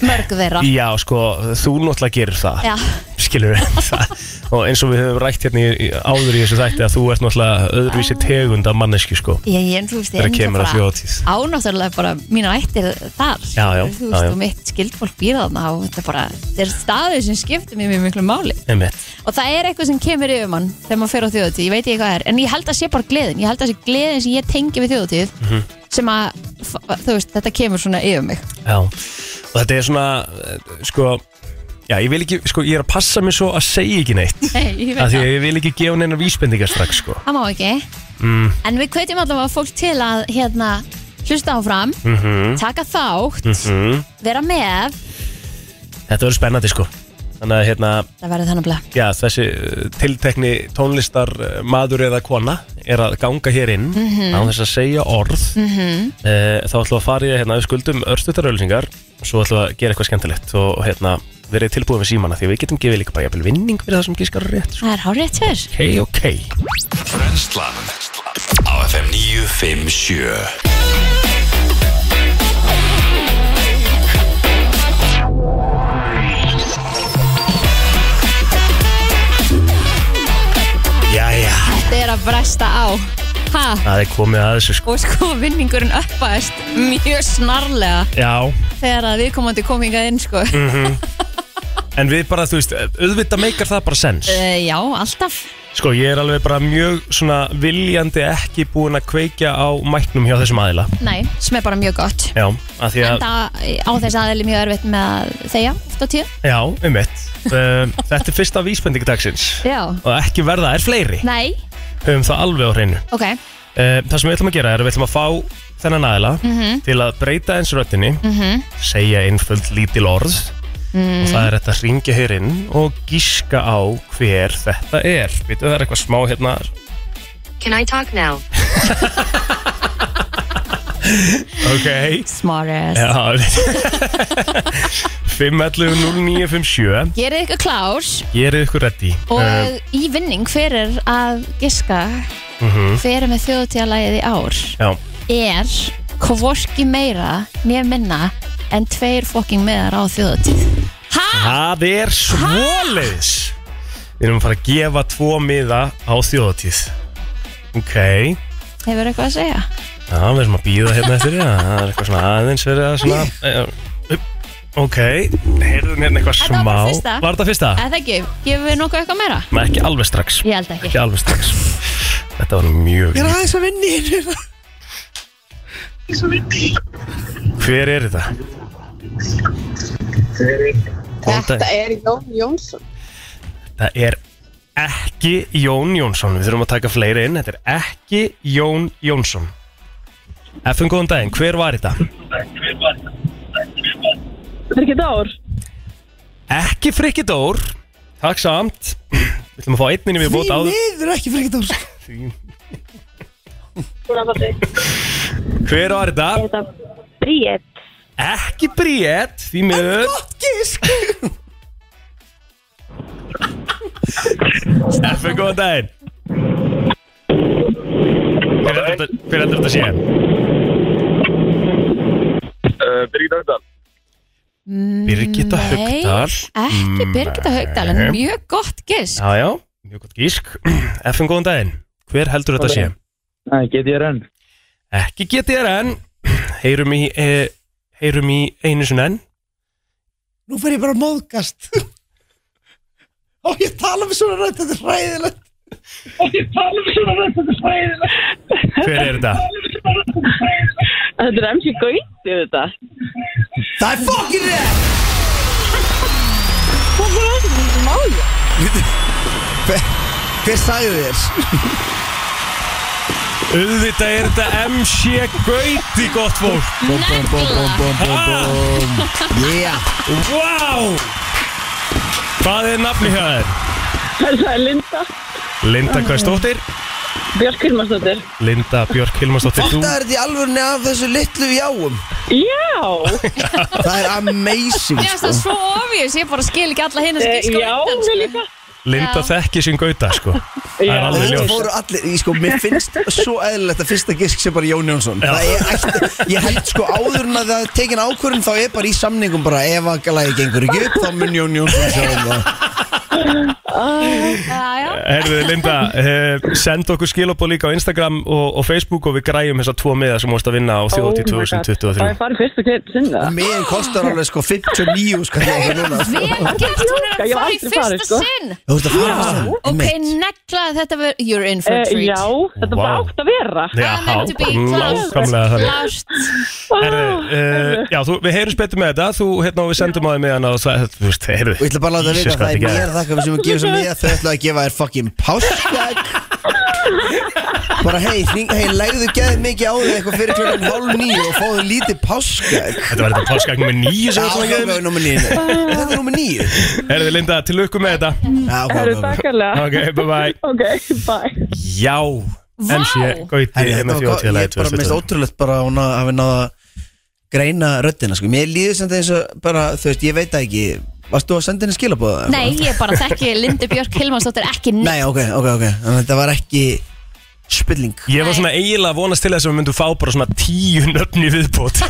B: mörg þeirra
A: Já, sko, þú náttúrulega gerir það
B: Já.
A: Skilur við það Og eins og við höfum rætt hérna í, í- áður í þessu þætti að þú ert náttúrulega öðruvísi tegund af manneski sko
B: ég, ég, þú veist, ég
A: Þegar
B: er
A: kemur að
B: náttúrulega
A: þjóðhátíð.
B: bara ánáttúrulega bara mína ættir þar
A: Já, já,
B: þú
A: já,
B: veist,
A: já.
B: og mitt skildfólk býr þarna og þetta er bara, þetta er staðið sem skiptir mér mjög miklu máli
A: Einmitt
B: og það er eitthvað sem kemur yfir mann þegar maður fer á þjóðutíð, ég veit ekki hvað það er en ég held að sé bara gleðin, ég held að sé gleðin sem ég tengi við þjóðutíð sem að, f- þú veist, þetta kemur svona yfir mig
A: Mhm. Já, og þetta er svona, eh, sko, já, ég vil ekki, sko, ég er að passa mig svo að segja ekki neitt
B: Nei, ég veit
A: Af því
B: það.
A: að ég vil ekki gefa neina vísbendingar strax, sko Mm,
B: Það má ekki En við kveitjum allavega fólk til að hérna, hlusta áfram
A: mhm.
B: taka þátt,
A: mm.
B: vera með
A: Þetta verður spennandi, sko Þannig að, hérna,
B: Það verður þannig að
A: já, þessi eh, tiltekni tónlistar eh, maður eða kona er að ganga hér inn
B: Mhm.
A: á þess að segja orð -hmm. Þá ætlum við að fara í, hérna, við skuldum örstutarauðlýsingar Svo ætlum við að gera eitthvað skemmtilegt og, hérna, verið tilbúið með símana Því að við getum gefið líka bara jafnvel vinning fyrir það sem gískar rétt, sko
B: Það er hárið tver
A: Ok, ok
D: Brennslan Á FM 957
A: Jæja,
B: Þetta er að bresta á ha,
A: það er komið að þessu sko
B: Og sko vinningurinn uppaðist mjög snarlega
A: Já,
B: þegar að viðkomandi kom hingað inn sko.
A: Mm. Mhm. en við bara, þú veist, auðvitað eh, meikar það bara sens
B: uh, Eh, Já, alltaf
A: Sko, ég er alveg bara mjög svona viljandi ekki búin að kveikja á mæknum hjá þessum aðila.
B: Nei, sem er bara mjög gott
A: Já, að því að,
B: Enda á þess aðeins mjög erfitt með að þegja oft á tíu
A: já, um mitt. þetta er fyrsta vísbending dagsins
B: Já,
A: og ekki verða er fleiri.
B: nei,
A: Höfum það alveg á hreinu.
B: ok
A: Uh, það sem við ætlum að gera er að við ætlum að fá þennan aðila til að breyta eins röttinni,
B: Mm. Mhm.
A: segja einföld lítil orð og það er þetta að ringja hér inn og gíska á hver þetta er. Vitið það er eitthvað smá hérna,
B: Mm.
H: Can I talk now?
A: ok,
B: Smartest
A: Já, það er 511 0957
B: Gerið ykkur klár
A: Gerið ykkur ready
B: og
A: Eh,
B: í vinning hver er að giska
G: Mm.
B: hver er með þjóðtíðalægið í ár
A: mhm. Já,
B: er hvorki meira nýja minna en tveir fokking meðar á þjóðtíð Hæ?
A: það er svóliðs Við erum að fara að gefa tvo miða á þjóðatíð Ok, já,
B: Hefur eitthvað að segja?
A: við erum að býða hérna eftir því, Það er eitthvað svona aðeins verið að svona eh, upp. Ok, heyrðum hérna eitthvað
B: Þetta var
A: smá
B: bara fyrsta.
A: Var þetta fyrsta?
B: Eða ekki, gefum við nokkuð eitthvað meira?
A: Nei, ekki alveg strax
B: Ég held ekki
A: Ekki alveg strax Þetta var nú mjög Ég er aðeins að vinni Hver er þetta?
G: Þetta er Jón Jónsson
A: Það er ekki Jón Jónsson Við þurfum að taka fleiri inn Þetta er ekki Jón Jónsson FN góðan daginn, hver var þetta?
G: Birgir Dór
A: Ekki Frikki Dór Takk samt Við ætlum að fá einninni við bóta á
I: miður ekki sko. fyrir ekkert úr
A: Hver var þetta?
H: Bríett.
A: Ekki Bríett Því miður
I: Gott gísk
A: FN góðan daginn Hver heldur þetta- hver heldur þetta sé?
C: Birgit Öndal
A: Birgitta
B: Mm, Nei,
A: Haugdal
B: Ekki
G: Mm.
B: Birgitta Haugdal, en
A: Nei.
B: mjög gott gisk
A: Já, já, mjög gott gísk FN góðan daginn, hver heldur þetta sé?
F: Nei, get ég renn.
A: Ekki GTRN Heyrum í, eh, heyrum í einu sinni enn
I: Nú fer ég bara að móðgast Ó, ég tala með svona rætt, þetta er ræðilegt Ó, ég tala með svona rætt, þetta er ræðilegt
A: Hver er þetta?
G: Þetta er MC Gauti þetta
I: Það er fokkin rétt Hver, hver sagði þér?
A: Auðvitað er þetta MC Gauti, gott fólk
I: Yeah
A: Vá! Hvað er nafni hjá þér?
G: Það er Linda
A: Linda Kvæstóttir
G: Björk Hilmarsdóttir
A: Linda Björk Hilmarsdóttir Þú
I: Þetta er þetta í alvörni af þessu litlu jáum
G: Já
I: Það er amazing sko.
B: Ég veist það svo obvious, ég bara skil ekki alla hinn að
G: Eh,
B: skil
G: Já, við
B: sko.
G: líka
A: Linda
B: Já.
A: þekki sinn Gauta, sko Það er
G: Já.
A: alveg
I: Þetta
A: ljós
I: voru allir, ég sko, mér finnst svo eðlilegt að fyrsta gisk sé bara Jón Jónsson
A: Já.
I: Það er ætti, ég held sko áður en að það er tekin ákvörðin þá er bara í samningum bara ef að galagi gengur ekki upp þá mun Jón Jónsson sjá um það
G: Ah,
B: Já, já,
A: Herðu, Linda, eh, send okkur skilabóð líka á Instagram og, og Facebook og við græjum þessa tvo miða sem vorst að vinna á þjóti
G: Oh my god. Það
A: 2023
G: er farið fyrst að geta sinna
I: Og Miðin kostar alveg sko 59 sko ég núna sko.
B: vel gert hún er að
G: Ég hef
B: fara í
G: aldrei farið,
B: fyrsta
G: sko.
B: sinn
I: Þú veist að fara með það
B: Ok,
I: einmitt.
B: neglaði þetta verið You're in for a
G: Eh,
B: treat
G: Já, þetta
A: Vá.
G: bara átt að vera
A: Já,
B: Það meant to be klárt.
A: nákvæmlega þannig
B: Klárt.
A: Herðu, uh, já, þú, við heyrjum betur með þetta Þú, hérna, og við sendum á þig meðan og það, þú veist, heyrðu
I: Og ég ætla bara að láta að vita að það er mér þakka fyrir sem við gefum sem miða þau ætla að gefa þér fucking páskag Bara hei, hring- hei, lægðu geðið mikið á þig eitthvað fyrir klokkan hálf nýju og fáðu lítið páskag
A: Þetta var þetta páskagn með nýju
I: Já,
A: sem við
I: það
A: ætlum
I: er
A: að
I: nummer nýju Þetta er nummer nýju
A: gefa Herðu, Linda, til lukku með þetta
I: Já, ok,
G: Það
I: ok,
G: er
I: ok.
G: takkarlega
A: Ok, bye bye
G: Ok, bye
A: Já, MC Gauti
I: Herri,
A: er
I: þetta
A: með
I: var gott. Ég
A: þjóðtíðalæði
I: er bara mest ótrúlegt bara að hún að hafi náða að greina röddina sko. Mér líður sem það eins og bara, þú veist, ég veit það ekki Varst þú að senda henni skilabóða?
B: Nei, ég bara þekki Lindu Björk Hilmarsdóttir ekki neitt
I: Nei, ok, ok, ok Þannig að þetta var ekki spilling
A: Ég var svona eiginlega að vonast til þess að við myndum fá bara svona tíu nöfn í viðbót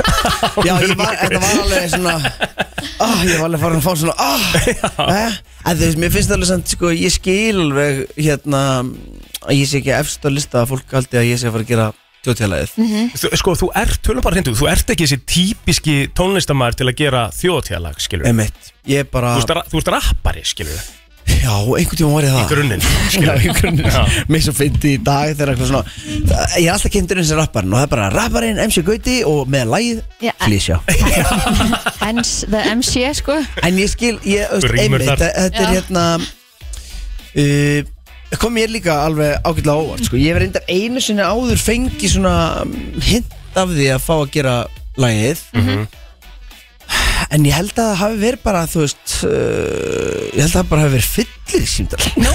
I: Já, ég var, þetta var alveg svona ah, Ég var alveg farin að fá svona ah, eh, En þú veist, mér finnst alveg samt sko, Ég skil alveg hérna að Ég sé ekki efst á lista að fólk haldi að ég sé að fara að gera tjóttjálæðið
B: Mhm.
A: Þú- Sko, þú ert, tölum bara hindu Þú ert ekki þessi típiski tónlistamæður til að gera þjóðtíðalag, skilur
I: Einmitt, ég bara
A: Þú ert, ra- þú ert rappari, skilur
I: Já, einhvern tíma var ég það
A: Í grunninn,
I: Já,
A: skilur.
I: í grunninn
A: Já.
I: Mér svo fyndi í dag þegar eitthvað svona Það- Ég er alltaf kynntur eins og rapparinn Og það er bara rapparinn, MC Gauti og með lagið
B: Já.
I: Flísjá
B: Hence the MC, sko
I: En ég skil, ég, þú veist,
A: Rímur
I: einmitt
A: þar.
I: þa- Þetta er
B: Já.
I: hérna uh, Kom ég líka alveg ágætlega á óvart sko. Ég var reyndar einu sinni áður fengi svona mm, Hint af því að fá að gera lagið
A: Mhm.
I: En ég held að það hafi verið bara, þú veist uh, Ég held að það bara hafi verið fyllir símdal
B: Nú,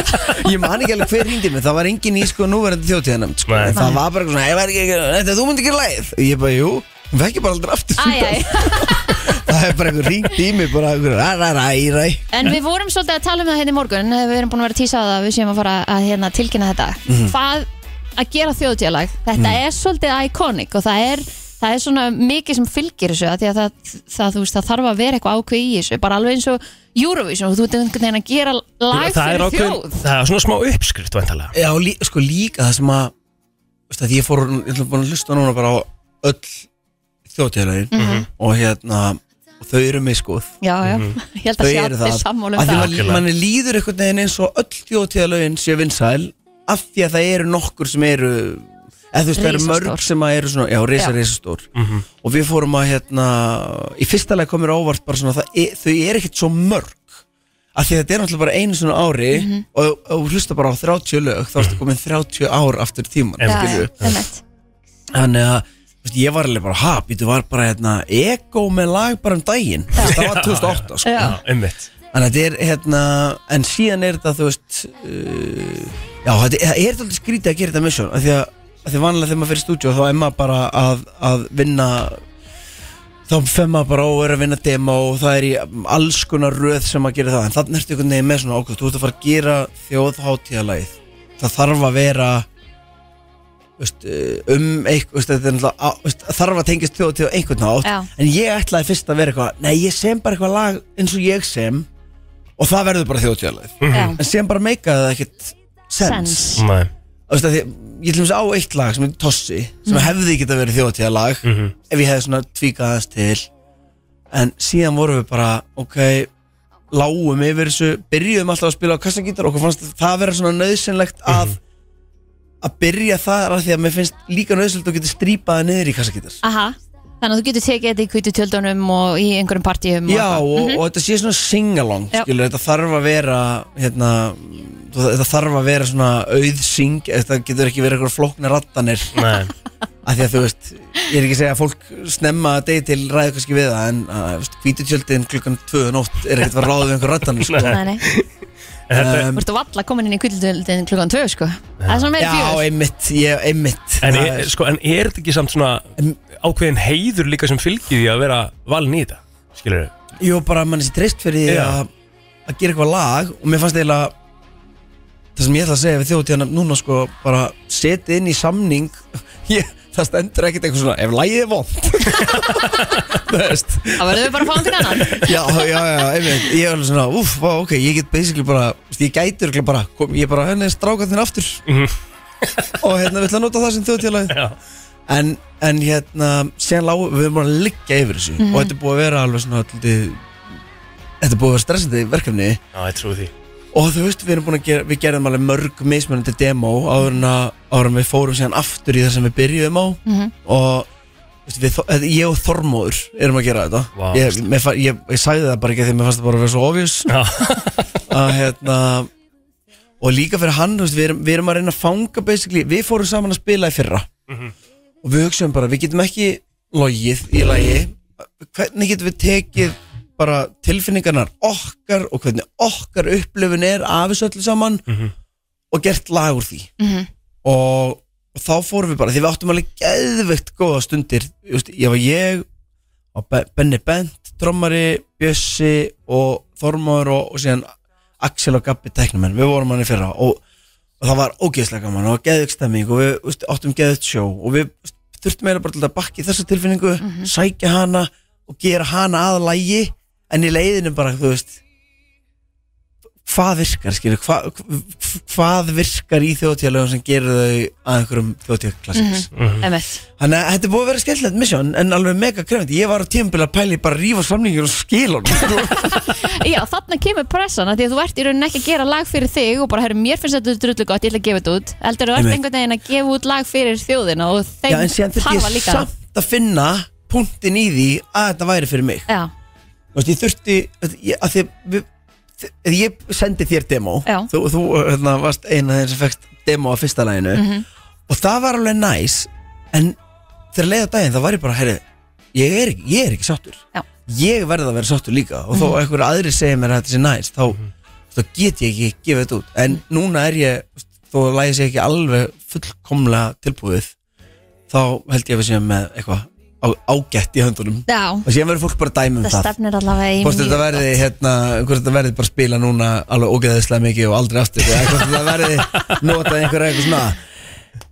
I: Ég man ekki alveg hver hindi mig, það var engin í sko núverandi þjóttíðanum sko.
A: Nei.
I: En Það var bara eitthvað svona, ég var ekki, þetta þú myndi ekki lagið Og Ég bara, jú, hún fekk ég bara aldrei aftur
B: æj, æj
I: símtal Það er bara einhver ringt í mig, bara einhver ræ, ræ, ræ, ræ
B: En við vorum svolítið að tala um það hérna í morgun Við erum búin að vera að tísa á það að Við séum að fara að hérna, tilkynna þetta
G: Mhm.
B: Hvað að gera þjóðtíðalag Þetta er svolítið iconic Og það er, það er svona mikið sem fylgir þessu af Því að það, það, þú veist, það þarf að vera eitthvað ákveð í þessu Bara alveg eins og Eurovision Þú ert einhvern veginn að gera lag
A: það, er
B: fyrir
A: ákveðin-
B: þjóð
A: það er svona smá uppskrift vantalega
I: Já, lí, sko líka það sem að Þú veist að ég fór, ég ætla búin að hlusta núna bara á öll þjóttíðalögin Og hérna, og þau eru mig sko
B: Mhm. Já, já, ég held
I: Þau
B: að sjá
I: eru
B: allir
I: það
B: sammála um
I: Af því
B: það
I: mann- manni líður einhvern veginn eins og öll þjóðtíðalögin séu vinsæl Af því að það eru nokkur sem eru eða þú veist, það eru
B: Risastór.
I: mörg sem að eru svona, já, risa,
B: Já.
I: risa stór og við fórum að, hérna, í fyrsta leið komir ávart bara svona, það, e, þau eru ekkert svo mörg af því að þetta er náttúrulega bara einu svona ári
B: Mhm.
I: og ef- ef þú hlusta bara á 30 lög þá ertu komin 30 ár aftur tíman
A: Já,
B: Já, já,
I: skilju.
B: einmitt.
I: þannig að þú veist, ég var alveg bara, ha, býtu var bara hérna, ego með lag bara um daginn Þú veist, það var 2008 sko.
B: Já.
A: Ummitt
I: Þannig að þetta er hérna En síðan er þetta þú veist uh, Já, þetta það er þetta skrítið að gera þetta mission af Því að, að því vanlega þegar maður fyrir stúdíu Þá er maður bara að, að vinna Þá fer maður bara og er að vinna demo Og það er í alls konar röð sem að gera það En þannig ertu einhvern veginn með svona ákvöld Þú ert að fara að gera þjóðháttíðalagið Það þarf að vera þú veist, uh, um eitthvað þú veist, þetta er náttúrulega á- þú veist, þarf að tengja þjóð til einhvern nátt
B: Já.
I: en ég ætlaði fyrst að vera eitthvað nei ég sem bara eitthvað lag eins og ég sem og það verður bara þjóðtjálæð
B: Já.
I: en sem bara meikaði það ekkert sens
B: Sens.
A: Nei
I: Þú veist, af því, ég til dæmis á eitt lag sem er Tossi sem hefði geta verið þjóðtjálag ef ég hefði svona tvíkað aðeins til en síðan vorum við bara ok, lágum yfir þessu byrjuðum alltaf að spila á kassagítar okkur fannst það vera svona nöðsynlegt að að byrja það af því að mér finnst líka nöðsynlegt að geta strýpaði niður í kassagítar
B: Aha. Þannig að þú getur tekið þetta í kvítu tjöldunum og í einhverjum partíum og
I: Já,
B: eitthvað.
I: og,
B: Mhm.
I: og þetta sé svona sing-along
B: um Já.
I: skilur, þetta þarf að vera hérna, þetta þarf að vera svona auðsing, þetta getur ekki verið eitthvað flókna rattanir,
A: Nei
I: af því að þú veist ég er ekki að segja að fólk snemma að degi til ræðu kannski við það, en að, hvítutjöldin klukkan 2 nótt er ekkert að ráða við einhver rattanir, sko
B: Nei, nei.
I: um,
B: Þú ert valla komin inn í kvildöldin klukkan tvö sko Það er svona meira
I: Já,
B: fjögur
I: einmitt, ég, einmitt
A: En,
I: Það
A: er,
I: er-
A: sko, en er þetta ekki samt svona ákveðin heiður líka sem fylgir því að vera valin í þetta? Skilur þau?
I: Jú, bara að mann er sér treyst fyrir því
A: Já.
I: að að gera eitthvað lag og mér fannst eiginlega það sem ég ætla að segja við þjóðtíðan núna sko bara setja inn í samning ég, það stendur ekkert eitthvað svona ef lagið er vond þú veist
B: Það verður við bara að fá einhvern annan
I: já, já, já, einmitt ég er alveg svona uff, vá, ok, ég get basically bara þú veist, ég gæti örugglega bara kom, ég bara "Hérna henni stráka þinn aftur og hérna við ætla að nota það sem þjóðtíðalagið
A: Já.
I: en, en hérna síðan lág, við erum bara að liggja yfir þessu og þetta er búið að vera alveg svona alltaf, þetta er búið að vera stressandi verkefni
A: Já, ég trúi því.
I: og þú veist, við erum búin að gera, við gerðum alveg mörg mismunandi demo áður en að áður en við fórum síðan aftur í það sem við byrjuðum á og þú veist, við, þó- ég og Þormóður erum að gera þetta
A: Vá.
I: ég, mér fa- ég, ég sagði það bara ekki af því að mér fannst það bara að vera svo obvious
A: Já.
I: að hérna og líka fyrir hann, þú veist, við erum, við erum að reyna að fanga basically, við fórum saman að spila í fyrra
A: Mhm.
I: og við hugsaum bara, við getum ekki logið í lagi hvernig getum við tekið bara tilfinningarnar okkar og hvernig okkar upplifun er af þessu öllu saman og gert lag úr því Mhm. og, og þá fórum við bara, því við áttum alveg geðveikt góða stundir, þú veist, ég var ég og Be- Benni Bent, trommari, Bjössi og Þormóður og, og síðan Axel og Gabbi teknumenn, við vorum hann í fyrra og, og það var ógeðslega gaman og geðug stemming og við veist, áttum geðugt sjó og við veist, þurftum eiginlega bara til að bakki þessa tilfinningu, sækja hana og gera hana að lægi en í leiðinu bara, þú veist hvað virkar, skilur, hva, hva- hvað virkar í þjóðtíðalögum sem gerir þau að einhverjum þjóðtíðaklassins
B: Mhm. Emmett
I: Þannig að þetta er búið að vera skemmtilegt misjón en alveg mega krefandi, ég var á tímpil að pæli bara að rífa samlingur og skila honum sko.
B: Já, þarna kemur pressan að því að þú ert í rauninni ekki að gera lag fyrir þig og bara, herru, mér finnst þetta drullu gott, ég ætla að gefa þetta út heldur þú ert
I: Einmitt.
B: einhvern veginn að gefa út lag fyrir þjóðina og þeim
I: Já, en síðan þurfti
B: tarfa
I: ég
B: líka það.
I: samt að finna punktin í því að þetta væri fyrir mig
B: Já,
I: Þú veist, ég þurfti að ég, að því, að við, að ég sendi þér demo
B: Já.
I: þú, þú hérna, varst eina þeir sem fekst demo á fyrsta læginu
B: Mhm.
I: og það var alveg næs en þegar leiða daginn þá var ég bara heyri, ég, er, ekki- ég er ekki sáttur
B: Já. Mhm.
I: ég verði að vera sáttur líka og þó mm einhver aðri segir mér að þetta sé næs þá, þá get ég ekki gefið þetta út en núna er ég, þú veist, þó að lægi sé ekki alveg fullkomlega tilbúið þá held ég að við séum með eitthvað á- ágætt í höndunum
B: já,
I: og síðan verður fólk bara að dæmi um
B: það
I: það
B: stefnir allavega í
I: Hvort þetta verði, hérna, hvort þetta verði bara spila núna alveg ógeðislega mikið og aldrei aftur eða hvort þetta verði notað einhverja eitthvað svona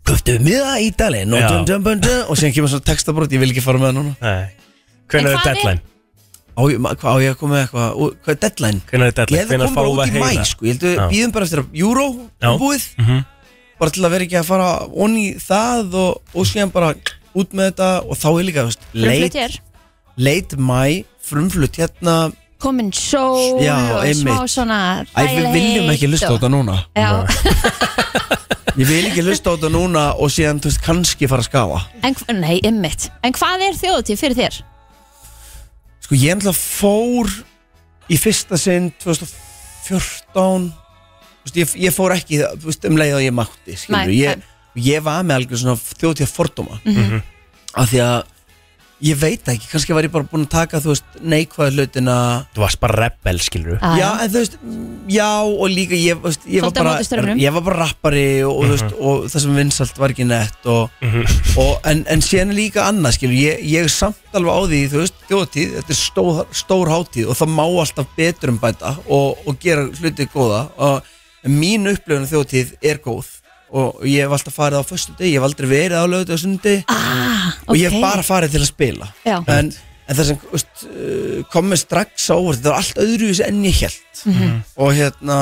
I: Köftu miða í dali, notum
A: Já.
I: dum bum dum og síðan kemur svona textabrót, ég vil ekki fara með það núna
A: Hvernig
B: En
A: er
B: hvað er-
A: deadline?
I: Á ég, ma- hvað á ég að koma með eitthvað, og- hvað er deadline?
A: Hvernig er deadline?
I: Ég hefði
A: Hvenær
I: komið bara
A: fáum við
I: út
A: að
I: í mæ,
A: heyra?
I: sko, ég held við
A: Já.
I: býðum bara eftir að Euro
A: Já.
I: er búið
A: Mhm.
I: bara til að vera ekki að fara onni í það og, og síðan bara út með þetta og þá er líka, þú veist, leit,
B: Leit
I: leit mæ, frumflutt hérna,
B: Komin sjó
I: Já,
B: og smá
I: einmitt.
B: svona
I: æ, við viljum ekki lusta á þetta núna
B: Já,
I: Ég vil ekki hlusta á þetta núna og síðan, þú veist, kannski fara að skafa
B: en, hv- nei, ymmit En hvað er þjóðutíð fyrir þér?
I: Sko, ég ennlega fór í fyrsta sinn 2014 Þú veist, ég, ég fór ekki, þú veist, um leið að ég mátti, skilur
B: Nei, Mhm.
I: ég, ég var með algjör svona þjóðtíða fordóma Af því að ég veit það ekki, kannski var ég bara búin að taka, þú veist, neikvæðu hlutina
A: Þú varst bara rebel, skilur
B: Ah,
I: Já, en þú veist, mm, já og líka ég, þú veist, ég, var
B: Svolítið á móti
I: bara,
B: straumnum.
I: ég var bara rappari og, mm veist, og það sem vinsalt var ekki nett og, og, en, en síðan er líka annað skilur, ég, ég er samt alveg á því þú veist, þjóðtíð, þetta er stór, stór hátíð og það má alltaf betur um bæta og, og gera hluti góða og mín upplifun af þjóðtíð er góð og ég hef alltaf farið á föstu ég hef aldrei verið á lögutu og sundi
B: Ah,
I: Ah, og ég hef
B: ok.
I: bara farið til að spila
B: Já.
I: en, en það sem þú veist, uh, kom mér strax á óvart það var allt öðruvísi enn ég held
B: Mhm.
I: og hérna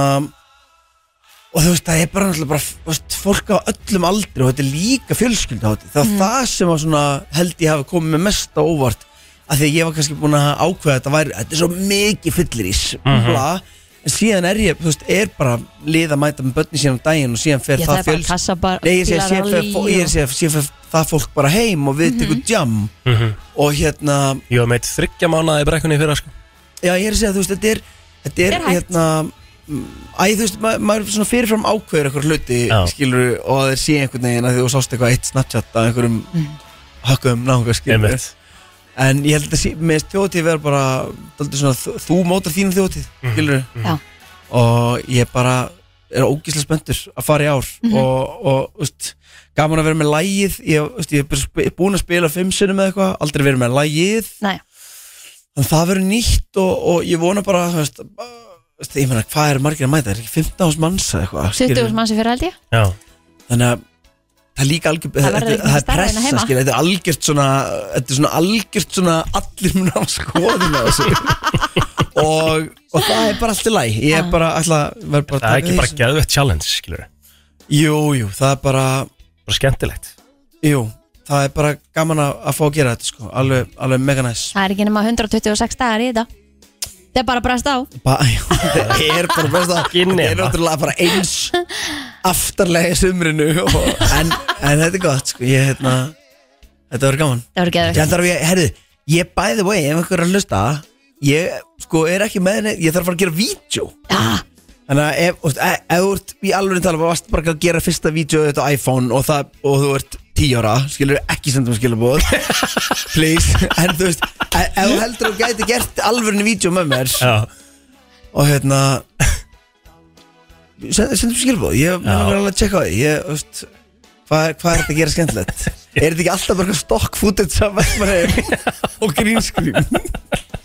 I: og þú veist það er bara náttúrulega bara þú veist, fólk á öllum aldri og þetta er líka fjölskyldahátti það var
B: Mhm.
I: það sem var svona held ég hafi komið mér mest á óvart af því að ég var kannski búin að ákveða að þetta væri þetta er svo mikið fyllirís bla, en síðan er ég, þú veist, er bara lið að mæta með börni síðan á daginn og síðan fer það
B: Ég það er bara að
I: fjöls-
B: kassa bara
I: Nei, ég sé að sé
B: bílar
I: fyrir
B: á Mhm.
I: fó-
B: lí
I: ég sé að sé fyrir það fólk bara heim og við tekum jam
A: Mhm.
I: og hérna,
A: Ég var meitt þryggja mánuði í brekkunni fyrir sko.
I: já ég er að segja þú veist, þetta er, þetta er,
B: Er hægt.
I: hérna mm, Æ, þú veist, ma maður er svona fyrirfram ákveður eitthvað hluti,
A: Já.
I: skilur og það er síðan einhvern veginn að því þú sást eitthvað eitt Snapchat að einhverjum mm. hökkum náunga, skilur
A: Einmitt.
I: en ég held að sí, með þjóðtíð vera bara daldið svona, þú, þú mótar þínu þjóðtíð
A: Mhm.
I: skilur
B: Já.
I: og ég bara er ógíslega spenntur að fara í ár
B: Mhm.
I: og, og úst, gaman að vera með lægið ég, úst, ég er bara sp- búin að spila fimm sinnum eða eitthvað, aldrei verið með lægið
B: Nei,
I: þannig að það verður nýtt og, og ég vona bara þú veist, bara, þú veist, ég meina hvað er margir að mæta, er ekki 15.000 manns eða eitthvað,
B: 20.000
I: skilurðu?
B: manns í fyrir held ég
A: Já,
I: þannig að það er líka algjör
B: Það verður
I: þetta-
B: ekki
I: það er
B: stærra en
I: pressa
B: heima.
I: skil, þetta er algjört svona þetta er svona algjört svona allir mun á skoðin á þessu og, og það er bara allt í læg ég er bara alltaf verð bara að
A: það er
I: taka
A: ekki
I: því
A: bara
I: sem-
A: geðvett challenge, skilur
I: jú, jú, það er bara
A: Bara skemmtilegt
I: jú, það er bara gaman að, að fá að gera þetta sko, alveg, alveg mega næs
B: Það er ekki nema 126 dagar í þetta Það er bara að brast á
I: Ba- já, það er bara best að
A: Ekki
I: það er
A: nema.
I: náttúrulega bara eins aftarlega í sumrinu og, en, en þetta er gott sko, ég, hérna, þetta verður gaman
B: Það voru
I: Ég
B: geðvegt
I: þarf að, herru, ég bæði vegi ef einhver er að hlusta Ég, sko, er ekki með henni, ég þarf að fara að gera vídeo
B: ah,
I: Þannig að ef, þú veist, e- ef þú ert í alveg tala varst bara að gera fyrsta vídeo þetta á iPhone og, það, og þú ert 10 ára skilur ekki senda um skilabóð please, en þú veist e- ef þú heldur að þú gæti gert alveg vídeo með mér
A: Já,
I: og hérna send- sendum skilbóð ég mun
A: Já.
I: að vera alveg að tjekka á því ég, þú veist, hvað, hvað er þetta að gera skemmtilegt er þetta ekki alltaf bara eitthvað stokk fútið saman og grínskrim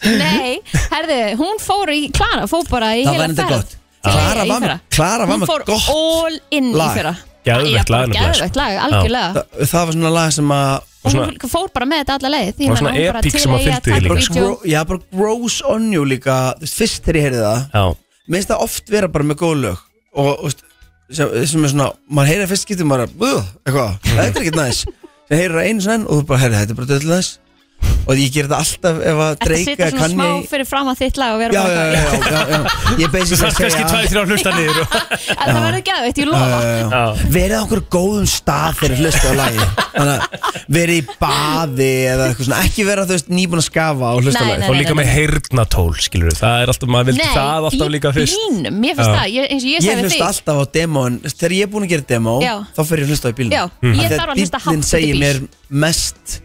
B: Nei, herði, hún fór í Klara fór bara í
I: það
B: heila
I: var enda
B: ferð.
I: gott
B: Nei,
I: Klara
B: í
I: var með
B: fyrra.
I: Klara var
B: Hún
I: með
B: fór
I: gott
B: all in
I: lag.
B: í fyrra
A: Geðvegt
B: Já, bara
A: lag nefnilega, sko.
B: Geðvegt lag, algjörlega
I: Þa- það var svona lag sem að
A: Og
B: Og
A: svona-
B: hún fór bara með þetta alla leið Því
A: Og
B: ég meina,
A: svona
B: hún bara
A: epic
B: til
A: sem að
B: eigi
A: fylgdi því
B: taka
A: líka, sko.
B: vídeo.
I: gro- já bara gross on you líka þú veist, fyrst þegar ég heyrði það
A: já
I: Mér finnst það oft vera bara með góð lög Og, og veist, sem, sem er svona Maður heyrir fyrst skiptum bara "Ugh", Eitthvað, þetta er ekkert næs Sem heyrir það einu svona og þú bara heyrði þetta er bara döll næs Og ég ger þetta alltaf ef að
B: Þetta
I: dreika
B: sitja svona smá fyrir fram að þitt lag og
I: já,
B: vera bara
I: já, já, já, já, já. Ég
A: Þú
I: basically
A: þarf kannski tvæði þrjá hlusta niður og...
B: En það verður geðveitt, ég lofa
I: Já, já, já.
A: Já.
I: Eh, verið á okkur góðum stað þegar hlusta á lagi Þannig að verið í baði eða eitthvað svona ekki vera þú veist nýbúin að skafa og hlusta á
B: Nei,
I: lagi
B: nei.
A: Og líka með heyrnatól, skilur við Það er alltaf, maður vildi það alltaf líka fyrst
B: bínum, mér finnst
A: Já.
B: það, ég, eins og ég
I: Ég
B: sagði við
I: hlusta
B: þig
I: alltaf á demón Þegar ég er búin að gera demó
B: Já.
I: Þá fer ég að hlusta á í bílnum
B: Já,
A: Mhm.
I: Af
B: ég
I: því
B: þarf að hlusta hátt
I: bíllinn
B: út í
I: segir
B: bíl.
I: mér mest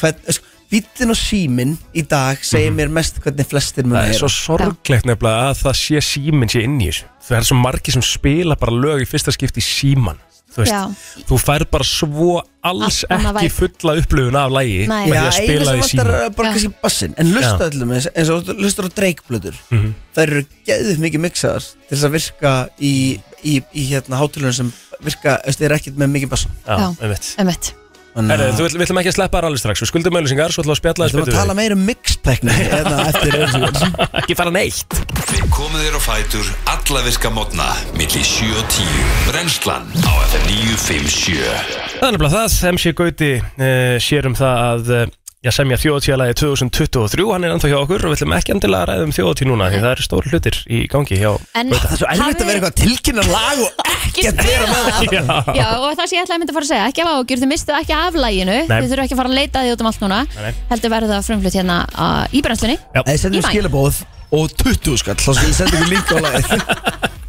I: hvern, sko, Bíllinn og síminn í dag segir mér mest hvernig flestir mun
A: Mhm. Það er
I: heyra.
A: svo sorglegt nefnilega að það sé síminn sé inn í þessu Það er svo margir sem spila bara lög í fyrsta skipti símann Þú veist,
B: Já.
A: þú fær bara svo alls
B: Allt annað
A: ekki
B: væp.
A: fulla upplöfun af lægi með
B: Nei.
A: því
I: Já,
A: að
I: einu sem
A: spila því
I: vantar
A: símann
I: er bara
B: Já.
I: kannski bassinn En hlusta
A: Já.
I: öllum eins, eins og þú hlustar á dreikblöður mm
A: Mhm.
I: -hmm. Það eru geðið mikið mixaðar Til þess að virka í, í, í hérna hátulunum sem virka Það er ekkert með mikið bassin
A: Já,
B: Já.
A: einmitt
B: Emmett,
A: Herru, þú vill- við ætlum ekki að sleppa þar alveg strax Við skuldum öllusingar, svo ætlum við að spjalla
I: ætlum að
A: betur
I: tala
A: við.
I: meira um mixtækni hérna eftir auðvitað
A: Ekki fara neitt
D: Við komum þér á fætur alla virka mótna milli 7 og 10 Brennslan á FM 957
A: Það er nefnilega það, MC Gauti uh, sér um það að uh, já, semja þjóðtíðalagi 2023, hann er ennþá hjá okkur og við ætlum ekki endilega að ræða um þjóðtíð núna því það eru stór hlutir í gangi hjá
B: en
I: Það er svo erfitt að vera eitthvað að tilkynna lag og ekkert vera með það
A: Já,
B: Já, og það sem ég ætlaði að mynda að fara að segja, ekki af ágjur, þið mistuð ekki af læginu,
A: Nei.
B: þið þurfum ekki að fara að leita því út um allt núna,
A: nei.
B: heldur verður það frumflutt hérna uh, í brennslunni.
A: Já.
I: Eða sendum
B: Í maí.
I: skilabóð og 20 skall Þá skal ég senda ykkur líka á lagið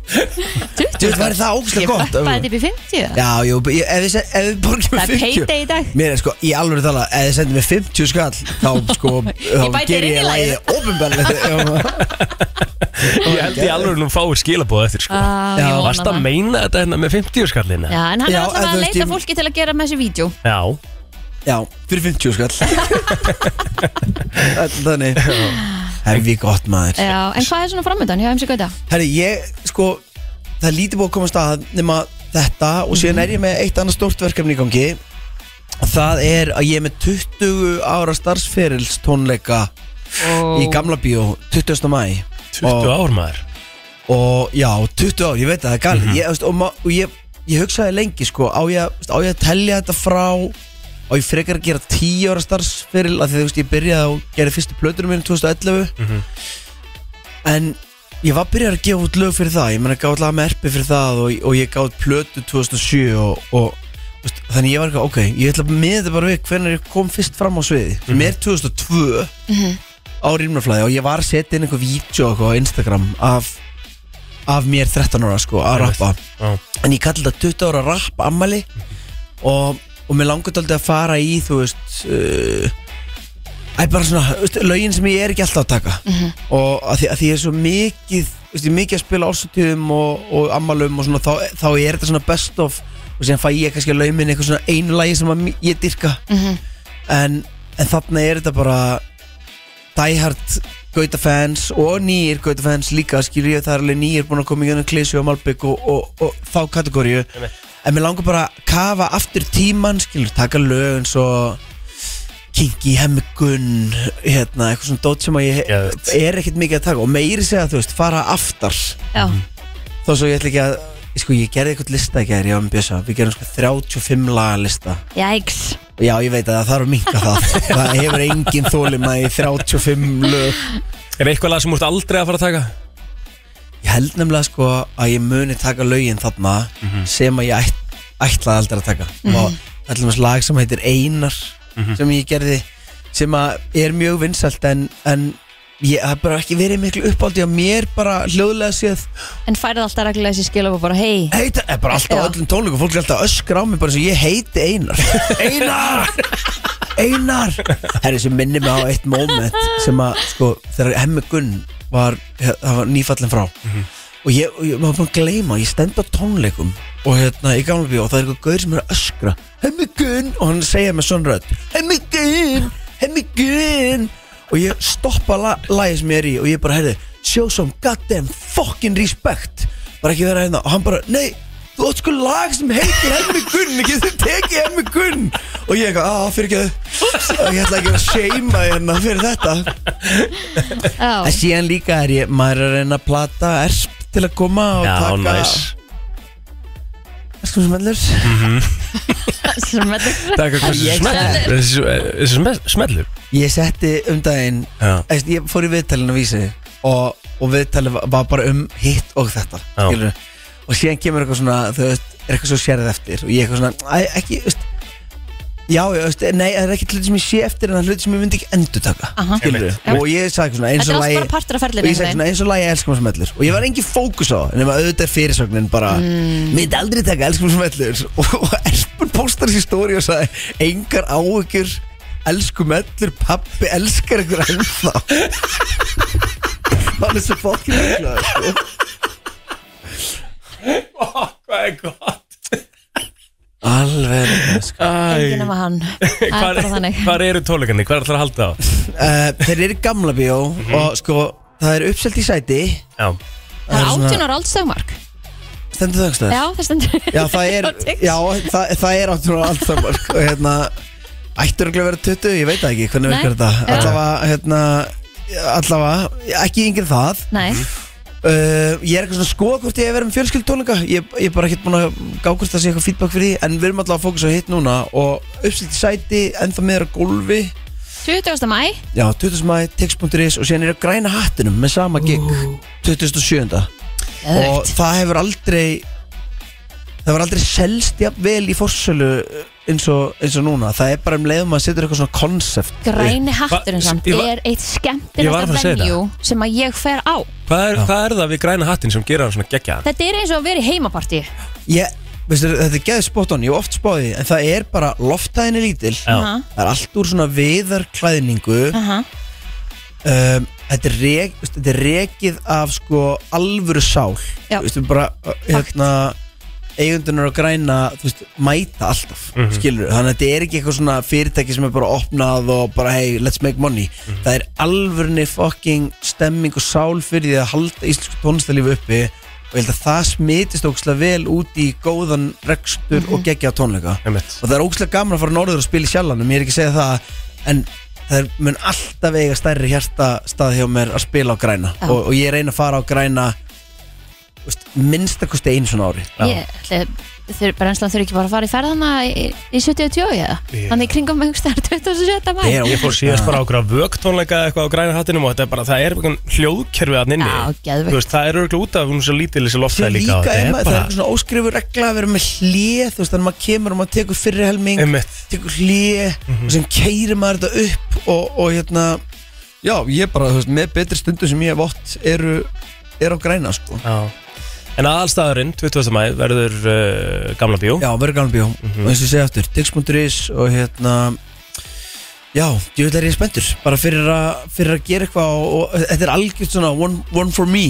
I: Þú veit, væri það
B: Ég
I: ógæslega gott ef-
B: bappaði þetta upp í 50 það.
I: Já, jú, ég- ef við se- ef við borgum
B: Það er
I: 50
B: payday í dag.
I: Mér er sko, í alveg tala, ef þið sendir mér 50 skall Þá sko, þá
B: bæti
I: ger
B: inn í
I: ég
B: lagið.
I: lagið Ópenbarlegt
A: Ég held í alveg hún fáir skilabóð eftir sko.
B: Ah, ég vona
A: Varst að
B: það.
A: meina þetta hérna með 50 skallina?
B: Já, en hann
I: Já,
B: er alltaf
I: en þú
B: að
I: veist,
B: leita
I: ég-
B: fólki til að gera með þessi vídeo.
A: Já.
I: Já, fyrir 50 skall Þetta er Þannig Hefði gott maður
B: Já, en hvað er svona framöndan hjá MC Gauta?
I: Herri, ég, sko, það er lítið búið að koma af stað nema þetta og
A: Mhm.
I: síðan er ég með eitt annað stórt verkefni í gangi Það er að ég er með 20 ára starfsferils tónleika í Gamla Bíó 20. mæ
A: 20 ár maður Mhm.
I: og já, 20 ár, ég veit að það er galið ég, veist, og, ma- og ég, ég hugsaði lengi sko, á, ég, veist, á ég að telja þetta frá og ég frekar að gera 10 ára starfsferil af því að þú veist, ég byrjaði og gerði fyrstu plötunum minn 2011 en ég var byrjað að gefa út lög fyrir það ég meina gáði laga með erpi fyrir það og, og ég gáði plötu 2007 og, og þú veist, þannig ég var eitthvað, ok, ég ætla að miða þetta bara við hvernig ég kom fyrst fram á sviði mér 2002 á rýmnaflæði og ég var að setja inn einhver vídeo eitthvað á Instagram af af mér 13 ára sko að rappa
A: Já.
I: en ég kalli þetta 20 ára rapp ammali og, og mér langur aldrei að fara í þú veist uh, æ, bara svona þú veist, lögin sem ég er ekki alltaf að taka og að því, að því ég er svo mikið þú veist, ég er mikið að spila ásatíðum og, og ammalum og svona þá, þá er þetta svona best of og síðan fæ ég kannski að laumin eitthvað svona einu lagi sem að, m- ég dyrka
F: Mhm. Mm-hmm.
I: en, en þarna er þetta bara diehard gautafans og nýjir gautafans líka skilur ég það er alveg nýjir búin að koma í gönum Klísu og Malbygg og, og, og þá kategóriu en mér langar bara að kafa aftur tíman skilur, taka lög eins og Kingi Hemmigun hérna, eitthvað svona dót sem að ég
A: Geðveikt.
I: er ekkert mikið að taka og meiri segja þú veist, fara aftar
B: Já,
A: Mhm.
I: þó svo ég ætla ekki að sko, ég gerði eitthvað lista í gerði, ég var með Bjösa við gerum sko 35 laga lista
B: jæks.
I: Já, ég veit að það þarf að minka það Það hefur engin þólima í 35 lög
A: Er eitthvað lag sem úrst aldrei að fara að taka?
I: Ég held nefnilega sko að ég muni taka lögin þarna sem að ég ætt, ætlaði aldrei að taka og það er til dæmis lag sem heitir Einar sem ég gerði sem að er mjög vinsælt en, en ég það er bara ekki verið miklu uppáldi á mér bara hljóðlega séð
B: En færið alltaf reglulega þessi skilabóð bara, hei,
I: heita, er bara alltaf á
B: Já.
I: öllum tónleikum fólk er alltaf að öskra á mig bara eins og ég heiti Einar Einar Einar Það er sem minni mig á eitt moment sem að sko þegar Hemmi Gunn var, það var nýfallin frá og ég, og ég maður bara gleyma ég stend á tónleikum og hérna í gamla bíó og það er eitthvað gaur sem er að öskra Hemmi Gunn og hann segja með svona rödd Hemmi Gunn, Hemmi Gunn og ég stoppa la lagið sem ég er í og ég bara heyrði show some goddamn fucking respect bara ekki vera hérna og hann bara nei þú átt sko lag sem heitir Hemmi Gunn getur tekið Hemmi Gunn og ég eitthvað, að fyrir ekki ég ætla ekki að seima hérna fyrir þetta en
B: já,
I: síðan líka er ég, maður er að reyna að plata ersp til að koma og
A: Já,
I: taka
A: næs
I: erskum smellur
A: Mhm.
B: sem þetta
A: Takk að
I: Ég-
A: þessu smellur Þessu smell- smellur
I: ég setti um daginn
A: Já.
I: Æst, ég fór í viðtalinu að vísi og, og viðtalið var- var bara um hitt og þetta
A: Já.
I: skilurðu. og síðan kemur eitthvað svona þú veist, er eitthvað svo sérð eftir og ég eitthvað svona, æ, ekki, veist Já, ég veist, nei, það er ekki hluti sem ég sé eftir en það er hluti sem ég myndi ekki endur taka
B: Aha.
I: og ég sagði eitthvað svona eins
B: Þetta er
I: og
B: allt
I: lagi
B: bara partur af ferlinu
I: og ég sagði
B: einhvern
I: svona eins og lagi elskum sem ellur og ég var engin fókus á það, nema auðvitað er fyrirsögnin bara mm. myndi aldrei taka elskum sem ellur og, og elspun postar þessi stóri og sagði engar áökjur elskum ellur, pappi elskar ykkur ennþá hann er svo fokkin ykkur sko.
A: Hvað er gott
I: alveg sko.
B: enginn nema hann það er bara þannig
A: Hvað eru tóleikandi? Hvað er alltaf að halda á?
I: uh, þeir eru í gamla bíó og sko það er uppselt í sæti
A: Mhm. Já,
B: það er
I: svona-
B: 18 ára aldstöðmark
I: stendur þau ekki stöð
B: já, það stendur
I: Já, það er,
B: á TikTok.
I: já, það, það er áttur á allt saman sko, hérna, Ættur örugglega að vera 20, ég veit það ekki hvernig
B: Nei,
I: virkar þetta
B: já.
I: Allavega, hérna, allavega, ekki yngri en það
B: nei,
I: uh, Ég er eitthvað svona að skoða hvort ég er verið með fjölskyldtónleika Ég ég er bara ekkert búin að gá hvort það sé eitthvað feedback fyrir því En við erum allavega að fókusa á hitt núna Og uppsýtt í sæti, ennþá meður á gólfi
B: 20. mæ
I: Já, 20. mæ, tix.is og síðan er ég að græna hattinum með sama gig 27 og
B: Geðveikt.
I: það hefur aldrei það var aldrei selst jafn vel í forsölu uh, eins og, eins og núna það er bara um leiðum að setja eitthvað svona konsept
B: græni hatturinn
A: Va-
B: samt
A: ég var-
B: er eitt
A: Ég var að fara að
B: skemmtilegsta
A: segja það.
B: venjú sem að ég fer á
A: hvað er, hvað er það við græna hattin sem gerir hann svona geggjaðan?
B: þetta er eins og að vera í heimapartí
I: ég, veistu, þetta er geðið spot on, ég hef oft spáði því en það er bara loftæðin er lítil
A: Já,
I: það er allt úr svona viðarklæðningu
B: Aha.
I: um, þetta, er rek, veist, þetta er rekið af sko alvöru sál
B: Já.
I: veistu, bara, uh, hérna, eigundunar og græna þú veist, mæta alltaf mm þannig að þetta er ekki eitthvað svona fyrirtæki sem er bara opnað og bara hey, let's make money það er alvörni fucking stemming og sál fyrir því að halda íslensku tónlistarlífi uppi og ég held að það smitist ókslega vel út í góðan rekstur og geggja tónleika
A: einmitt
I: og það er ógæslega gaman að fara norður og spila í sjallanum ég er ekki að segja það en það er, mun alltaf eiga stærri hjarta stað hjá mér að spila á græna
B: Já.
I: og, og ég reyna að fara á græna veist, minnstakosti einu svona ári
B: ég ætli þur, brennslan þurfi ekki bara að fara í ferðana í, í 70-20 eða
A: Ég-
B: þannig í kringum með hugstæðar 27. mæ
I: Ég er-
A: Ég fór síðast bara á okkur að vögtónleika eitthvað á græna hattinum og þetta er bara, það er einhvern hljóðkerfið að
B: Já,
A: nynni
B: geðveikt.
A: veist, Það er örgulega út af hún svo lítil þessi
I: Sér
A: loftæð
I: líka,
A: líka og
I: er
A: þetta
I: maður,
A: er
I: það er
A: bara
I: eitthvað svona óskrifur regla að vera með hlið þú veist, þannig að maður kemur og maður tekur fyrri helming
A: Einmitt,
I: tekur hlið og sem keirir maður þetta upp og, og hérna já, ég bara, þú veist, með betri stundu sem ég hef átt eru, eru á græna, sko
A: já En aðalstaðurinn, 20. mæ, verður uh, gamla bjó
I: Já, verður gaman bíó Og eins og ég segi aftur, tix.is og hérna Já, djúvill er ég spenntur Bara fyrir, a, fyrir að gera eitthvað og, og þetta er algjört svona one, one for me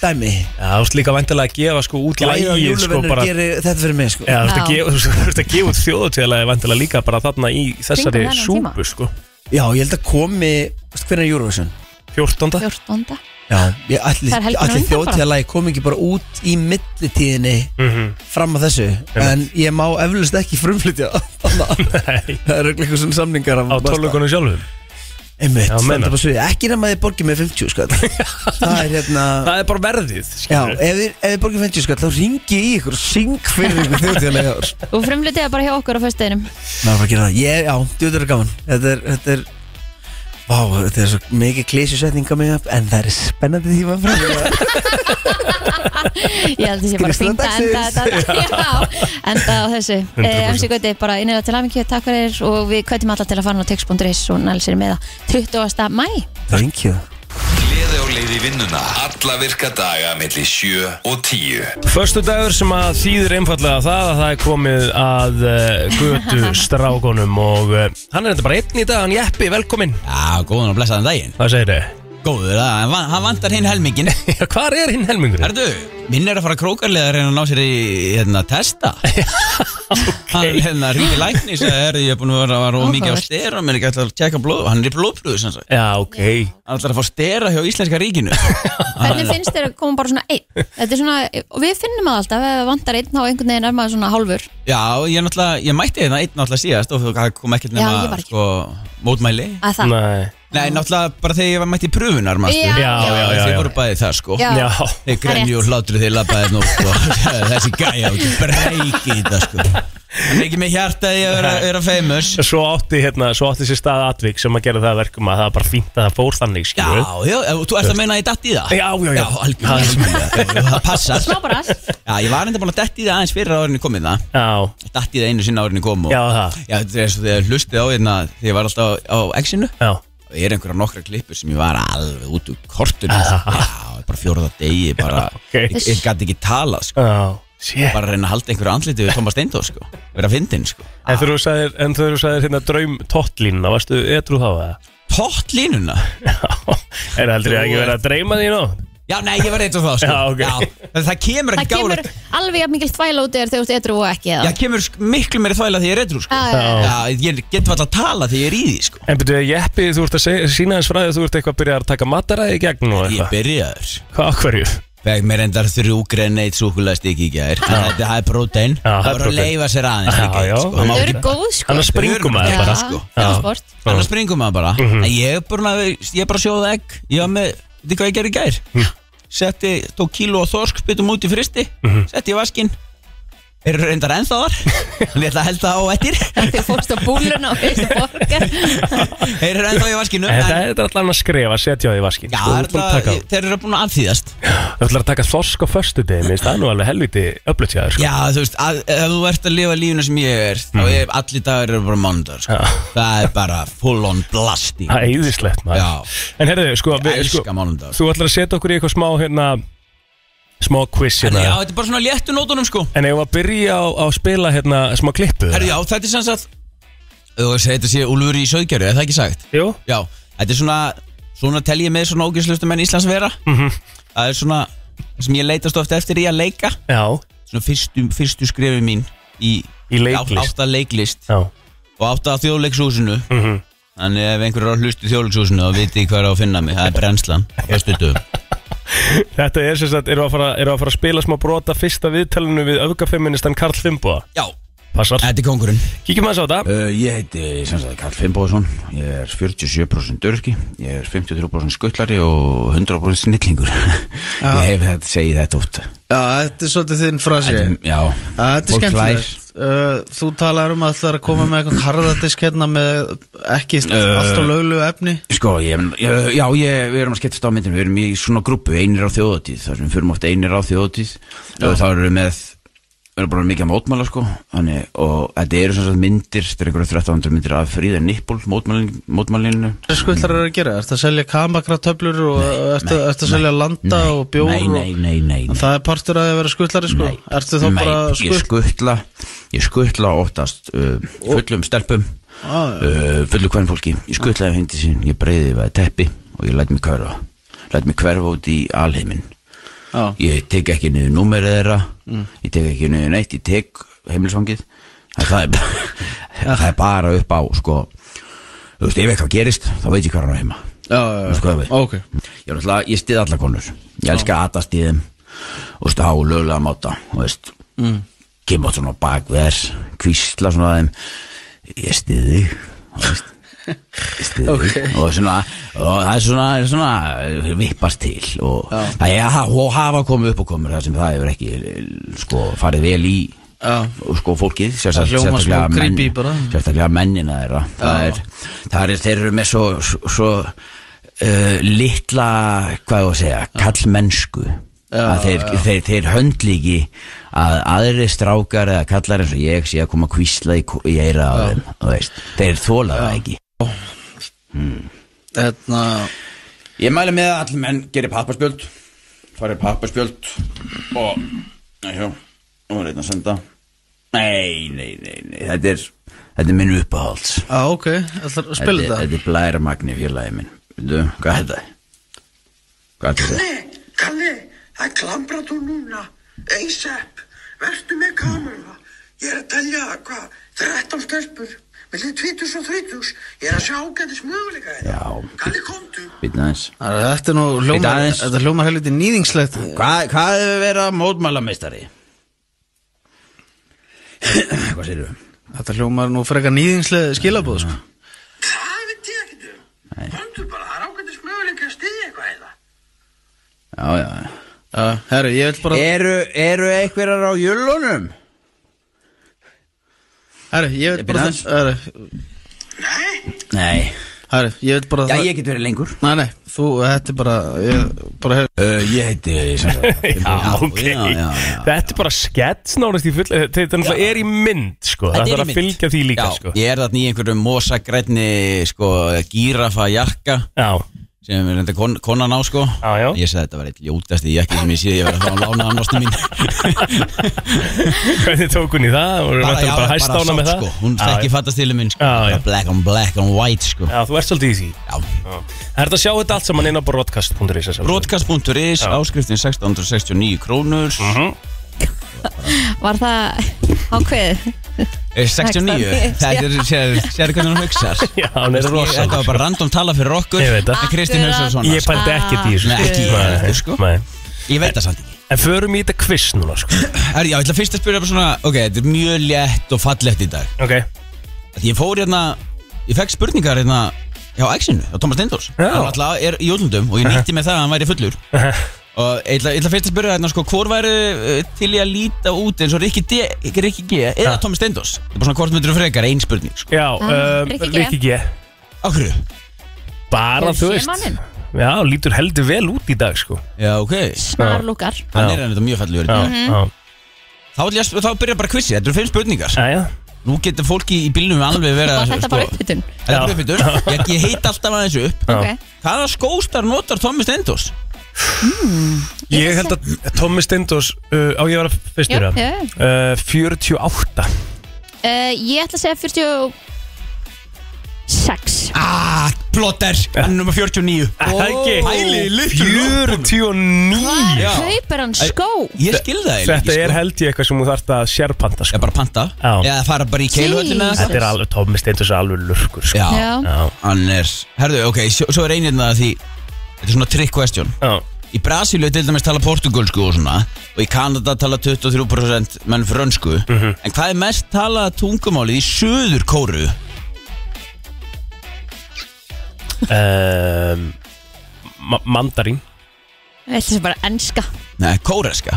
I: dæmi
A: Já, þú veist líka væntalega að gefa sko út lægið sko
I: júluvinnur
A: bara Já,
I: gerir þetta fyrir mig sko
A: þú veist að
B: Já.
A: gefa- þú veist að gefa út þjóðutíðlega væntalega líka bara þarna í þessari
B: Kringum þennan tíma.
A: súpu sko
I: Já, ég held að komi, veist, hvernig er Eurovision?
A: 14.
B: 14.
I: Já, ég ætli,
B: Það er helgin
I: ætli
B: á undan bara.
I: þjóðtíðalagi kom ekki bara út í millitíðinni
A: Mhm.
I: fram að þessu En ég má eflust ekki frumflytja það.
A: Nei,
I: Það er örugglega eitthvað svona samningar
A: Á tónleikunum sjálfum
I: Einmitt,
A: Já,
I: standa
A: meinar.
I: upp á sviði Ekki nema þið borgið með 50 skall Það er hérna
A: Það er bara
I: Já,
A: verðið skilurðu.
I: ef þið, ef þið borgið 50 skall þá ringi ég í ykkur og syng fyrir ykkur þjóðtíðlega ár
B: og frumlitiða bara hjá okkur á föstuðinum
I: Ná, að gera það Ég, já, djúður er gaman Þetta er, þetta er Vá, þetta er svo mikið klísusetninga mig upp En það er spennandi tíma frá
B: ég held að sé bara
I: Kristín
B: fínt að enda þetta já, enda á þessu Eh,
A: 100%.
B: MC Gauti, bara innilega til hamingju, takk fyrir og við kvætum alla til að fara á text.is og nælsir með það 20. mæ
I: Thank you
D: Gleði á leið í vinnuna Alla virka daga milli 7 og 10
A: Förstu dagur sem að þýðir einfallega það að það er komið að uh, götu eh, strákonum og uh, hann er þetta bara einn í dag, hann Jeppi, velkomin
F: Já, góðan og blessaðan daginn
A: Hvað segir þau?
F: góður, það- en van- hann vantar hinn helmingin
A: Já, hvar er hinn helmingurinn?
F: Herðu, minn er að fara krókarlega að reyna að ná sér í hérna, testa Hann hérna, ringi læknis að herðu, ég er búin að vera- vera of mikið á
B: Áhugavert.
F: stera menn ekki ætla að tjekka blóð, hann er í blóðpröðu sem sagt.
A: Já, ok
F: Hann ætlar að fá stera hjá Íslenska ríkinu
B: Hvernig finnst þér að koma bara svona einn? Þetta er svona, og við finnum það alltaf, ef það vantar einn á einhvern veginn er maður svona hálfur.
F: Já, ég náttúrulega, ég mætti hérna einn náttúrulega síðast og það kom ekkert
B: Já, ég
F: nema
B: var ekki.
F: sko, mótmæli
B: Að það,
A: Nei
F: Nei, náttúrulega bara þegar ég var mætti í pröfunar, manstu
B: Já, Já,
A: já, já,
F: Þið
A: já.
F: voru bæði það, sko
B: Já.
A: Já,
F: Þeir grenju og hlátur þeir labbaði nú sko. Þessi gæja og breyki þetta sko Hann er ekki með hjartaði að vera, vera famous
A: svo átti, hérna, svo átti sér stað atvik sem að gera það að verkum að það var bara fínt að það fór þannig,
F: Já,
A: skilur
F: já, og þú ert að meina að ég datt í það
A: Já, já, já.
F: Já, algjörlega, algjörlega já, Það passar
B: smá bara.
F: Já, ég var enda búin að dett í það aðeins fyrir að árinni komið það
A: Já,
F: Datt í það einu sinna árinni kom og
A: já, það
F: Já, þetta er eins og þegar ég hlustið á hérna Þegar ég var alltaf á, á exinu
A: Já,
F: og ég er einhverja nokkra klippur sem ég var alveg út úr kortinu sko. Já, bara fjóraða degi bara,
A: ok.
F: Ég, ég gæti ekki talað sko.
A: já, sé
F: Bara að reyna að halda einhverju andliti við Thomas Steindó sko. Verða fyndin sko.
A: En þegar þú sagðir, en þegar þú sagðir hérna draum tóttlínuna, varstu etru þá eða?
F: Tótt línuna
A: Já, er heldur ég ekki verið að dreyma því nú?
F: Já, nei, ég var eitt og það sko.
A: Já, ok.
F: það, það kemur
B: það
F: ekki
B: kemur
F: gála
B: alveg jafn mikil þvæla út þegar þú ert etru og ekki.
F: Já, kemur sk- miklu meiri þvæla því ég er eitt sko.
B: Já, já, já.
F: Já, ég get vall að tala því ég er í því sko.
A: En betur ég, Jeppi, þú ert að segja, sína hans fræði að þú ert eitthvað að byrja að taka mataræði í gegn og
F: Ég
A: eitthvað.
F: byrjaður
A: Hvað, á hverju?
F: Fæk mér endar þrjú grenade súkulæst ekki í gær En Þetta það er prótein
A: Já, það er
F: Það var að
A: prótein.
F: leifa sér aðeins
A: Já,
F: í gær,
A: já.
F: sko. Það má
B: Þau
F: ekki-
B: eru góð sko.
A: Annars
F: Þau eru
A: springum maður
F: bara,
A: bara.
F: sko.
B: Já,
A: Já. Mhm.
B: sport.
F: annars springum maður bara mm ég er bara ég er bara að sjóða egg ég var með, veitir hvað ég gerði í gær setti, tók kíló og þorsk byttum út í fristi,
A: Mhm.
F: setti í vaskinn eru reyndar ennþá þar en ég ætla að helda á ettir
B: Þau fórst á búluna og fyrst á borgar.
F: eru ennþá í vaskinu
A: En það er alltaf að skrifa, setja það í vaskinn.
F: Já, er
A: sko, þú ert búin að
F: það,
A: taka það.
F: þeir eru búin að afþýðast
A: Þú ætlar að taka þorsk á föstu degi, minnst það er nú alveg helviti öflut hjá þér, sko.
F: Já, þú veist, að, ef þú ert að lifa lífuna sem ég er þá er allir dagar eru bara mándar sko.
A: Mhm. Já.
F: það er bara full on blast í
A: Það er íðislegt, maður.
F: Já.
A: En herðu, sko,
F: Ég
A: við, sko,
F: elska mánudag
A: þú ætlar að setja okkur í eitthvað smá, hérna, smá quiz,
F: Herri, Já,
A: hérna.
F: þetta er bara svona léttu nótunum sko
A: En eigum við að byrja á, á að spila, hérna, smá klippu?
F: Herri, já, þetta er sem sagt Þú veist, þetta sé Úlfur í söðgjöru, er það ekki sagt?
A: Jú?
F: Já, þetta er svona Svona tel ég með svona ógislustum en Íslands vera
A: Mhm.
F: Það er svona það sem ég leitast ofta eftir í að leika
A: Já,
F: Svona fyrstu, fyrstu skrefi mín Í,
A: í leiklist.
F: átta leiklist
A: Já.
F: Og átta að þjóðleikshúsinu
A: Mhm.
F: Þannig ef einhver er að hlusta í þjóðleikshúsinu Þá viti hvað er á að finna mig, það er brennslan Föstudum
A: Þetta er sem sagt, eru að, fara- erum við að fara að spila smá brota fyrsta viðtalinu við öfgafeministan Karl Fimboa.
F: Já,
A: Passar.
F: þetta er kongurinn
A: Kíkjum aðeins á þetta.
F: Uh, ég heiti sem sagt Karl Fimboðsson, ég er 47% dörki, ég er 53% skuttlari og 100% snillingur. ég hef þetta, segi þetta oft.
I: Já, þetta er svolítið þinn frasi
F: Þetta, er- já,
I: Já, Þetta er
F: Fólk
I: skemmtilegt uh, Þú talar um að það er að koma með eitthvað harðadisk hérna með ekki
F: Uh.
I: allt og löglu efni
F: Eh, sko, ég, ég- já, ég, við erum að skiptast á myndinu, við erum í svona grúpu, einir á þjóðatíð, þar sem við fyrum oft einir á þjóðatíð og þá erum við með, við erum bara mikið að mótmæla, sko, þannig, og þetta eru sem sagt myndir, þetta eru einhverja 1300 myndir af fríða nippul, mótmælinu, mótmælinu.
I: Hvað er skvillar að gera? Ertu að selja kamakratöflur og ertu, ertu að selja landa
F: Nei,
I: og bjór
F: Nei, nei,
I: og...
F: nei, nei, nei.
I: En Það er partur að þið vera skvillari sko
F: Nei.
I: Ertu þá
F: Nei,
I: bara
F: Ég sko-
I: skvill
F: skuttla, ég skuttla oftast uh, fullum stelpum,
I: ah, já.
F: uh, fullu hvern fólki. Ég skuttla hindi sín, ég breiði yfir að teppi og ég læt mig hverfa. Læt mig hverfa út í alheimin.
I: Já. Mm.
F: Ég tek ekki niður númerið þeirra, ég tek ekki niður neitt, ég tek heimilsfangið. En Það er, bara- það er bara upp á, sko, þú veist, ef eitthvað gerist, þá veit ég hvað hann á heima.
I: Já,
F: Þú veist hvað
I: já,
F: við-
I: já Ok
F: Ég, er náttúrulega- ég stið alla konur Ég elska að atast í þeim Og stá lögulega máta og veist, mm. Kemur svona á bak við þess Kvísla svona að þeim Ég stið þig og veist, ég styð þig. og svona og það er svona, er svona vippast til og það er að og hafa komið upp og komið það sem það hefur ekki sko farið vel í
I: Já.
F: og sko fólkið
I: Það
F: sérstak-
I: hljómar smá
F: sérstaklega menn-
I: creepy bara.
F: sérstaklega mennina þeirra það er, það er þeir eru með svo, svo, svo uh, litla hvað ég á að segja, kallmennsku að þeir, þeir, þeir höndli ekki að aðri strákar eða kallar eins og ég sé að koma að kvísla í, ko- í eira á þeim, þú veist, þeir þóla það ekki
I: Hérna
F: Ég mæli með að allir menn gerir pappaspjöld farið pappaspjöld og næjó, nú er einn að senda nei, nei, nei, nei þetta er, þetta er minn uppáhalds
I: Já, Ah, ok Ætlar að spila
F: Þetta-
I: þetta
F: Þetta er blæra magni félagi minn Veitu, hvað er þetta? Hvað er þetta?
J: Kalli, Kalli, það er klambratún núna. ASAP, vertu með kamera. Ég er að telja, hvað, 13 stelpur. Millir 20 og 30, ég er að sjá ágætis möguleika þetta. Já. Kalli, komdu.
F: Býtna aðeins
K: Þetta er nú
F: Bíddu
K: hljómar,
F: aðeins.
K: þetta hljómar helviti nýðingslegt
F: Hvað, hvað hefur verið að mótmæla meistari? Hvað sér þú?
K: Þetta hljómar nú frekar nýðingslegt skilabóð sko.
J: Það veit ég ekkert um. Komdu bara, það er ágætis möguleika að styðja eitthvað eða.
F: Já, já,
K: já Herru, ég vil bara
F: Eru, eru einhverjar á jölunum?
K: Herru, ég vil
F: Ég býð
K: bara
F: aðeins.
K: Herru,
F: Nei
K: herru, ég vil bara
F: Já, ég get verið lengur
K: Nei, nei, þú, þetta er bara Ég, bara hef
F: uh, Ég heiti sem sagt-
A: Já, ok
F: já, já, já.
A: Þetta er bara skets nánast í full eh, Þetta þetta náttúrulega er í mynd sko. Það
F: Þetta
A: þarf
F: í
A: að
F: mynd.
A: fylgja því líka
F: Já,
A: sko.
F: Ég er þarna í einhverjum mosagrætni sko, gírafa jakka
A: Já,
F: sem er reynda kon, konan á sko
A: já, já
F: Ég sagði þetta var eitt ljótasti jakki sem ég séð ég verið að fá að lána hann ástu mín
A: Hvernig tók hún í það? Bara, bara,
F: já,
A: bara hæst ána
F: sátt,
A: með það
F: sko. Hún
A: Já,
F: þekki
A: já.
F: fattastilu minn sko.
A: Já, já.
F: Bara Black on black on white sko.
A: Já, þú ert svolítið í því
F: Já.
A: Já. Það er þetta að sjá þetta allt saman inn á broadcast.is sem sagt.
F: Brotkast.is,
A: Já.
F: áskriftin 1669 krónur
A: Mhm.
B: Var það ákveðið?
F: Eh, 69,
B: 69,
F: þetta er, sér, sér hvernig hún hugsar
A: Já, hún er rosa
F: Þetta var bara random tala fyrir okkur
A: Ég veit það.
F: En Kristinn hugsar svona sko.
A: Ég pældi ekki í
F: Nei,
A: því
F: ekki í
A: Nei,
F: heldur, sko.
A: nei.
F: Ég veit það samt ekki
A: En förum í þetta quiz núna sko.
F: Herri, já, ég ætla fyrst að spyrja bara svona Ok, þetta er mjög létt og fallegt í dag
A: Ok
F: Því ég fór hérna Ég fekk spurningar hérna hjá Exinu, á Thomas Lindors
A: Já. Uh-huh.
F: Hann alltaf er í útlundum og ég nýtti með það að hann væri fullur Og ég ætla, ég ætla fyrst að spyrja hérna sko Hvor væri eh, til í að líta út eins og Rikki D, Rikki G eða
A: Já.
F: Thomas Lindors Það er bara svona hvort myndur frekar ein spurning sko.
A: Já,
B: Ah,
A: um,
B: Rikki G.
A: Rikki G
F: Akkur
A: Bara
B: Ég
A: þú
B: sé
A: veist
B: manninn.
A: Já, lítur heldur vel út í dag sko.
F: Já, ok
B: Snarlúkar
F: Hann
A: Já.
F: er hérna mjög fallur í
A: Já,
F: dag.
A: já
F: Þá, ætla ég að sp- þá byrja bara quizið, þetta eru fimm spurningar
A: Æja,
F: Nú getur fólki í bílnum alveg verið
B: Var
F: að sko,
B: þetta bara uppbytun?
F: Þetta er bara uppbytun Ég, ég heit alltaf aðeins upp
A: Já.
B: Ok
F: Hvaða skóstar notar Tommi Stendos?
A: Ég held að Tommi Steindós uh, á ég var að fyrstur
B: Já,
A: að
B: já, já.
A: uh, 48
B: Uh, ég ætla að segja 46
F: Ah, plotter Hann er nummer 49
A: Það ekki
F: Pæli í litlum
A: 49
F: Já.
B: Kaupir hann skó?
F: Ég skil það eiginlega
A: Þetta
F: ekki,
A: er
F: sko.
A: held ég eitthvað sem þú þarft að sérpanta
F: Ég
A: sko.
F: bara panta
A: Já.
F: Eða fara bara í keiluhöllina
B: Jesus.
A: Þetta er alveg Tommi Steindós er alveg lurkur sko.
F: Já.
B: Já,
A: Já.
F: Hann er Herðu, ok, svo, svo er einirna það því Þetta er svona trick question
A: Já.
F: Í Brasílu er til dæmis tala portugalsku og svona Og í Kanada tala 23% menn frönsku
A: Mhm.
F: En hvað er mest talað tungumálið í söður kóru?
A: Um, ma mandarín
B: ég ætla að segja bara enska
F: Nei, kóreska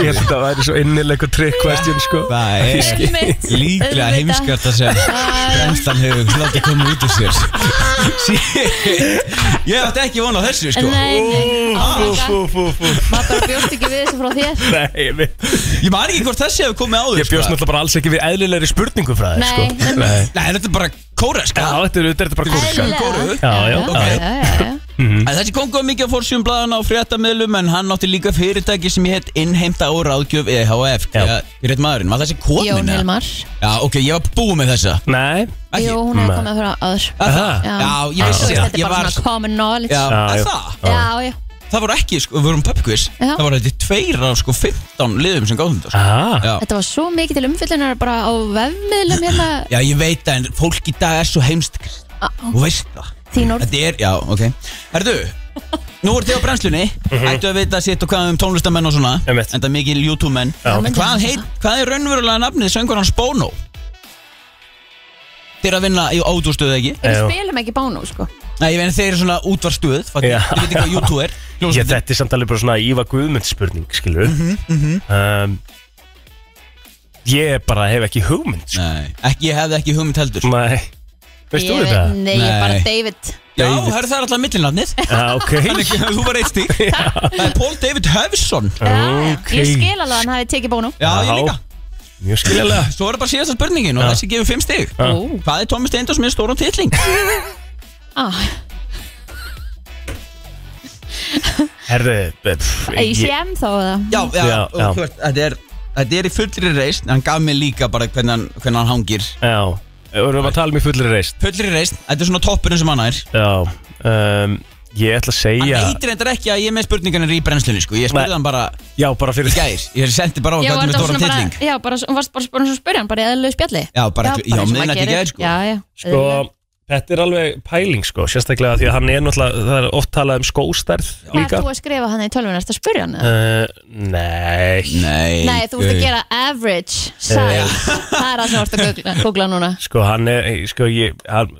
A: Ég held að það væri svo innilegur trick question sko.
F: Það er
B: Einmitt.
F: líklega
B: Auðvitað.
F: heimskart að segja Brenslan hefur slótt að koma út úr sér Shit. Ég átti ekki vona á þessu sko
B: Nei, nei, áfengar
A: Fú, fú, fú
B: Maður bara bjóst ekki við þessu frá þér
A: Nei, ég veit
F: Ég man ekki hvort þessi hefur komið áður
A: Ég bjóst
F: sko.
A: náttúrulega bara alls ekki við eðlilegri spurningu frá þér
B: Nei,
A: sko.
B: einmitt.
F: Nei, þetta er bara sko. kóreska
A: Já, þetta er, þetta er bara kúrska
F: Eðlilega. Kóru?
A: Já, já,
B: já,
A: já, Mhm.
B: já, já, já.
F: sko. En Þessi kom góð mikið á fórsjum blaðan á fréttamiðlum en hann átti líka fyrirtæki sem ég hett innheimta og ráðgjöf E EHF
A: Já.
F: Greit maðurinn, var þessi
B: Jón
F: komin? eða?
B: Hilmar
F: Já, ok, ég var búið með þessa
A: Nei,
F: Ekki?
B: Jú, hún hefði
A: Nei.
B: komið frá áður
F: Er það?
B: Já.
F: Já,
B: Þú
F: ég
B: veist,
F: vissi
B: Þetta
F: það
B: er
F: Ég
B: bara
F: var
B: svona common knowledge
F: Já,
A: Já, já.
F: er það?
B: já, já.
F: Það voru ekki, sko, við vorum pubquiz
B: Já.
F: Það voru þetta tveir af sko 15 liðum sem gáðum þetta sko.
A: ah,
F: Já.
B: Þetta var svo mikið til umfyllunar bara á vefmiðlum hérna
F: já, ég veit það en fólk í dag er svo heimst
B: Á, á,
F: Þú veist það
B: Ah, Þín orð
F: Þetta er, já, ok Herðu, nú voru þið á brennslunni Ættu að vita sitt og hvað um tónlistamenn og svona
A: Mhm. Einmitt.
F: Enda mikil YouTube-menn
A: Já.
F: En hvað, heit, hvað er raunverulega nafnið söngur hans Bono? Þeir að vinna í ódúrstöðu ekki?
B: Við
A: Já.
B: spilum ekki bánu, sko
F: Nei, ég veit þeir eru svona útvarstöð Þið
A: Já.
F: veit ekki hvað YouTube er
A: Ég,
F: Hljómsveitin.
A: þetta er samt alveg bara svona Íva Guðmunds spurning, skilur
L: Mm-hmm,
F: Mhm.
A: um, Ég bara hef ekki hugmynd sko.
F: Nei, ekki, ég hefði ekki hugmynd heldur
A: Nei, veist þú
B: Ég veit-
A: þetta?
B: Nei, ég er bara
F: Nei.
B: David
F: Já, herðu það er alltaf millinafnið
A: Já, ok
F: Þannig að þú var eitt stík Það er Paul David Höfson
B: Já, já.
A: Ok.
B: Ég skil alveg að hann hafi tekið bónu
F: Já, ég líka
A: Mjög skiljaðlega
F: Svo er bara síðasta spurningin og
A: Já.
F: þessi gefur 5 stík
B: Ó.
F: Hvað er Tómi Steindors með stóran titling?
B: Ah,
A: Herðu, pff,
B: Ég sé enn þá það
F: Já, já,
A: Já,
F: og
A: já.
F: þú veist, Þetta er Þetta er í fullri reist en hann gaf mér líka bara hvernig hann, hvernig hann hangir
A: Já, Erum við að tala um í fullri reist
L: Fullri reist, þetta er svona toppurinn sem hann er
A: Já um, Ég ætla að segja
L: Hann heitir reyndar ekki að ég er með spurningarnir í brennslunni sko. Ég spurði hann bara
A: Já, bara fyrir
L: Í gær, ég sendi bara á
B: Já,
L: hvað
B: var
L: þetta með
B: þetta svona
L: stóran
B: bara,
L: tilling
B: já, bara, hún varst bara spurning svo spurjan, bara í eðlöðu spjalli
L: Já, bara- já,
B: eins og maður
L: miðnætti í
B: gerir.
L: gær, sko.
B: Já, já,
A: Sko, þetta er alveg pæling sko Sérstaklega því að hann er náttúrulega Það er oft talað um skóstarð
B: Hvað
A: líka
B: er þú að skrifa hann í tölvun, ertu að spurja hann?
A: uh, Nei Nei
B: Nei, þú ert að gera average size Það er það sem þú ert að googla- googla núna
A: Sko, hann er, sko, ég hann,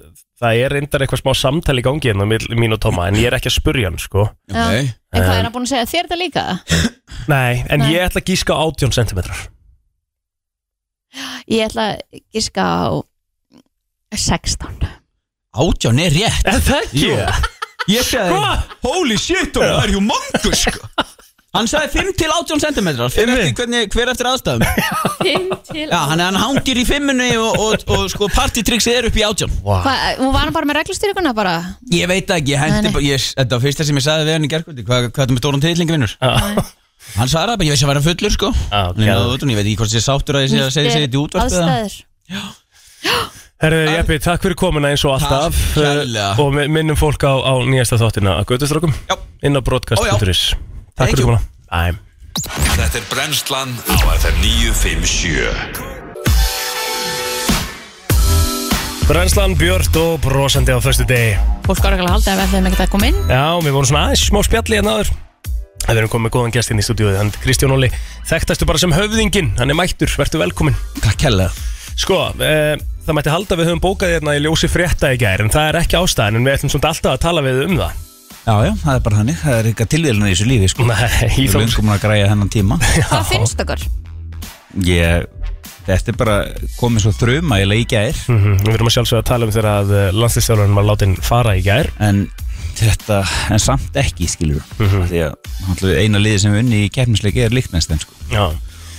A: Það er reyndar eitthvað smá samtal í gangi hérna á milli mín og Tóma, en ég er ekki að spurja hann sko Eh,
B: Já. En hvað
L: Eh.
B: er hann búin að segja þér þetta líka?
A: Nei, en
B: Nei.
A: ég ætla að gíska á 18 cm
B: Ég ætla að giska á 16
L: Átján er rétt
A: Er það ekki?
L: Ég sagði
A: Sko!
L: Holy shit, Dóra, það er humongous sko. Hann sagði 5 til 18 cm Fyrir eftir, hvernig, hver eftir aðstæðum Já, hann, hann hangir í fimmunni og, og, og sko partytrixið er upp í átján
B: Hva, Hún var hann bara með reglustyrkuna bara
L: Ég veit það ekki, ég hendi
B: Nei, nei.
L: bara ég, Þetta var fyrsta sem ég sagði við hann í gerkvöldi Hvað hva er þetta með stóran titlingi vinnur? Hann sagði það bara, ég veist að vera fullur sko Þannig að það Ég veit ekki hvort ég er sáttur að ég sé að segja segja þetta í útvarp eða-
B: Aðstæður
A: Herru, Jeppi, takk fyrir komuna eins og alltaf uh, Og mi- minnum fólk á, á nýjasta þáttina að göttustrákum Inn á broadcast.is Takk fyrir komuna Æm
D: Þetta er brennslan á FM 957
A: Brennslan Björn og brosandi á föstu degi
B: Fólk var ekki að halda ef þeim ekkert að koma inn
A: Já, við vorum svona aðeins smá spjalli hérna áður Við erum komið með góðan gest inn í stúdíóið Hann er Kristján Óli, þekktastu bara sem höfðingin Hann er mættur, vertu velkomin
L: Takk hella
A: Sko, e, það mætti halda að við höfum bókað hérna í ljósi frétta í gær En það er ekki ástæðan, en við ætlum svona alltaf að tala við um það
L: Já, já, það er bara hannig, það er eitthvað tilvíðlun í þessu lífi sko.
A: Nei,
L: ég er
A: þá-
L: löngu mun að græja hennan tíma
B: Hvað finnst okkur?
L: Ég, þetta er bara komið svo þruma ég leikja er
A: mm Við erum að sjálfsögða að tala um þegar að landslistjálfurinn var látin fara í gær
L: En þetta, en samt ekki skilur mm
A: Mm-hmm.
L: -hmm. Því að náttúrulega eina liði sem við unni í keppnisleiki er líknæsten sko.
A: Já.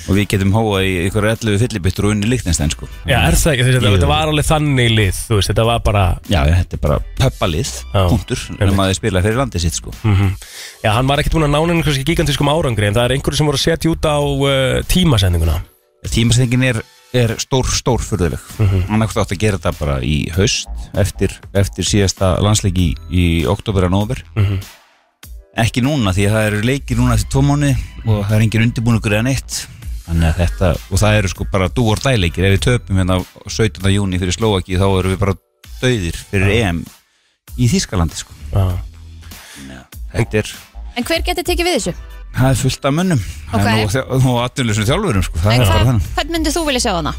L: Og við getum hóað í ykkur 11 fyllibittur og unni líknæsten sko.
A: Já, er það ekki, þetta,
L: Jú.
A: þetta var alveg þannig lið, þú veist, þetta var bara
L: Já, já, þetta er bara pöppalið, punktur Nefnum að þið spila fyrir landið sitt sko.
A: mm Já, hann var ekkert búin að nána henni kannski gigantískum árangri En það er einhverju sem voru að setja út á uh, tímasendinguna
L: Tímasendingin er, er stór, stór fyrðuleg mm -hmm. Hann átti að gera þetta bara í haust Eftir, eftir síðasta landsleiki í, í oktober að nóver
A: Mhm.
L: Ekki núna því að það eru leikir núna eftir tvo mánu Og það er engin undirbúningur eða neitt Þannig að þetta, og það eru sko bara dú og dæleikir Ef við töpum hérna á 17. júni fyrir Slovaki Þá erum við bara döðir fyrir EM í Þískalandi sko
A: Já.
L: Þetta er,
B: En hver geti tekið við þessu?
L: það er fullt af mönnum
B: Ok.
L: Það er nú aðtunlega þjálfurum sko Það
B: En
L: er bara
B: hvað,
L: þannig
B: hvern myndið þú vilja sjá hana?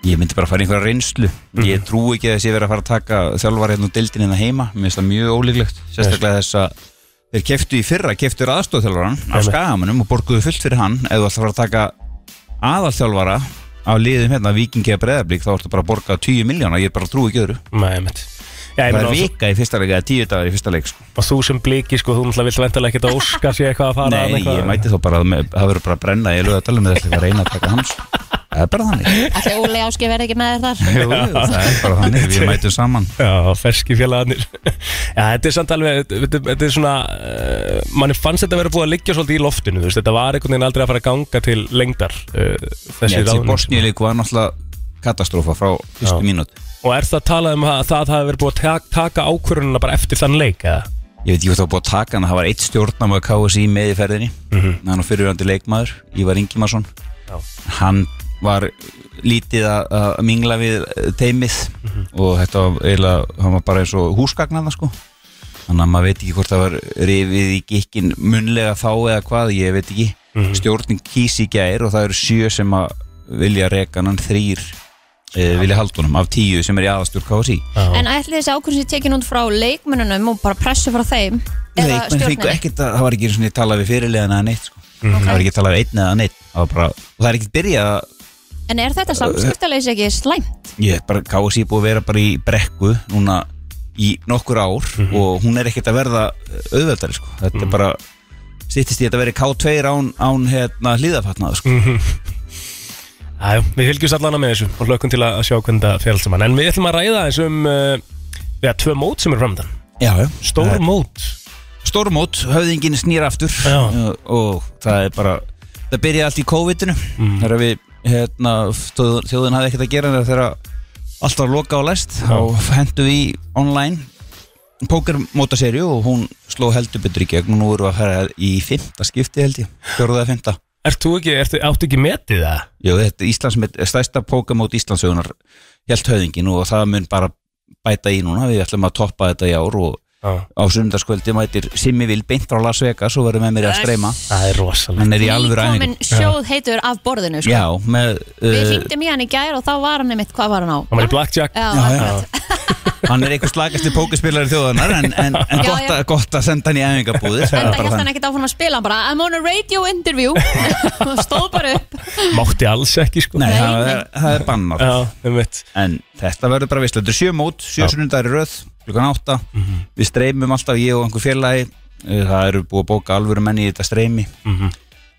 L: Ég myndi bara að fara í einhverja reynslu
A: Mhm.
L: Ég trú ekki að þessi verið að fara að taka þjálfar hérna og deildin hérna heima Mér finnst það mjög ólíklegt Sérstaklega þess að þeir keftu í fyrra Keftur aðstofþjálfaran af skagamunum og borguðu fullt fyrir hann Ef þú ætlar að fara að taka aðalþjálfara Af liðum hérna vikingi að breðablík Þá ertu bara að borga 10 miljóna Ég bara trú ekki öðru
A: Nei, einmitt Já, ég
L: Það
A: meina,
L: er
A: og þú-
L: vika í fyrsta leik eða 10 dagar í fyrsta leik sko.
A: Og þú sem bliki, sko, þú náttúrulega vilt vendalega ekkert að óska sér eitthvað að fara að
L: Nei,
A: eitthvað.
L: ég mæti þó bara að með- það verður bara að brenna Ég lögðu að tala með þess að reyna að taka hans Það er bara þannig
B: Ætli Óli Áski verði ekki með þér
L: Jú,
B: þar?
L: jú, það er bara þannig, við mætum saman
A: Já, ferski félagarnir Já, þetta er samt alveg, þetta, þetta er svona uh, manni fannst þetta að vera búið að liggja svolítið í loftinu, þú veist, þetta var einhvern veginn aldrei að fara að ganga til lengdar uh,
L: Þessi,
A: þessi
L: þessi
A: ráðning sem-
L: Bosníuleik var náttúrulega katastrófa frá fyrstu mínúti
A: Og er það talað um að það hafi verið búið að taka, taka ákvörununa bara eftir þann leik, eða?
L: Ég veit ekki hvað það var búið að taka hann, það var eitt stjórnum að KSI með í ferðinni
A: Mhm.
L: hann var fyrirvændi leikmaður, Ívar Ingimarsson
A: Já.
L: hann var lítið að, að mingla við eh, teymið
A: Mhm.
L: og þetta var eiginlega, hann var bara eins og húsgagnana sko þannig að maður veit ekki hvort það var rifið í gikkin munlega þá eða hvað, ég veit ekki
A: Mhm.
L: stjórnin kýs í gær og það eru sjö sem að vilja reka hann þrýr e, vilja haldunum af tíu sem er í aðastjórn KSI
B: En ætli þessi ákvörðin sé tekin út frá leikmönunum og bara pressu frá þeim
L: Nei,
B: eða
L: menn fengu
B: stjórninni?
L: ekkert að, það var ekki einu sinni talað við fyrirliðan eða neitt sko. það var ekki talað við einn eða neitt það var bara, og það er ekkert byrjað að
B: En er þetta samskiptaleysi ekki slæmt?
L: ég er bara, KSI er búið að vera bara í brekku núna í nokkur ár og hún er ekkert að verða auðveldari sko. þetta er bara stýttist í að þetta veri K2 án, án hérna, hlýðafatnað sko.
A: Æjú, Mhm. við fylgjumst allan að með þessu og hlökkum til að að sjá hvernig það fer allt saman En við ætlum að ræða þessu um uh, Já, tvö mót sem eru framöndan
L: já, já.
A: Stór mót
L: stór mót, höfðingin snýr aftur Já, og það er bara það
A: Mm.
L: byrjaði allt í COVID-inu þegar við hérna, þjóð- þjóðin hafði ekkert að gera þegar allt var loka og læst þá hendu við í online pókermótaserju og hún sló heldur betur í gegn og nú erum við að fara í fymta skipti held ég, fjóruða eða fymta
A: Ert þú ekki, ert, áttu ekki metið það?
L: Jú, þetta er Íslands, stærsta pókermót Íslandsögunar held höfðingin og það mun bara bæta í núna, við ætlum að toppa þetta í ár og á sundarskvöldi mætir Simmi Vil beint frá Las Vegas og verður með mér að streyma
A: Það er rosalega
L: Hann er í alvöru
B: Komin
L: æfingu.
B: sjóð heitur af borðinu sko.
L: Já, með
B: Við
A: Eh,
L: uh,
B: hringdum í hann í gær og þá var hann einmitt, hvað var hann á?
L: Hann var í blackjack
B: Já,
L: Hann er einhver slagasti pókerspilari þjóðanar En, en, en
B: Já,
L: gott,
B: já.
L: að- gott að senda hann í æfingabúðir það er
B: Enda
L: bara
B: held hann
L: þannig.
B: ekkert áfram að spila hann bara I'm on a radio interview og stóð bara upp
A: Mátti alls ekki sko
L: Nei, það er, það er bannar
A: já,
L: En þetta verður bara visslega Þetta er sjö mót, sjö sunnundar í röð Klukkan átta,
A: Mhm.
L: við streymum alltaf Ég og einhver félagi Eh, Það eru búið að bóka alvöru menni í þetta streymi
A: Mhm.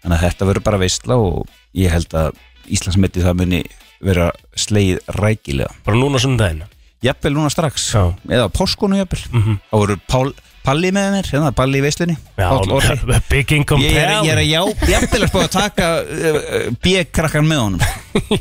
L: Þannig að þetta verður bara veistla Og ég held að Íslandsmeti það muni vera slegið rækilega
A: Bara núna sunnundaginn?
L: Jafnvel núna strax
A: Já. Mhm.
L: Eða á páskonu jafnvel Það voru pál, Palli með mér, hérna Palli í veistlunni Páll Orri.
A: Já, big income
L: Ég er,
A: town.
L: ég er að já, jafnvel að spá að taka uh, uh, B-krakkan með honum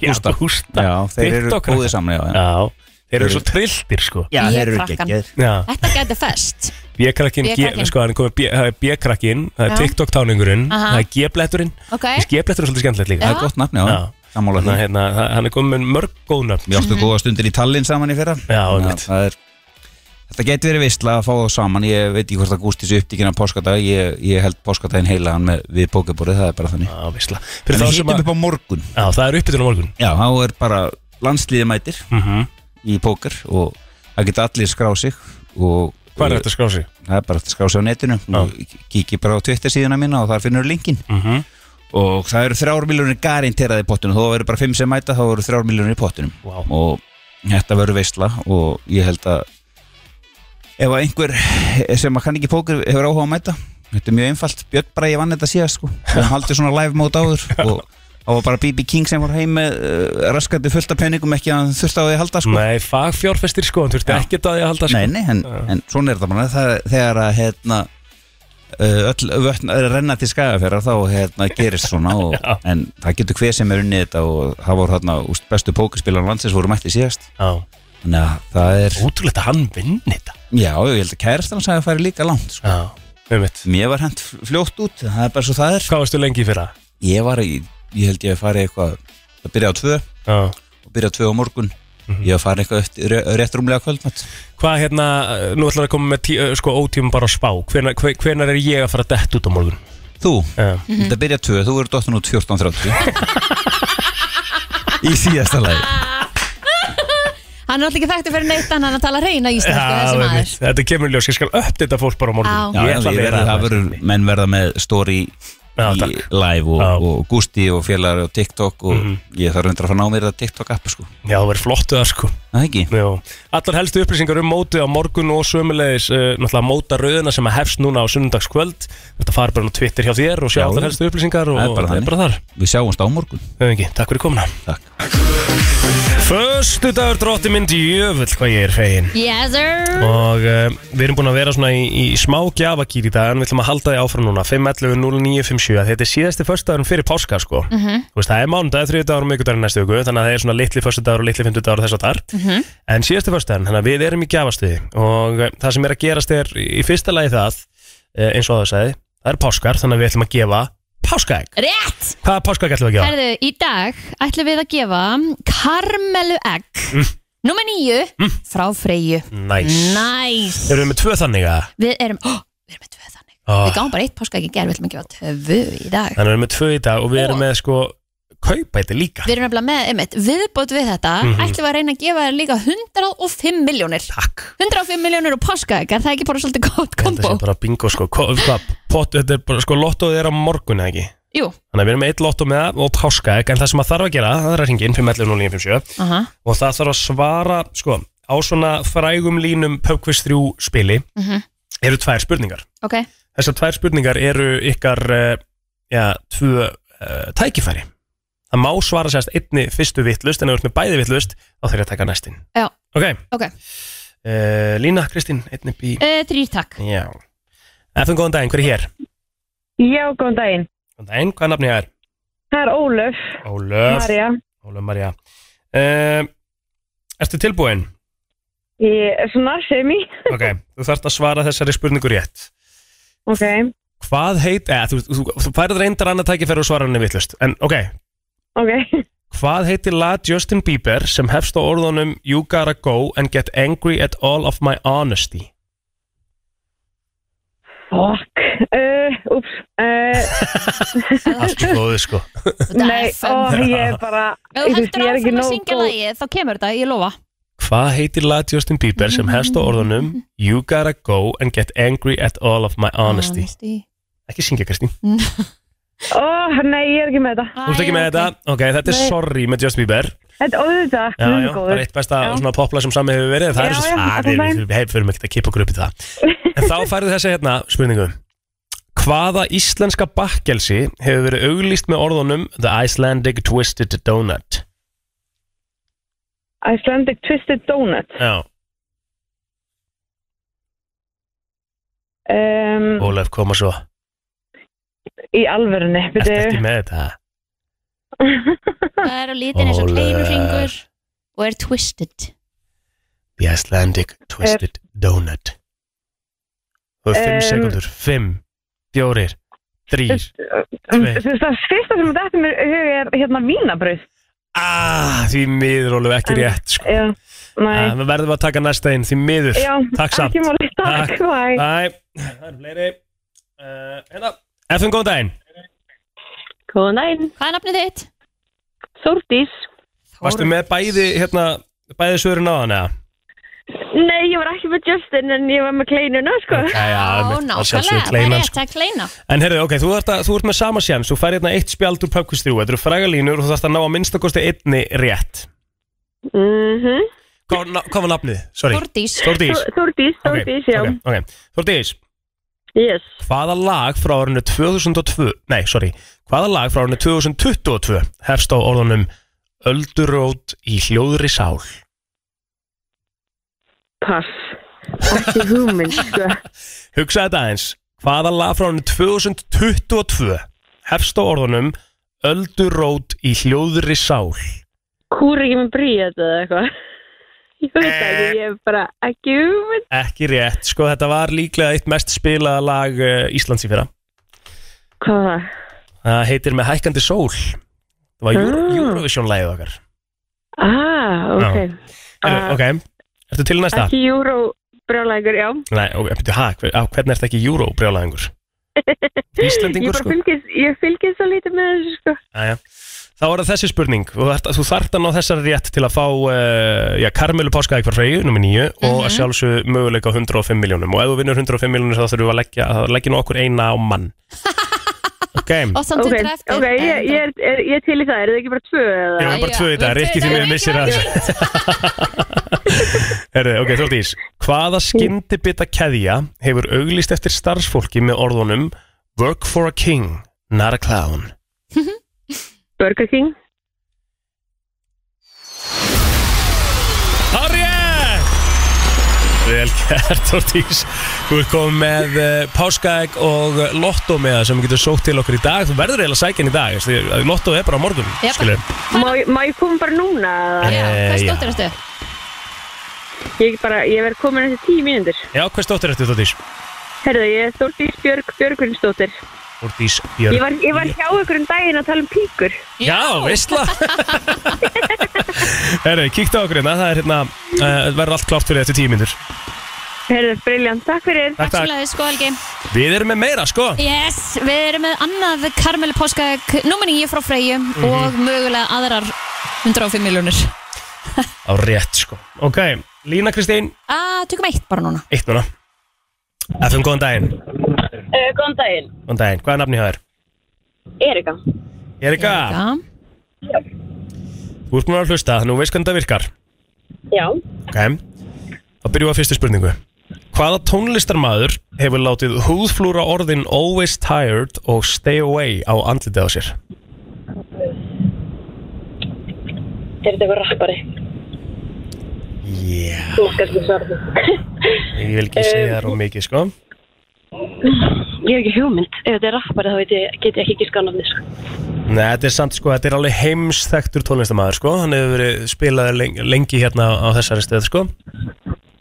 L: Hústa,
A: hústa
L: Já, þeir eru
A: TikTok-krakkar.
L: góðið saman já,
A: já. Þeir eru svo trilltir sko
L: Já, þeir eru
B: Krakkan.
L: geggjaðir
A: Já,
B: Þetta gæti fest
A: B-krakkin,
B: B-krakkinn.
A: sko, hann er komið B- það er B-krakkin, það
B: Já.
A: er TikTok-táningurinn,
B: Aha.
A: það er G-bletturinn
B: Ok.
A: G-blettur er svolítið skemmtilegt líka
L: Það er gott nafn, já. Sammála
A: Þannig
L: því.
A: að hérna, það- hann er komið með mörg góð nöfn
L: Við áttum
B: Mhm.
L: góða stundir í Tallinn saman í fyrra
A: Já,
L: Þannig að það er, Þetta geti verið veistla að fá það saman Ég veit ekki hvort að Gústis er upptíkin af páskadag ég, ég held páskadaginn heila hann með, við bókaborið Það er bara þannig
A: Já, veistla
L: Þannig að hittum upp á morgun
A: Já, það er uppbytun á morgun Mhm.
L: Já, þá er bara landsliði mætir Í póker og það geta allir skrá sig og,
A: Hvað er þetta að skrá sig?
L: Það er bara hægt að skrá sig á netinu Kiki bara á Twitter síðuna mína og þar finnur linkin
A: Mhm.
L: Og það eru þrjár miljónir garanteraði í pottunum Þó eru bara fimm sem mæta, þá eru þrjár miljónir í pottunum
A: Vá.
L: Og þetta verður veistla Og ég held að Ef að einhver sem að kann ekki póker hefur áhuga að mæta Þetta er mjög einfalt Björn bara ég vann þetta síðast sko Hann haldi svona live mót áður Og það var bara BB King sem var heim með uh, raskandi fullt af peningum Ekki að hann þurfti á því að halda sko
A: Nei, fagfjárfestir sko, hann þurfti ekkert að því að halda sko.
L: Nei, nei, en, en svona er þetta bara það, þegar að hérna uh, öll vötn er að renna til skæðafjara þá hérna gerist svona og, en það getur hver sem er unnið þetta og það voru hérna úst, bestu pókerspilar landsins voru mætti síðast
A: Já.
L: þannig að það er
A: Útrúlegt að hann vinni þetta
L: Já, ég held að kærast hann sagði að fara líka langt sko. Mér var hent fljótt út það er bara svo það er
A: Hvað varstu lengi í fyrra?
L: Ég var, í, ég held ég að fara eitthvað að byrja á tvö
A: Já.
L: og byrja á tvö á morgun ég var að fara eitthvað eftir, rétt rúmlega kvöldmatt
A: Mhm. Hvað hérna, uh, nú ætlar að koma með tí, uh, sko, ótíma bara á spá hvenar, hve- hvenar er ég að fara dett út á morgun?
L: Þú?
A: Já.
L: Mhm. Þetta byrja tvö, þú eru dottun út 14.30 Í síðasta lagi
B: Hann er alltaf ekki þekktur fyrir neitt annað en að tala reyna íslensku þessi
A: einmitt.
B: maður
A: þetta kemur í ljós, ég skal uppdita fólk bara á morgun
L: Já,
A: Ég
L: ég
A: ætla að
L: verði,
A: vera
L: það
A: það
L: verður menn verða með story í live og, og Gusti og félagar og TikTok og ég þarf reyndar að fara að ná mér það TikTok app sko
A: Mhm. Já, það verður flottu það sko
L: Það ekki?
A: Já. Allar helstu upplýsingar um mótið á morgun og sömulegis uh, náttúrulega móta rauðina sem að hefst núna á sunnundagskvöld Þetta fara bara á Twitter hjá þér og sjá allar helstu upplýsingar og
L: Það er bara,
A: það er bara þar
L: Við sjáumst á morgun
A: Öðingi, takk fyrir komuna
L: Takk
A: Föstu dagur drótti myndi jöfull hvað ég er fegin
B: Yes sir
A: Og uh, við erum búin að vera svona í, í smá gjafakýr í dag en við ætlum að halda því áfram núna 5.11.09.57 Þetta er síðasti föstudagurinn fyrir páska sko
B: Mhm.
A: Þú veist, Það er mánudag, þriðudagur og miðgudagur næstu viku þannig að það er svona litli föstudagur og litli fymtudagur og þess að þar
B: Mhm.
A: En síðasti föstudagurinn, þannig að við erum í gjafastuði og eh, það sem er að gerast er í fyrsta lagi það eh, eins og það sagði, það er páskar þannig að við ætlum að gefa páskaegg
B: Rétt
A: Hvaða páskaegg ætlum við að gefa?
B: Herðu, í dag ætlum við að gefa karmelu egg
A: Mm.
B: Númer nýju frá Freyju
A: Næs
B: Næs
A: Erum við með tvö þannig að?
B: Við erum, oh,
A: Oh.
B: við gáum bara eitt páska ekki gerð Við ætlum að gefa töfu í dag
A: Þannig við erum með tvö í dag og við erum með sko kaupæti líka
B: Við erum nefnilega með, einmitt, viðbót við þetta
A: Mhm.
B: ætlum við að reyna að gefa þér líka 105 miljónir
A: Takk
B: 105 miljónir og páska, er það ekki bara svolítið gott
A: Þetta
B: kombo?
A: sé bara bingo sko Ko- hvað, pot, Þetta er bara sko lottóð er á morgun eða ekki
B: Jú,
A: Þannig að við erum með eitt lottó með það og páska En það sem að þarf að gera, það er að ringin 511
B: aha,
A: Og það þarf að svara sko á svona frægum línum Pökkvist 3 spili
B: mhm,
A: eru tvær spurningar
B: ok
A: Þessar tvær spurningar eru ykkar eh, já, tvö uh, tækifæri Það má svara sérst einni fyrstu vittlust en ef þú ert með bæði vittlust þá þarf ég að taka næstinn
B: Já,
A: Ok,
B: ok,
A: uh, Lína, Kristín, einni bí
G: Eh.
E: Eh,
B: uh, þrýr takk
A: Já FM, góðan daginn, hver er hér?
G: Já, góðan daginn.
A: Góðan daginn, hvað er nafnið það er?
G: Það er Ólöf.
A: Ólöf
G: María.
A: Ólöf Marja uh, Ertu tilbúin?
G: Ég er svona semi.
A: Ok, þú þarft að svara þessari spurningu rétt
G: Ok.
A: Hvað heit, eða, þú, þú, þú færið reyndar annað tækifæri og svara henni vittlust En ok,
G: Ok.
A: hvað heitir lag Justin Bieber sem hefst á orðunum You gotta go and get angry at all of my honesty
G: Fuck. Uh, ups. Uh,
A: Allt í góðu sko
G: Nei, ó, ég er bara...
B: Ef þú
G: ég veist,
B: heldur
G: ég er ekki
B: áfram að
G: nógu
B: syngja
G: góð.
B: lagið, þá kemur þetta, ég lofa
A: Hvað heitir lag Justin Bieber sem hefst á orðunum You gotta go and get angry at all of my honesty Ekki syngja Kristín
G: Ó, nei, ég er ekki með þetta.
A: Þú ert ekki með þetta? Ok, þetta er
G: Nei.
A: sorry með Justin Bieber
G: Þetta óðvitað,
A: Já,
G: guð
A: já, það
G: minn
A: er
G: góður.
A: eitt besta
G: Já.
A: svona popla sem sami hefur verið Það
G: Já,
A: er
G: já,
A: svo
G: allan
A: að
G: daginn.
A: við hefur fyrir mig að kippa okkur upp í það En þá færðu þessi hérna spurningu Hvaða íslenska bakkelsi hefur verið auglýst með orðunum The Icelandic Twisted Donut?
G: Icelandic Twisted Donut.
A: Já,
G: Um,
A: Ólef koma svo
G: í alvörunni,
A: Ertu
G: byrju.
A: ekki með þetta?
B: Það er á litin eins og
A: Ólöf.
B: kleinur hringur og er twisted
A: The Icelandic
G: Eh.
A: Twisted Donut Þú hefur
G: Em.
A: fimm sekundur Fimm, fjórir, þrýr
G: Um,
A: Tvei.
G: Þú veist, það fyrsta sem þetta mér í hug er hérna vínabröð.
A: ah, Því miður Ólef ekki
G: Eh.
A: rétt sko.
G: Já, nei.
A: Ah, Við verðum að taka næsta einn Því miður
G: Já,
A: Takk samt
G: ekki máli, takk, bye.
A: Bye Það eru fleiri uh, Hérna FM, góðan daginn
G: Góðan daginn.
B: Hvað er nafnið þitt?
G: Þórdís.
A: Varstu með bæði hérna Bæði sögurinn á hann eða?
G: Nei, ég var ekki með Justin en ég var með kleinuna, sko.
A: já, einmitt, að sjálfsögðu
B: það er
A: kleinan,
B: rétt
A: sko.
B: að kleina
A: En herru, ok, þú, ert að, þú ert með sama sjans Þú fær hérna eitt spjald úr pökkvist 3 Þetta eru frægalínur og þú þarfst að ná að minnstakosti einni rétt
G: Mhm.
A: Hvað, na, hvað var nafnið? Sorry.
B: Þórdís.
A: Þórdís
G: Þór- Þórdís, Þórdís, já.
A: okay, okay. Þórdís
G: Yes.
A: Hvaða lag frá árinu 2002 Nei, sorry Hvaða lag frá árinu 2022 Hefst á orðunum Öldurót í hljóðri sál
G: Pass. Ekki hugmynd, sko.
A: Hugsa þetta aðeins Hvaða lag frá árinu 2022 Hefst á orðunum Öldurót í hljóðri sál
G: Kúr ekki með bríð þetta eða eitthvað. Ég veit ekki,
A: Eh.
G: ég er bara ekki hugmynd.
A: Ekki rétt, sko þetta var líklega eitt mest spilaða lag eh, Íslands í fyrra
G: Hvað var það?
A: Það heitir með hækkandi sól Það var Euro
G: Ah.
A: Eurovision-lægið okkar
G: Ah, ok.
A: Já. Heyrðu,
G: Ah,
A: Ok, ertu til í næsta?
G: Ekki júró brjálægur, já.
A: Nei, ok, byrju, ha, hver, á, hvernig ert ekki Euro-brjálæðingur?
G: Ég
A: Íslendingur,
G: bara
A: sko?
G: fylgist, ég fylgist svo lítið með þessu, sko.
A: Æja. Þá er það þessi spurning Þú þart, þú þart að ná þessari rétt til að fá uh, já, Karmelu Páskaði hvar freyju, nummer 9 og að sjálfsög möguleika á 105 miljónum og ef þú vinnur 105 miljónum þá þurfum við að leggja, að leggja nú okkur eina á mann Ok,
G: Ok, ok, ég, ég, er, er, ég er til í það, eru þið ekki bara tvö eða?
A: Ég var bara tvö í dag, Rikki því miður missir að þessu Herðu, ok, Þórdís Hvaða skyndibita keðja hefur auglýst eftir starfsfólki með orðunum Work for a king, not a clown
G: Burger King.
A: Harriet! Vel gert, Þórdís Þú ert komið með uh, páskaegg og lotto með það sem við getum sótt til okkur í dag Þú verður eiginlega sækinn í dag veist, því að Lotto er bara á morgun,
B: Jep.
A: skilur Eh,
G: Má, ég- má ég koma bara núna? eða?
A: Já,
B: Hvað stóttir ertu?
G: Ég, er bara, ég verð komin eftir tíu mínútur.
A: Já, hvað stóttir eftir Þórdís?
G: Herðu, ég er Þórdís Björg Björgurinsdóttir.
A: Þórdís
G: Ég
A: Björn
G: var, ég var hjá ykkur um daginn að tala um píkur.
A: Já, veistla Herru, kíktu á okkur hérna Það er hérna, uh, verður allt klárt fyrir þetta tíu mínútur
G: Herðu, briljant, takk fyrir.
A: Takk, takk.
B: Sjólaðið sko Helgi
A: Við erum með meira, sko
B: Yes, við erum með annað Karmel Páskaegg nummer 9 frá Freyju
A: Mhm.
B: og mögulega aðrar 105 miljónir
A: Á rétt, sko Ok, Lína Kristín,
B: Ah, tökum eitt bara núna
A: eitt núna FM, góðan daginn
G: Uh, góðan daginn.
A: Góðan daginn, hvað er nafni hjá þér?
G: Erika.
A: Erika, þú ert mér að hlusta Nú veist hvernig það virkar
G: Já.
A: Ok, þá byrjum við að fyrstu spurningu Hvaða tónlistarmaður hefur látið húðflúra orðin Always Tired og Stay Away á andlitið á sér?
G: Er þetta eitthvað rappari?
A: Yeah,
G: Þú skast við svarðu.
A: ég vil ekki segja það á mikið, sko
M: Ég hef ekki hugmynd. Ef þetta er rappari þá veit ég, get ég ekki gíska á nafni, sko.
A: Nei, þetta er samt sko, þetta er alveg heimsþektur tónlistamæður sko, hann hefur verið spilaði lengi, lengi hérna á þessari stöð sko.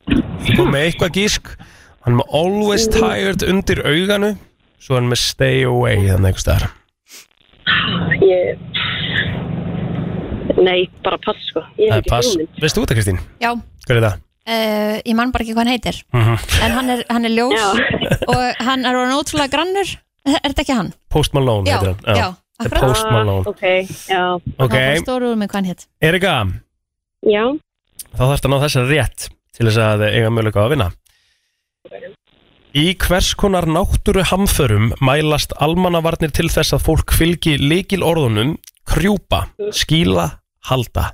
A: Ég kom með eitthvað gísk, hann er með Always
M: Mm.
A: Tired undir auganu, svo er hann með Stay Away þannig einhvers staðar.
M: Ég... Nei, bara pass, sko. Ég hef
A: Það er
M: ekki
A: pass.
M: hugmynd.
A: Veistu út það Kristín?
B: Já,
A: Hver er það?
B: uh, ég man bara ekki hvað hann heitir
A: Mm
B: En hann er, hann er ljós Og hann er orðin ótrúlega grannur Er þetta ekki hann?
A: Post Malone heitir hann.
B: já,
A: Þetta er Post Malone.
B: Ok, já
A: Ok.
B: Hann var stóru úr með hvað hann hétt
A: Erika,
M: Já,
A: þá þarfst að ná þessar rétt til þess að eiga möguleika á að vinna. Í hvers konar náttúru hamförum mælast almannavarnir til þess að fólk fylgi líkil orðunum krjúpa, skíla, halda?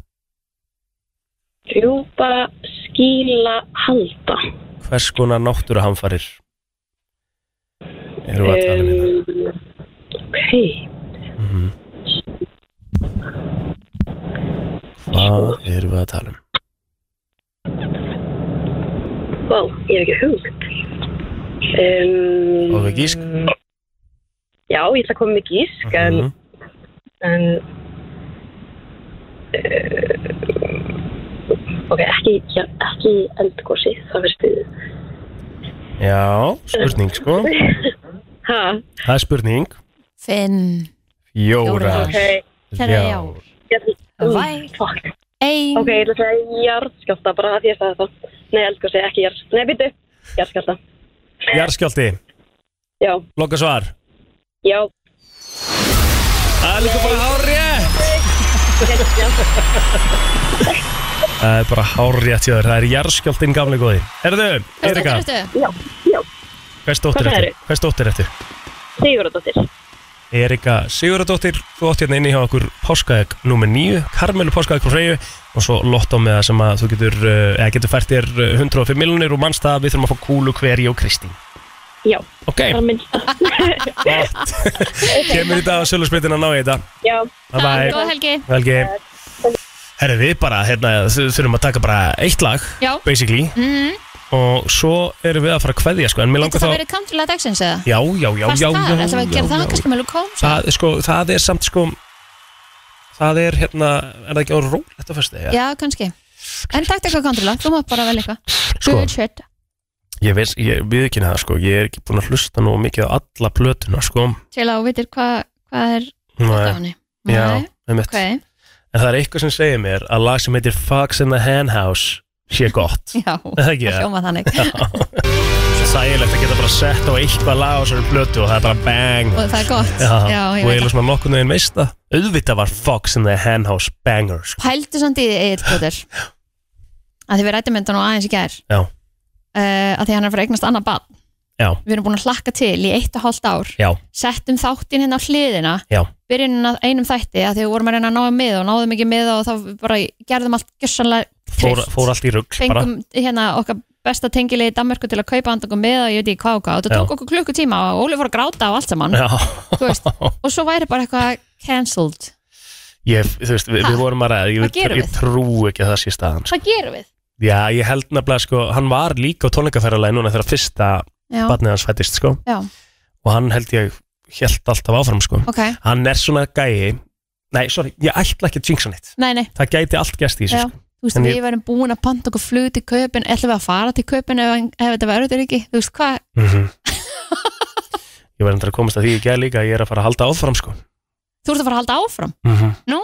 M: rjúpa, skíla, halda.
A: Hvers konar náttúru hamfarir eru að tala um?
M: um, ok.
A: Hvað eru við að tala um?
M: Vá, ég hef ekki hugmynd. Um,
A: Og við gísk?
M: Já, ég ætla að koma með gísk,
A: Mhm.
M: en... en uh, eh, ok, ekki, já, ekki í eldgósi, það verður stuðið.
A: Já, spurning sko.
M: ha,
A: Það er spurning.
B: Finn
A: Jóra. Já.
M: Væ, fuck. Ein. Ok, ég ætla að segja jarðskjálta, bara að því ég sagði þetta. Nei, eldgósi, ekki jarð... Nei, byrju, jarðskjálta.
A: Jarskjálti,
M: Já,
A: loka svar.
M: já.
A: Það er líka bara hár Það er bara hárjætt hjá þér. Það er jarskjáltin gamlega góði. Herðu, Erika,
M: Já, já,
A: hvers dóttir
M: Hvað
A: ertu?
M: sagðirðu?
A: Hvers dóttir ertu?
M: Sigurðardóttir.
A: Erika Sigurðardóttir, þú átt hérna inni hjá okkur páskaegg nummer 9, Karmelu páskaegg frá Freyju og svo lottó með það sem að þú getur, eh, eða getur fært þér eh, 105 miljonir og mannst að við þurfum að fá kúlu hverju og Kristín.
M: Já,
A: Ok.
M: það er minnst.
A: Kemur í dag á sölusbyttin að ná í þetta.
M: Já,
A: Bye bye.
B: Góð helgi
A: Helgi. Herri, við bara, hérna, þ- þurfum að taka bara eitt lag,
B: Já.
A: basically,
M: Mm.
B: Mhm.
A: og svo erum við að fara að kveðja, sko, en mér langar
B: Getur
A: þá...
B: það verið kantilega dagsins eða?
A: Já, já, já, já, já,
B: Það er að gera
A: já,
B: það
A: já,
B: kannski með Lukom
A: það, sko, það er samt sko það er hérna er það ekki á rólegt á fyrstu
B: Já, kannski En takk eitthvað kantilega, þú mátt bara vel eitthvað
A: Sko.
B: Good shit
A: ég, veist, ég við ekki neða sko ég er ekki búin að hlusta nú mikið á alla plötuna sko
B: Til að þú veitir hvað hvað er
A: Nei. já, einmitt.
B: Ok,
A: en það er eitthvað sem segir mér að lag sem heitir Fox in the Hen House sé gott
B: já,
A: Er það ekki,
B: það
A: ja?
B: hljóma þannig
A: sægilegt að geta bara sett á eitthvað lag á þessari plötu og það er bara bang
B: Og það er gott.
A: já,
B: Já, ég
A: og
B: veit
A: ég
B: það.
A: er svona nokkurnu einn veist það auðvitað var Fox in the Hen House banger sko.
B: Pældu samt í því, Egil Plóter að því við rættum þetta nú aðeins í gær
A: já,
B: uh, að því hann er að fara að eignast annað barn
A: já,
B: við erum búin að hlakka til í eitt og hálft ár
A: já,
B: settum þáttinn hérna á hliðina
A: já
B: byrjunum að einum þætti að því við vorum að reyna að náða með og náðum ekki með og þá bara gerðum allt gjössanlega
A: fór, fór allt í rugg bara
B: fengum hérna okkar besta tengilegi í Danmarku til að kaupa hann okkur með og ég veit ekki hvað og hvað og það
A: Já.
B: tók okkur klukkutíma og Óli fór að gráta og allt saman
A: Já.
B: Þú veist, og svo væri bara eitthvað cancelled
A: Ég, þú veist, við, við
B: Ha?
A: vorum að ræða,
B: Hvað
A: ég,
B: gerum
A: ég
B: við?
A: trú ekki að það sé staðan. sko.
B: hvað gerum við?
A: Já, ég held nefnilega, sko, hann var líka á tónleikaferðarlega núna þegar fyrsta
B: Já.
A: barnið hans fættist, sko.
B: Já,
A: Og hann held ég, held alltaf áfram, sko.
B: ok,
A: Hann er svona gæi, nei, sorry, ég ætla ekki að jinxa nýtt.
B: nei nei
A: Það gæti allt gæst í þessu,
B: Já,
A: sko.
B: þú veist,
A: En
B: við værum búin að panta okkur flug til kaupin, ætlum við að fara til kaupin ef, ef þetta verður þetta ekki, þú veist hvað
A: Mhm. Ég var endur að komast að því í gæði líka að ég er að fara að halda áfram, sko.
B: þú ert að fara að halda áfram,
A: Mhm.
B: nú?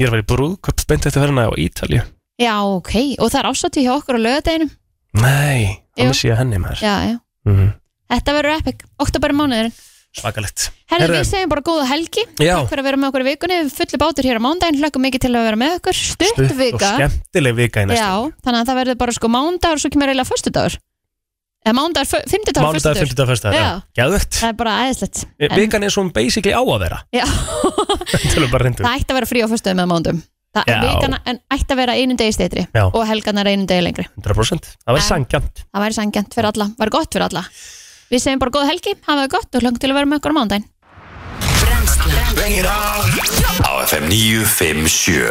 A: Ég er að fara í brúðköp beint eftir ferðina á Ítalíu.
B: Já, ok, og það er ásatíð hjá okkur á lögadeginum
A: Nei,
B: Jú.
A: annars sé ég henni maður.
B: Já, já,
A: Mhm.
B: þetta verður epic, oktober er mánuðurinn
A: Svakalegt.
B: Herðu,
A: Herðu,
B: við segjum bara góða helgi
A: Já.
B: Takk fyrir að vera með okkur í vikunni, við fullu bátur hér á mándaginn Hlökkum mikið til að vera með okkur, stutt
A: stutt og
B: vika
A: skemmtileg vika í næstu.
B: Já, þannig að það verður bara sko mándagur og svo kemur eiginlega föstudagur Eða mándagur, fymtudagur,
A: Mánudag,
B: föstudagur
A: fymtudag, föstudag, já. Gæðvögt.
B: Það er bara aðeinslegt
A: Vikan er svona basically á að vera.
B: Já,
A: Tölum bara um reyndu.
B: það ætti að vera frí á föstudagum með mándum Það
A: Já.
B: er vikana, en ætti að vera einu degi steytri
A: Já.
B: Og helganar einu degi lengri
A: 100%. Það væri sangjant.
B: Það væri sangjant fyrir alla, var gott fyrir alla Við segjum bara góða helgi, hafa það gott og hlökkum til að vera með okkur á mándaginn
D: Á FM 957